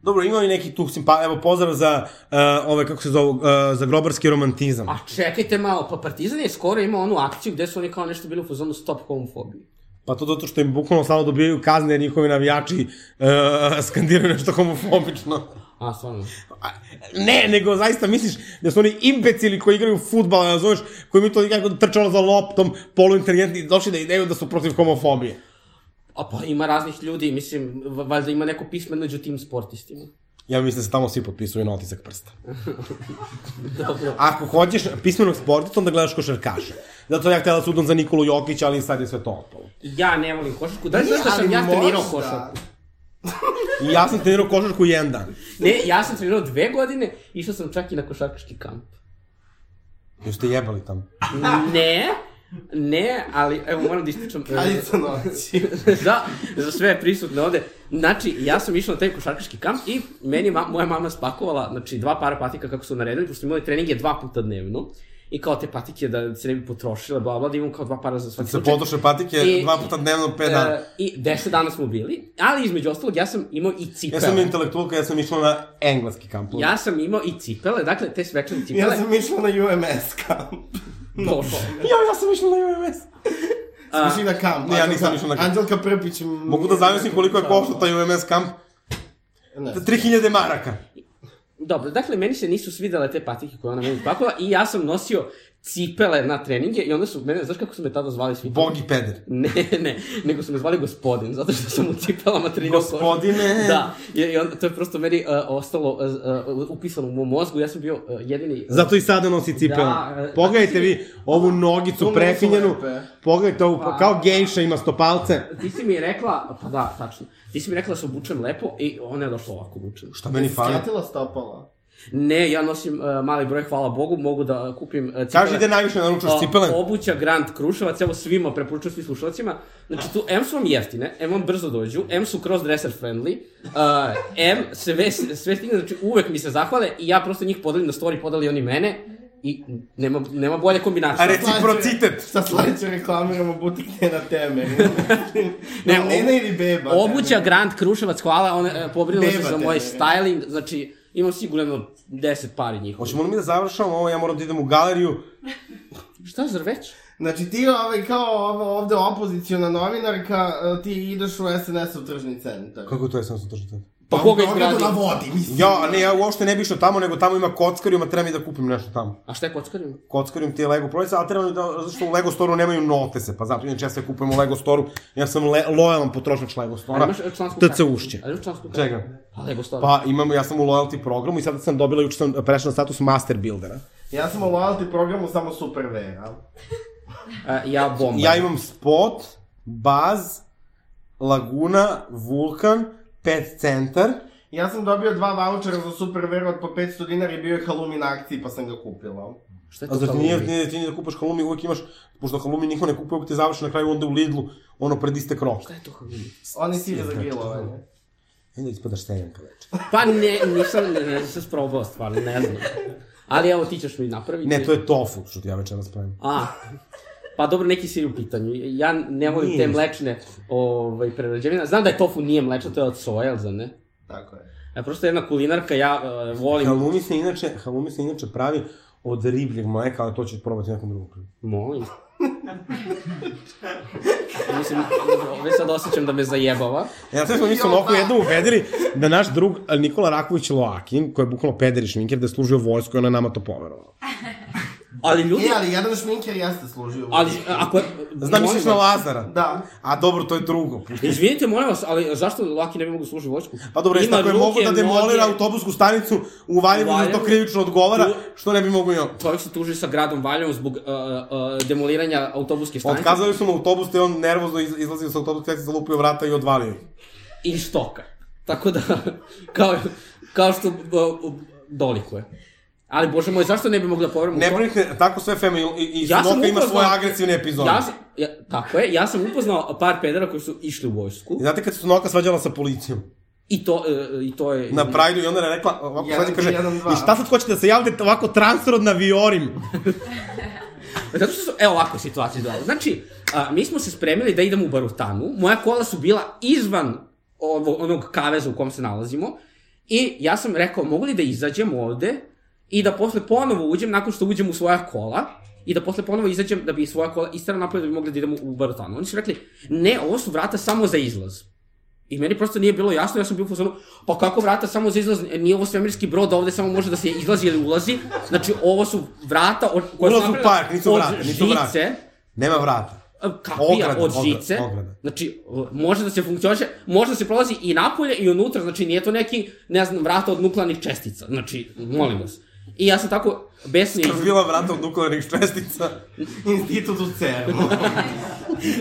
S3: Dobro, ima i neki tu simpa... Evo, pozdrav za a, ove, kako se zovu, a, za grobarski romantizam.
S5: A čekajte malo, pa Partizan je skoro imao onu akciju gde su oni kao nešto bili u fazonu stop homofobiji.
S3: Pa to zato što im bukvalno samo dobijaju kazne jer njihovi navijači a, skandiraju nešto homofobično.
S5: A, stvarno.
S3: A, Ne, nego zaista misliš da su oni imbecili koji igraju futbal, razumeš, koji mi to nikako trčalo za loptom, poluinteligentni, došli da ideju da su protiv homofobije.
S5: A pa ima raznih ljudi, mislim, v- valjda ima neko pismo među tim sportistima.
S3: Ja mislim da se tamo svi potpisuju na otisak prsta.
S5: Dobro.
S3: Ako hoćeš pismenog sportista, onda gledaš košarkaše. Zato ja htjela sudom za Nikolu Jokića, ali sad je sve to otpalo.
S5: Ja ne volim košarku. Da li znaš da sam
S4: Ali
S5: ja trenirao
S4: možda-
S5: košarku?
S3: I ja sam trenirao košarku jedan dan.
S5: Ne, ja sam trenirao dve godine, išao sam čak i na košarkaški kamp.
S3: Još ste jebali tamo.
S5: Ne, ne, ali evo moram da ispričam.
S4: Ajde sa noći.
S5: da, za sve prisutne ovde. Znači, ja sam išao na taj košarkaški kamp i meni je ma, moja mama spakovala, znači, dva para patika kako su naredili, pošto smo imali treninge dva puta dnevno. I kao te patike da se ne bi potrošile, bla, bla, da imam kao dva para za svaki slučaj.
S3: patike
S5: Znači, I- dva puta
S3: dnevno, pet
S5: E, I deset dana smo bili, ali između ostalog ja sam imao i cipele.
S3: intelektualka, ja sam išla na engleski kamp.
S5: Ja sam imao i cipele, dakle, te svečane
S4: Ja
S5: cipele.
S4: sam išla na UMS kamp.
S5: Došao.
S3: ja, ja sam išla na UMS.
S4: Smo išli na kamp.
S3: Ne, ja
S4: Anđelka-
S3: nisam išao na kamp.
S4: Anđelka Prpić... m-
S3: Mogu da zamislim koliko je košta taj UMS kamp.
S4: Ne.
S3: 3000 maraka.
S5: Dobro, dakle, meni se nisu svidale te patike koje ona meni pakova i ja sam nosio cipele na treninge i onda su mene, znaš kako su me tada zvali svi?
S3: Bogi peder.
S5: Ne, ne, nego su me zvali gospodin, zato što sam u cipelama trenirao košarku.
S3: Gospodine.
S5: Da, i, i onda to je prosto meni uh, ostalo uh, uh, upisano u mom mozgu, ja sam bio uh, jedini... uh,
S3: Zato i sada nosi cipele.
S5: Da, e,
S3: Pogledajte
S5: a ti-
S3: vi ovu nogicu
S4: To
S3: prefinjenu,
S4: nisu lepe.
S3: pogledajte ovu,
S5: Pa.
S3: kao gejša ima stopalce.
S5: Ti si mi rekla, pa da, tačno, ti si mi rekla da se obučem lepo i ona je došla ovako obučena.
S3: Šta meni fali?
S4: Skratila stopala.
S5: Ne, ja nosim uh, mali broj, hvala Bogu, mogu da kupim uh, cipele.
S3: Kaži gde najviše naručaš
S5: O,
S3: cipele.
S5: Obuća Grand Kruševac, evo svima preporučujem svim slušalcima. Znači tu M su vam jeftine, M vam brzo dođu, M su crossdresser friendly, uh, M sve, sve stigne, znači uvek mi se zahvale i ja prosto njih podelim na story, podeli oni mene i nema, nema bolje kombinacije.
S3: A reciprocitet.
S4: Sa sledeće reklamiramo butik Nena Teme.
S5: Ne,
S4: ne,
S5: obu-
S4: Nena ili Beba.
S5: Obuća Grand Kruševac, hvala, on e, pobrinula se
S4: Beba
S5: za
S4: te
S5: moj
S4: ne.
S5: styling, znači imam sigurno 10 pari njih.
S3: Hoćemo li mi da završamo ovo, ja moram da idem u galeriju.
S5: Šta, zar već?
S4: Znači ti ovaj, kao ovo, ovde opozicijona novinarka, eh, ti ideš u SNS-ov tržni centar.
S3: Kako to je sam sutrašnje?
S5: Pa koga
S4: u Beogradu
S5: izgradio?
S4: Na vodi, mislim.
S3: Ja, a ne, ja uopšte ne bi išao tamo, nego tamo ima kockarijum, a treba mi da kupim nešto tamo.
S5: A šta je kockarima?
S3: Kockarijum ti je Lego proizvod, ali treba mi da, zato što u Lego storu nemaju notese, pa zato, inače ja sve kupujem u Lego storu, ja sam le, lojalan potrošač Lego
S5: Ali
S3: stora.
S5: imaš e, člansku
S3: TC ušće.
S5: Ali imaš člansku kartu?
S3: Čega?
S5: Pa Lego Star.
S3: Pa imam, ja sam u loyalty programu i sada sam dobila, juče sam prešla na status master buildera.
S4: Ja sam u loyalty programu samo super vera.
S5: E, ja bomba.
S3: Ja imam spot, baz, laguna, vulkan, pet centar,
S4: Ja sam dobio dva vouchera za super veru od po 500 dinara i bio je halumi na akciji pa sam ga kupila.
S5: Šta je
S3: a
S5: to
S3: zar ti
S5: kao
S3: nije,
S5: uvijek?
S3: nije, ti nije da kupaš halumi, uvijek imaš, pošto halumi niko ne kupuje, uvijek ti završi na kraju onda u Lidlu, ono pred istek roka.
S5: Šta je to halumi?
S4: Oni sire za grilovanje.
S3: I onda ispadaš seljanka večer.
S5: Pa ne, nisam, ne, ne, nisam sprobao stvarno, ne znam. Ali evo, ti ćeš mi napraviti.
S3: Ne, to je tofu što ti ja večeras pravim.
S5: A, pa dobro, neki si u pitanju. Ja ne volim
S3: Nije
S5: te
S3: ništa.
S5: mlečne ovaj, prerađevine. Znam da je tofu nije mlečno, to je od soja, jel za ne?
S4: Tako je.
S5: E, prosto jedna kulinarka, ja e, volim...
S3: Halumi se inače, halumi se inače pravi od ribljeg mleka, ali to ću probati nekom drugom prilikom.
S5: Molim. Mislim, već sad osjećam da me zajebava.
S3: Ja sve E, smo mi se onako jednom uvedili da naš drug Nikola Raković Loakin, koji je bukvalno pederi šminker, da je služio vojsku i ona je nama to poverovala.
S5: Ali ljudi...
S4: E, ali jedan šminker jeste služio.
S5: Ali, e, ako...
S3: Znam,
S5: molim
S3: misliš na
S5: vas.
S3: Lazara?
S4: Da.
S3: A dobro, to je drugo.
S5: Izvinite, molim vas, ali zašto Laki ne bi mogu služiti vojsku?
S3: Pa dobro,
S5: Ima
S3: isto ako je
S5: ruke,
S3: mogu da demolira
S5: noge.
S3: autobusku stanicu u Valjevu,
S5: U
S3: da to
S5: Valjevu.
S3: krivično odgovara,
S5: U-
S3: što ne bi mogu i on.
S5: Čovjek se tuži sa gradom Valjevom zbog uh, uh, demoliranja autobuske stanice
S3: Otkazali su mu autobus, te on nervozno iz- izlazio sa autobusa, tek se zalupio vrata i odvalio ih.
S5: i štoka. Tako da, kao, kao što uh, dolikuje. Ali, bože moj, zašto ne bi mogla da povremenu...
S3: Ne brinite, tako sve Fema i, i
S5: Ja
S3: ja
S5: sam
S3: Sonoka ima
S5: upoznao-
S3: svoje agresivne epizode.
S5: Ja, sam- ja, tako je, ja sam upoznao par pedera koji su išli u vojsku
S3: I Znate kad se Sonoka svađala sa policijom
S5: i to, uh, i to je...
S3: na Prajdu i onda je rekla, ovako
S4: Jedan,
S3: svađa kaže,
S4: jedan, dva.
S3: i šta sad hoćete da se javljate ovako transrodna viorim?
S5: Zato što su, evo ovako situacija dole. Znači, a, mi smo se spremili da idemo u Barutanu, moja kola su bila izvan ovo, onog kaveza u kom se nalazimo i ja sam rekao, mogu li da izađem ovde i da posle ponovo uđem, nakon što uđem u svoja kola, i da posle ponovo izađem da bi svoja kola istrano napravio da bi mogli da idemo u Barutanu. Oni su rekli, ne, ovo su vrata samo za izlaz. I meni prosto nije bilo jasno, ja sam bio u fazonu, pa kako vrata samo za izlaz, nije ovo svemirski brod, ovde samo može da se izlazi ili ulazi, znači ovo su vrata od, koja su
S3: Ulaz u
S5: napravljena
S3: park, nisu
S5: od
S3: vrata, nisu vrata.
S5: žice, eh,
S3: Nema vrata.
S5: kapija
S3: Ograda,
S5: od
S3: ograda,
S5: žice,
S3: ograda.
S5: znači o, može da se funkcioniše, može da se prolazi i napolje i unutra, znači nije to neki, ne znam, vrata od nuklearnih čestica, znači, molim vas. I ja sam tako besni,
S3: Bila vrata od nuklearnih čestica.
S4: Institut u CERN-u.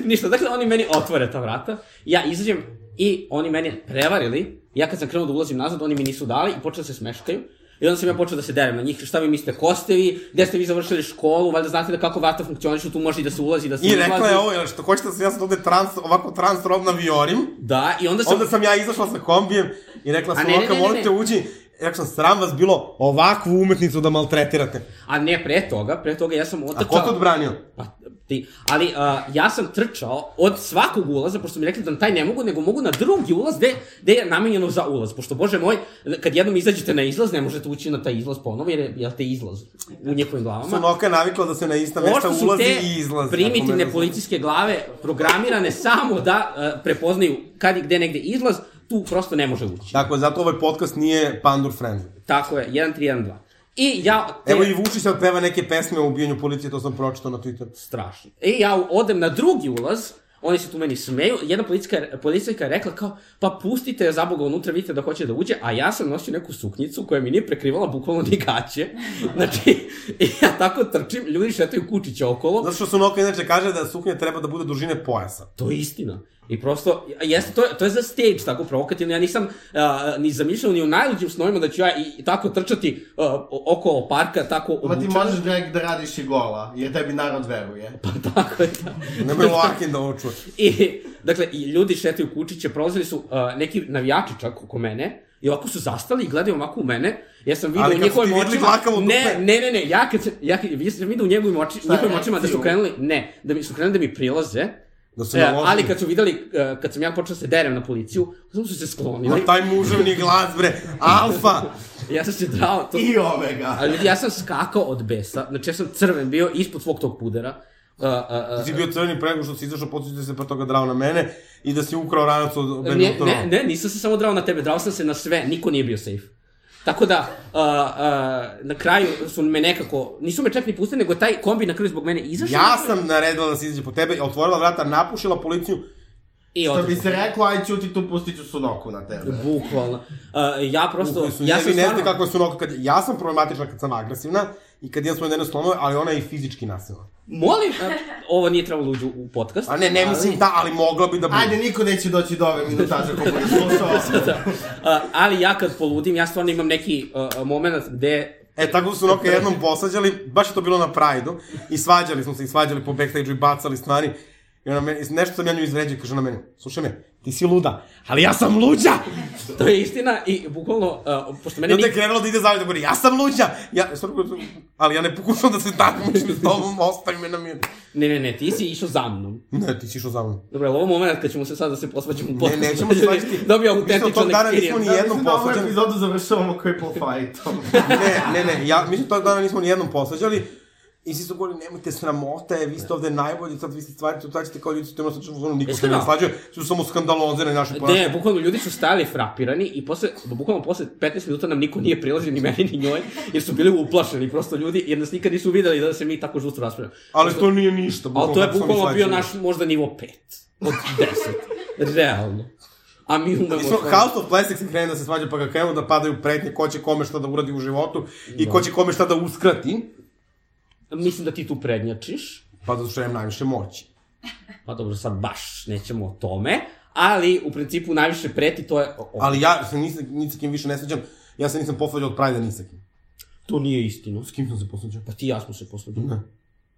S5: ništa, dakle oni meni otvore ta vrata, ja izađem i oni meni prevarili, ja kad sam krenuo da ulazim nazad, oni mi nisu dali i počeli da se smeškaju. I onda sam ja počeo da se derem na njih, šta vi mislite, ko ste vi, gde ste vi završili školu, valjda znate da kako vrata funkcionišu, tu može i da se ulazi, da se
S3: I
S5: ulazi.
S3: rekla je ovo, jel što hoćete da se ja sad ovde trans, ovako transrodna viorim?
S5: Da, i onda sam...
S3: Onda sam ja izašla sa kombijem i rekla
S5: A
S3: sam,
S5: ne, ne,
S3: Loka,
S5: ne, ne,
S3: molim te
S5: ne.
S3: uđi. I Rekla sam, sram vas bilo ovakvu umetnicu da maltretirate.
S5: A ne pre toga, pre toga ja sam
S3: A
S5: otrčao.
S3: ko te odbranio?
S5: Pa, ti, ali a, ja sam trčao od svakog ulaza, pošto mi rekli da na taj ne mogu, nego mogu na drugi ulaz gde, gde je namenjeno za ulaz. Pošto, bože moj, kad jednom izađete na izlaz, ne možete ući na taj izlaz ponovo, jer je, jel te izlaz u njihovim glavama.
S3: Sonoka je navikla da se na ista mesta
S5: Pošto su
S3: ulazi
S5: te
S3: i izlazi. Ako me
S5: primitivne
S3: razumeš.
S5: policijske glave programirane samo da a, prepoznaju kad i gde negde izlaz, tu prosto ne može ući.
S3: Da. Tako je, zato ovaj podcast nije Pandur Friendly.
S5: Tako je, 1, 3, 1, 2. I ja... te-
S3: Evo i Vučić sad peva neke pesme o ubijanju policije, to sam pročitao na Twitteru.
S5: strašno. I ja odem na drugi ulaz, oni se tu meni smeju, jedna policijska, policijka je rekla kao, pa pustite je zaboga unutra, vidite da hoće da uđe, a ja sam nosio neku suknjicu koja mi nije prekrivala bukvalno ni gaće. Znači, i ja tako trčim, ljudi šetaju kučića okolo,
S3: Zato što su Noka inače kaže da suknja treba da bude dužine pojasa.
S5: to je istina. I prosto, jeste, to, je- to je za stage tako provokativno, ja nisam a, ni zamišljao ni u najluđim snovima da ću ja i, i tako trčati a, okolo parka, tako
S4: Ma ti
S5: obučen.
S4: možeš drag da radiš i gola, jer tebi narod veruje.
S5: Pa tako je, da.
S3: Nemoj Larkin da ovo čuje.
S5: I, dakle, i ljudi šetaju kučiće, prolazili su uh, neki navijači čak oko mene, i ovako su zastali i gledaju ovako u mene. Ja sam
S3: Ali
S5: vidio u
S3: kad su
S5: njihovim
S3: ti videli
S5: očima...
S3: dlakavu
S5: Ne,
S3: dupe?
S5: ne, ne, ne, ja kad sam, ja, kad- ja sam vidio u njegovim oči,
S4: je,
S5: njihovim očima da su
S4: reakciju?
S5: krenuli, ne, da mi su krenuli da mi prilaze,
S3: Da se
S5: e,
S3: naloži.
S5: ali kad su videli, e, kad sam ja počeo da se derem na policiju, samo su se sklonili.
S3: Ma taj muževni glas, bre, alfa!
S5: Ja sam se drao, to,
S4: I omega.
S5: ali ljudi, ja sam skakao od besa, znači ja sam crven bio ispod svog tog pudera. Uh, uh,
S3: Ti si bio crveni prego što si izašao, podsjećaš da se pre toga drao na mene i da si ukrao ranac od
S5: Ne, ne,
S3: Benetona.
S5: ne, nisam se samo drao na tebe, drao sam se na sve, niko nije bio safe. Tako da, a, a, na kraju su me nekako, nisu me čak ni pustili, nego je taj kombi na kraju zbog mene izašao.
S3: Ja sam naredila da se izađe po tebe, otvorila vrata, napušila policiju.
S5: I
S4: Što
S5: otišao.
S4: bi se reklo, aj ćuti tu, pustit ću sunoku na tebe.
S5: Da. Bukvalno. A, ja prosto,
S3: Koji su,
S5: ja
S3: ja
S5: sam
S3: ne znate
S5: stvarno...
S3: kako su noga, kad, ja sam problematična kad sam agresivna i kad jedan svoj dene slomove, ali ona je i fizički nasilna.
S5: Molim, a, ovo nije trebalo uđu u podcast.
S3: A ne, ne mislim da, ali mogla bi da bude.
S4: Ajde, niko neće doći do ove minutaže ko bude slušao.
S5: Da. A, ali ja kad poludim, ja stvarno imam neki uh, moment gde
S3: E, tako su Noka jednom posađali, baš je to bilo na Prajdu, i svađali smo se, i svađali po backstage-u i bacali stvari. I ona meni, nešto sam ja nju izvređao, kaže ona meni, slušaj me, ti si luda, ali ja sam luđa!
S5: to je istina i bukvalno, a, pošto
S3: I
S5: mene
S3: onda je
S5: niko...
S3: krenulo da ide zajedno, govori, ja sam luđa! Ja, sorry, sorry, ali ja ne pokušam da se takmičim s tobom, ostavi me na miru.
S5: Ne, ne, ne, ti si išao za mnom.
S3: Ne, ti si išao za mnom.
S5: Dobro, je li ovo moment kad ćemo se sad da se posvađamo u
S3: Ne,
S5: podcastu?
S3: nećemo se svađati.
S5: Dobio
S3: Mi se od
S5: autentičan
S3: tog dana nismo
S5: experience.
S3: ni jednom
S4: Mislim da ovu
S3: posvađali.
S4: epizodu završavamo cripple fightom.
S3: Ne, ne, ne, ja, mi smo tog dana nismo ni jednom posađali, I svi su govorili, nemojte sramote, vi ste ovde najbolji, sad vi ste stvari, tu tačite kao ljudi, ste imali sad ono, niko se
S5: Iskreno?
S3: ne slađuje, su samo skandalozene naše ponašanje.
S5: Ne, bukvalno ljudi su stajali frapirani i posle, bukvalno posle 15 minuta nam niko nije prilazio ni meni ni njoj, jer su bili uplašeni prosto ljudi, jer nas nikad nisu videli da se mi tako žustro raspravljamo.
S3: Ali to nije ništa.
S5: Ali to je
S3: kako sam
S5: bukvalno bio
S3: izlačio.
S5: naš možda nivo 5 od 10. Realno. A mi umemo...
S3: Mi smo,
S5: stvarno-
S3: House of Blessings je krenuo da se svađa, pa ga krenuo da padaju pretnje ko će kome šta da uradi u životu i ko će kome šta da uskrati,
S5: Mislim da ti tu prednjačiš.
S3: pa zato što imam najviše moći.
S5: Pa dobro, sad baš nećemo o tome. Ali, u principu, najviše preti to je... o- o-
S3: Ali ja se nisam, ni sa kim više ne svađam, ja se nisam posvađao od Prajda ni sa kim.
S5: to nije istino.
S3: S kim sam se posvađao?
S5: Pa ti i ja smo se posledili.
S3: Ne.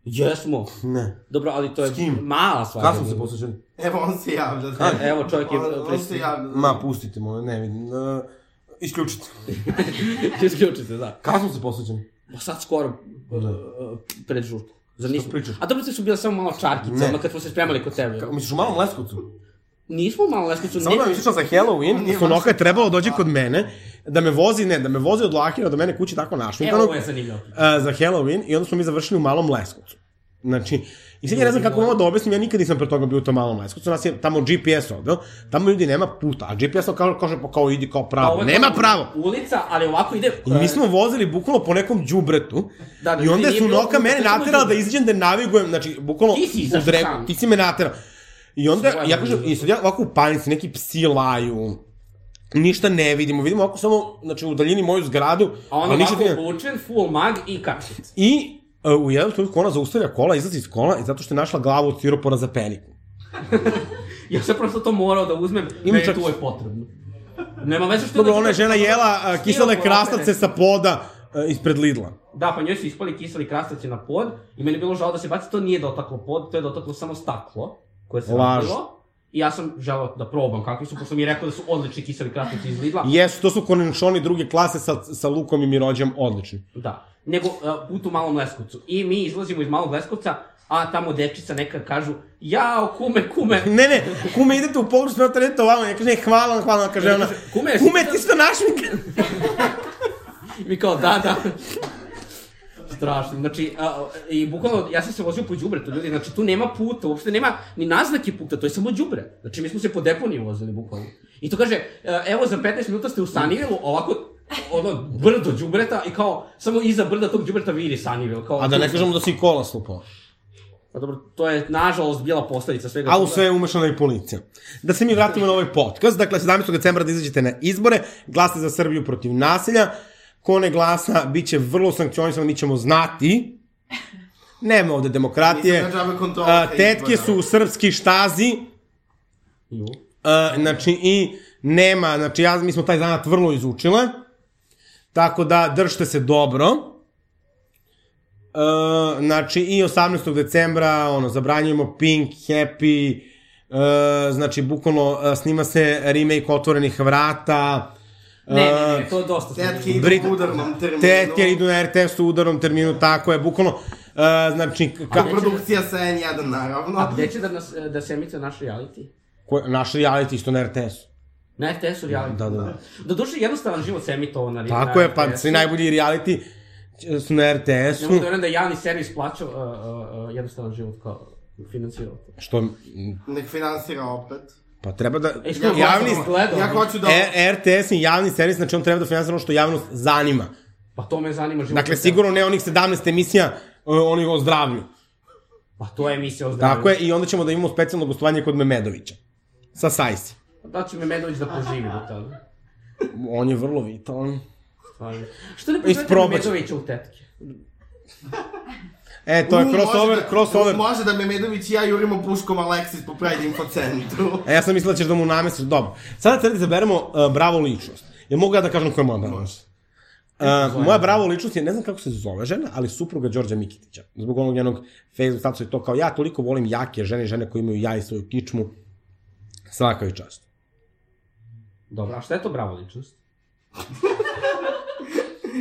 S5: Jesmo.
S3: Ne.
S5: Dobro, ali to je
S3: S kim?
S5: mala stvar.
S3: Kad smo se posvađali?
S4: Evo, on se javlja.
S5: Evo, čovjek je
S4: On- On se
S5: predstavio.
S4: javlja.
S3: Ma, pustite moje, ne vidim. Uh, isključite.
S5: Isključite, da.
S3: Kad smo se posvađali?
S5: Pa sad skoro, uh, pred žurku. Zar nismo?
S3: da. pričaš?
S5: A dobro, te su bile samo malo čarkice,
S3: Ne.
S5: ono kad smo se spremali kod tebe.
S3: Kako, misliš u malom Leskovcu?
S5: Nismo malo lesnicu,
S3: Samo da vam ispričam za Halloween, Sonoka je trebalo dođe kod mene, da me vozi, ne, da me vozi od Lahira do mene kući tako
S5: Evo,
S3: našminkano.
S5: E, ovo je zanimljivo.
S3: a, za Halloween i onda smo mi završili u Malom Leskovcu. Znači, i sad ja ne znam kako vam ovo da objasnim, ja nikad nisam pre toga bio u tom Malom Leskovcu, nas je tamo GPS ovde, tamo ljudi nema puta, a GPS kao, kao, kao, kao idi kao
S5: A
S3: pravo,
S5: Pa ovo je
S3: Pa, nema
S5: kao
S3: pravo! Pa
S5: Ulica, ali ovako ide... eh,
S3: I mi smo vozili bukvalno po nekom džubretu
S5: Da, da,
S3: i onda
S5: ti nije
S3: su
S5: bilo
S3: noka
S5: puta,
S3: mene
S5: samo
S3: naterala da
S5: đubret.
S3: izađem da navigujem, znači bukvalno
S5: Ti si
S3: u
S5: izašao
S3: dreku,
S5: sam.
S3: ti si me naterao. I onda,
S5: Svoja
S3: ja kažem,
S5: ljubav.
S3: i sad ja ovako u panici, neki psi laju, ništa ne vidimo, vidimo ovako samo, znači u daljini moju zgradu,
S5: A
S3: ali
S5: on
S3: pa ništa
S5: ovako
S3: ne-
S5: obučen, full mag i kačet.
S3: I e, u jednom trenutku ona zaustavlja kola, izlazi iz kola i zato što je našla glavu od siropora za peniku.
S5: Ja sam prosto to morao da uzmem,
S3: Ima
S5: meni
S3: čak-
S5: to je potrebno. Nema veze što...
S3: Dobro,
S5: da-
S3: ona je žena jela e, kisele
S5: Siropor,
S3: krastavce sa poda e, ispred Lidla.
S5: Da, pa njoj su ispali kiseli krastavci na pod i meni je bilo žao da se baci, to nije dotaklo pod, to je dotaklo samo staklo koje se
S3: Laž.
S5: radilo. I ja sam želao da probam kakvi su, pošto mi je rekao da su odlični kiseli krastavci iz Lidla.
S3: Jesu, to su konenšoni druge klase sa, sa lukom i mirođem, odlični.
S5: Da. Nego uh, put u Malom Leskovcu. I mi izlazimo iz Malog Leskovca, a tamo dečica neka kažu, jao, kume, kume.
S3: Ne, ne, kume, idete u pogrešnu, ja trenete ovamo, ja kažem, ne, hvala vam, hvala vam, kaže ona,
S5: Kume,
S3: kume, kume ti što našmik?
S5: Mi kao, da, da. Strašno, znači, a, i bukvalno, ja sam se vozio po džubretu, ljudi, znači tu nema puta, uopšte nema ni naznake puta, to je samo džubre. Znači, mi smo se po deponiji vozili, bukvalno. I to kaže, e, evo, za 15 minuta ste u Sanivilu, ovako, ono brdo đubreta i kao samo iza brda tog đubreta vidi sanjivo kao
S3: A da ne kažemo da si i kola slupao.
S5: pa dobro to je nažalost bila posledica svega
S3: A u
S5: toga.
S3: sve je umešana i policija. Da se mi vratimo na ovaj podcast. Dakle, 17. decembra da izađete na izbore, glasite za Srbiju protiv nasilja. Ko ne glasa, bit će vrlo sankcionisan, mi ćemo znati. Nema ovde demokratije.
S4: Nisam na džabe kontrola
S3: A,
S4: te
S3: tetke
S4: izbora.
S3: su u srpski štazi.
S5: Ju.
S3: E, znači i nema, znači ja, mi smo taj zanat vrlo izučile, tako da držite se dobro. E, znači i 18. decembra ono, zabranjujemo Pink, Happy, e, znači bukvalno e, snima se remake Otvorenih vrata, e,
S5: ne ne ne to je dosta
S4: Tetke idu
S3: Brit-
S4: u udarnom terminu.
S3: Tetke idu na RTS u udarnom terminu, tako je, bukvalno, e, znači, ka,
S4: Koprodukcija sa N1, naravno.
S5: a gde će da nas da se emituje naš reality
S3: ko, naš reality isto na RTS-u.
S5: na RTS-u reality
S3: Da, da, da.
S5: Doduše, jednostavan život se emitovo na
S3: Tako je, pa
S5: RTS-u.
S3: svi najbolji reality e, su na RTS-u.
S5: Ne mogu da verujem da je javni servis plaćao uh, uh, uh, jednostavan život kao financirao to.
S3: Što, m,
S4: Nek finansira opet.
S3: pa treba da...
S5: E, što,
S3: javni,
S5: kako Gledao
S4: Ja
S5: bi.
S4: hoću da...
S3: e, RTS je javni servis, znači on treba da finansira ono što javnost zanima.
S5: Pa to me zanima život.
S3: Dakle, sigurno ne onih 17 emisija, e, onih o zdravlju.
S5: Pa to je emisija o zdravlju.
S3: Tako je, i onda ćemo da imamo specijalno gostovanje kod Memedovića. Sa Sajsi.
S5: Da će me Medović da poživi do tada.
S3: On je vrlo vitalan.
S5: Stvarno. Što ne pozovete
S3: Isprobat ću.
S5: Medovića u tetke?
S3: E, to je
S4: U,
S3: crossover,
S4: može da-
S3: crossover.
S4: Može da Memedović i ja jurimo puškom Aleksis po Pride Info centru.
S3: A ja sam mislila da ćeš da mu namestiš, dobro. Sada treba da izaberemo uh, bravo ličnost. Jel mogu ja da kažem koja je moja bravo ličnost? Uh, moja bravo ličnost je, ne znam kako se zove žena, ali supruga Đorđa Mikitića. Zbog onog njenog Facebook statusa i to kao ja toliko volim jake žene, žene koje imaju ja i svoju kičmu. Svaka joj čast.
S5: Dobro, a šta je to bravo ličnost?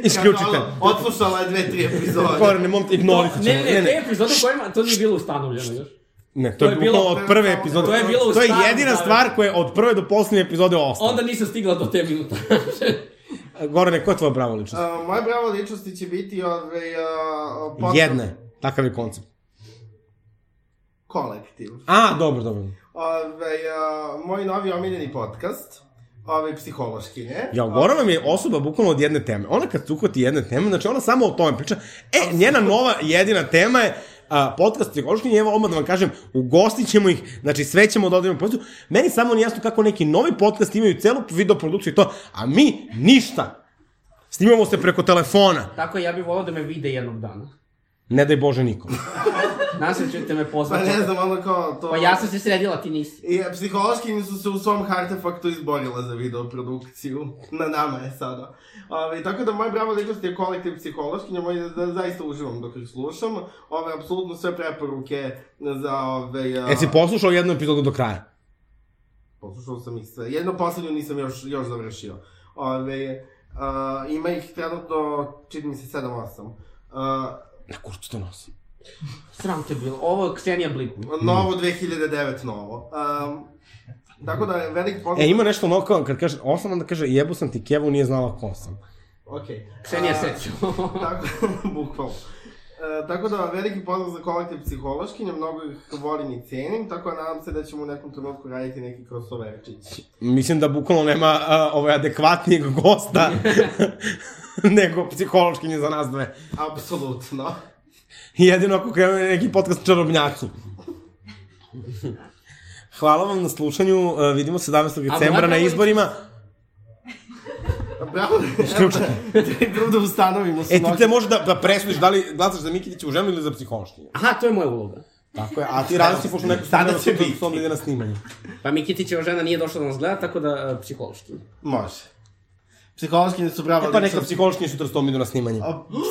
S3: Isključite.
S4: Ono, Odslušala je dve, tri epizode.
S3: Korene, mom, ignorisat ćemo.
S5: Ne, ne, ne, te epizode u kojima to nije bilo ustanovljeno još.
S3: Ne, to je bilo od prve epizode.
S5: to je bilo u
S3: To je
S5: starom
S3: jedina
S5: Zavezu.
S3: stvar koja je od prve do poslednje epizode ostala.
S5: Onda nisam stigla do te minute.
S3: Gorane, ko je tvoja bravo ličnost?
S4: Uh, moje bravo ličnosti će biti ove, uh,
S5: E, pa-
S4: podcast-
S3: Jedna je. Takav je koncept.
S4: kolektiv.
S3: A, dobro, dobro.
S4: Ove, uh, moj novi omiljeni podcast, ove, psihološki, ne?
S3: Ja, Gorana mi je osoba bukvalno od jedne teme. Ona kad se uhvati jedne teme, znači ona samo o tome priča. E, njena nova jedina tema je a, podcast Psihološki, i evo odmah da vam kažem, ugostit ćemo ih, znači sve ćemo da odavimo poziciju. Meni samo nije jasno kako neki novi podcast imaju celu videoprodukciju i to, a mi ništa. Snimamo se preko telefona.
S5: Tako je, ja bih volao da me vide jednog dana.
S3: Ne daj Bože nikom.
S5: Nadam se da ćete me
S4: Pa
S5: pozvati.
S4: ne znam, ono kao to...
S5: Pa ja sam se sredila, ti nisi.
S4: I e, psihološki su se u svom hartefaktu izborila za videoprodukciju. Na nama je sada. Ove, tako da moja brava ličnost je kolektiv psihološki, njemu je da, zaista uživam dok ih slušam. Ove, apsolutno sve preporuke za ove... a-
S3: E, si poslušao jednu epizodu do kraja?
S4: Poslušao sam ih sve. Jedno poslednju nisam još, još završio. Ove, a, ima ih trenutno, čini mi se, 7-8. A,
S3: Na kurcu to nosim.
S5: Sram te bilo. Ovo je Ksenija Blipu.
S4: novo
S3: Mm.
S4: 2009 novo. Um, tako da je velik
S3: E,
S4: posao...
S3: ima nešto ono kao, kad kaže osam, onda kaže jebu sam ti kevu, nije znala ko sam.
S4: Okej.
S5: Ksenija
S4: A,
S5: Seću.
S4: Tako, bukvalno. E, tako da, veliki pozdrav za kolektiv psihološkinja, mnogo ih volim i cenim, tako da nadam se da ćemo u nekom trenutku raditi neki crossoverčić.
S3: Mislim da bukvalno nema a, ovaj adekvatnijeg gosta nego psihološkinje za nas dve.
S4: Apsolutno.
S3: Jedino ako krenu neki podcast čarobnjaci. Hvala vam na slušanju, a, vidimo 17. decembra na
S5: bravo,
S3: izborima.
S4: Bravo,
S3: Isključite.
S4: treba da ustanovimo
S3: E, ti
S4: snoć.
S3: te možeš da, da presudiš da li glasaš za Mikitića u ženu ili za psihološkinje.
S5: Aha, to je moja uloga.
S3: Tako je, a ti različite pošto neko da
S4: Sada će
S3: sutra-
S4: biti.
S3: sutra ide na snimanju.
S5: Pa Mikitićeva žena nije došla da nas gleda, tako da e, psihološki.
S4: Može. Psihološkinje su bravo
S3: E pa neka psihološkinje sutra s tom idu na snimanje.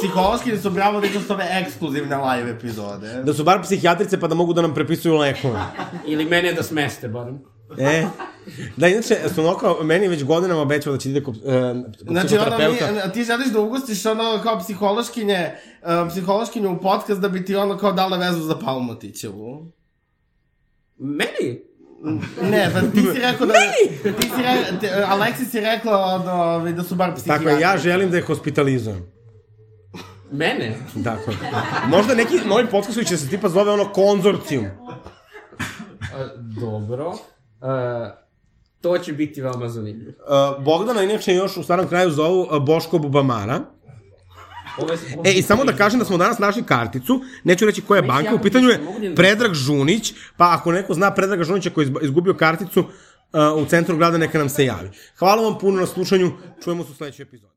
S4: Psihološkinje su bravo ličnost ove ekskluzivne live epizode.
S3: Da su bar psihijatrice pa da mogu da nam prepisuju lekove.
S5: Ili mene da smeste, barem.
S3: E, da inače, Sunoka meni već godinama obećava da će ide kod, e, kod
S4: Znači, ona mi,
S3: psihoterapeuta.
S4: ti želiš da ugostiš ono kao psihološkinje, uh, psihološkinju u podcast da bi ti ono kao dala vezu za Palmotićevu.
S5: Meni?
S4: Ne, pa ti si rekao da... Ti si re, te, Aleksis je rekla ono, ovaj, da su bar psihijatri.
S3: Tako je, ja želim da je hospitalizujem.
S5: Mene?
S3: Tako je. Možda neki novi podcast koji će se tipa zove E, ono konzorcijum.
S5: E, dobro. E, To će biti veoma zanimljivo.
S3: Uh, Bogdana inače još u starom kraju zovu uh, Boško Bubamara.
S5: Ovo je- ovo
S3: E,
S5: je-
S3: i samo da kažem da smo danas našli karticu, neću reći koja je
S5: Meni se
S3: banka,
S5: jako
S3: u pitanju
S5: piše, mogu da
S3: je
S5: im-
S3: Predrag Žunić, pa ako neko zna Predraga Žunića koji je izba- izgubio e, karticu uh, u centru grada, neka nam se javi. Hvala vam puno na slušanju, čujemo se u sledećoj epizodi.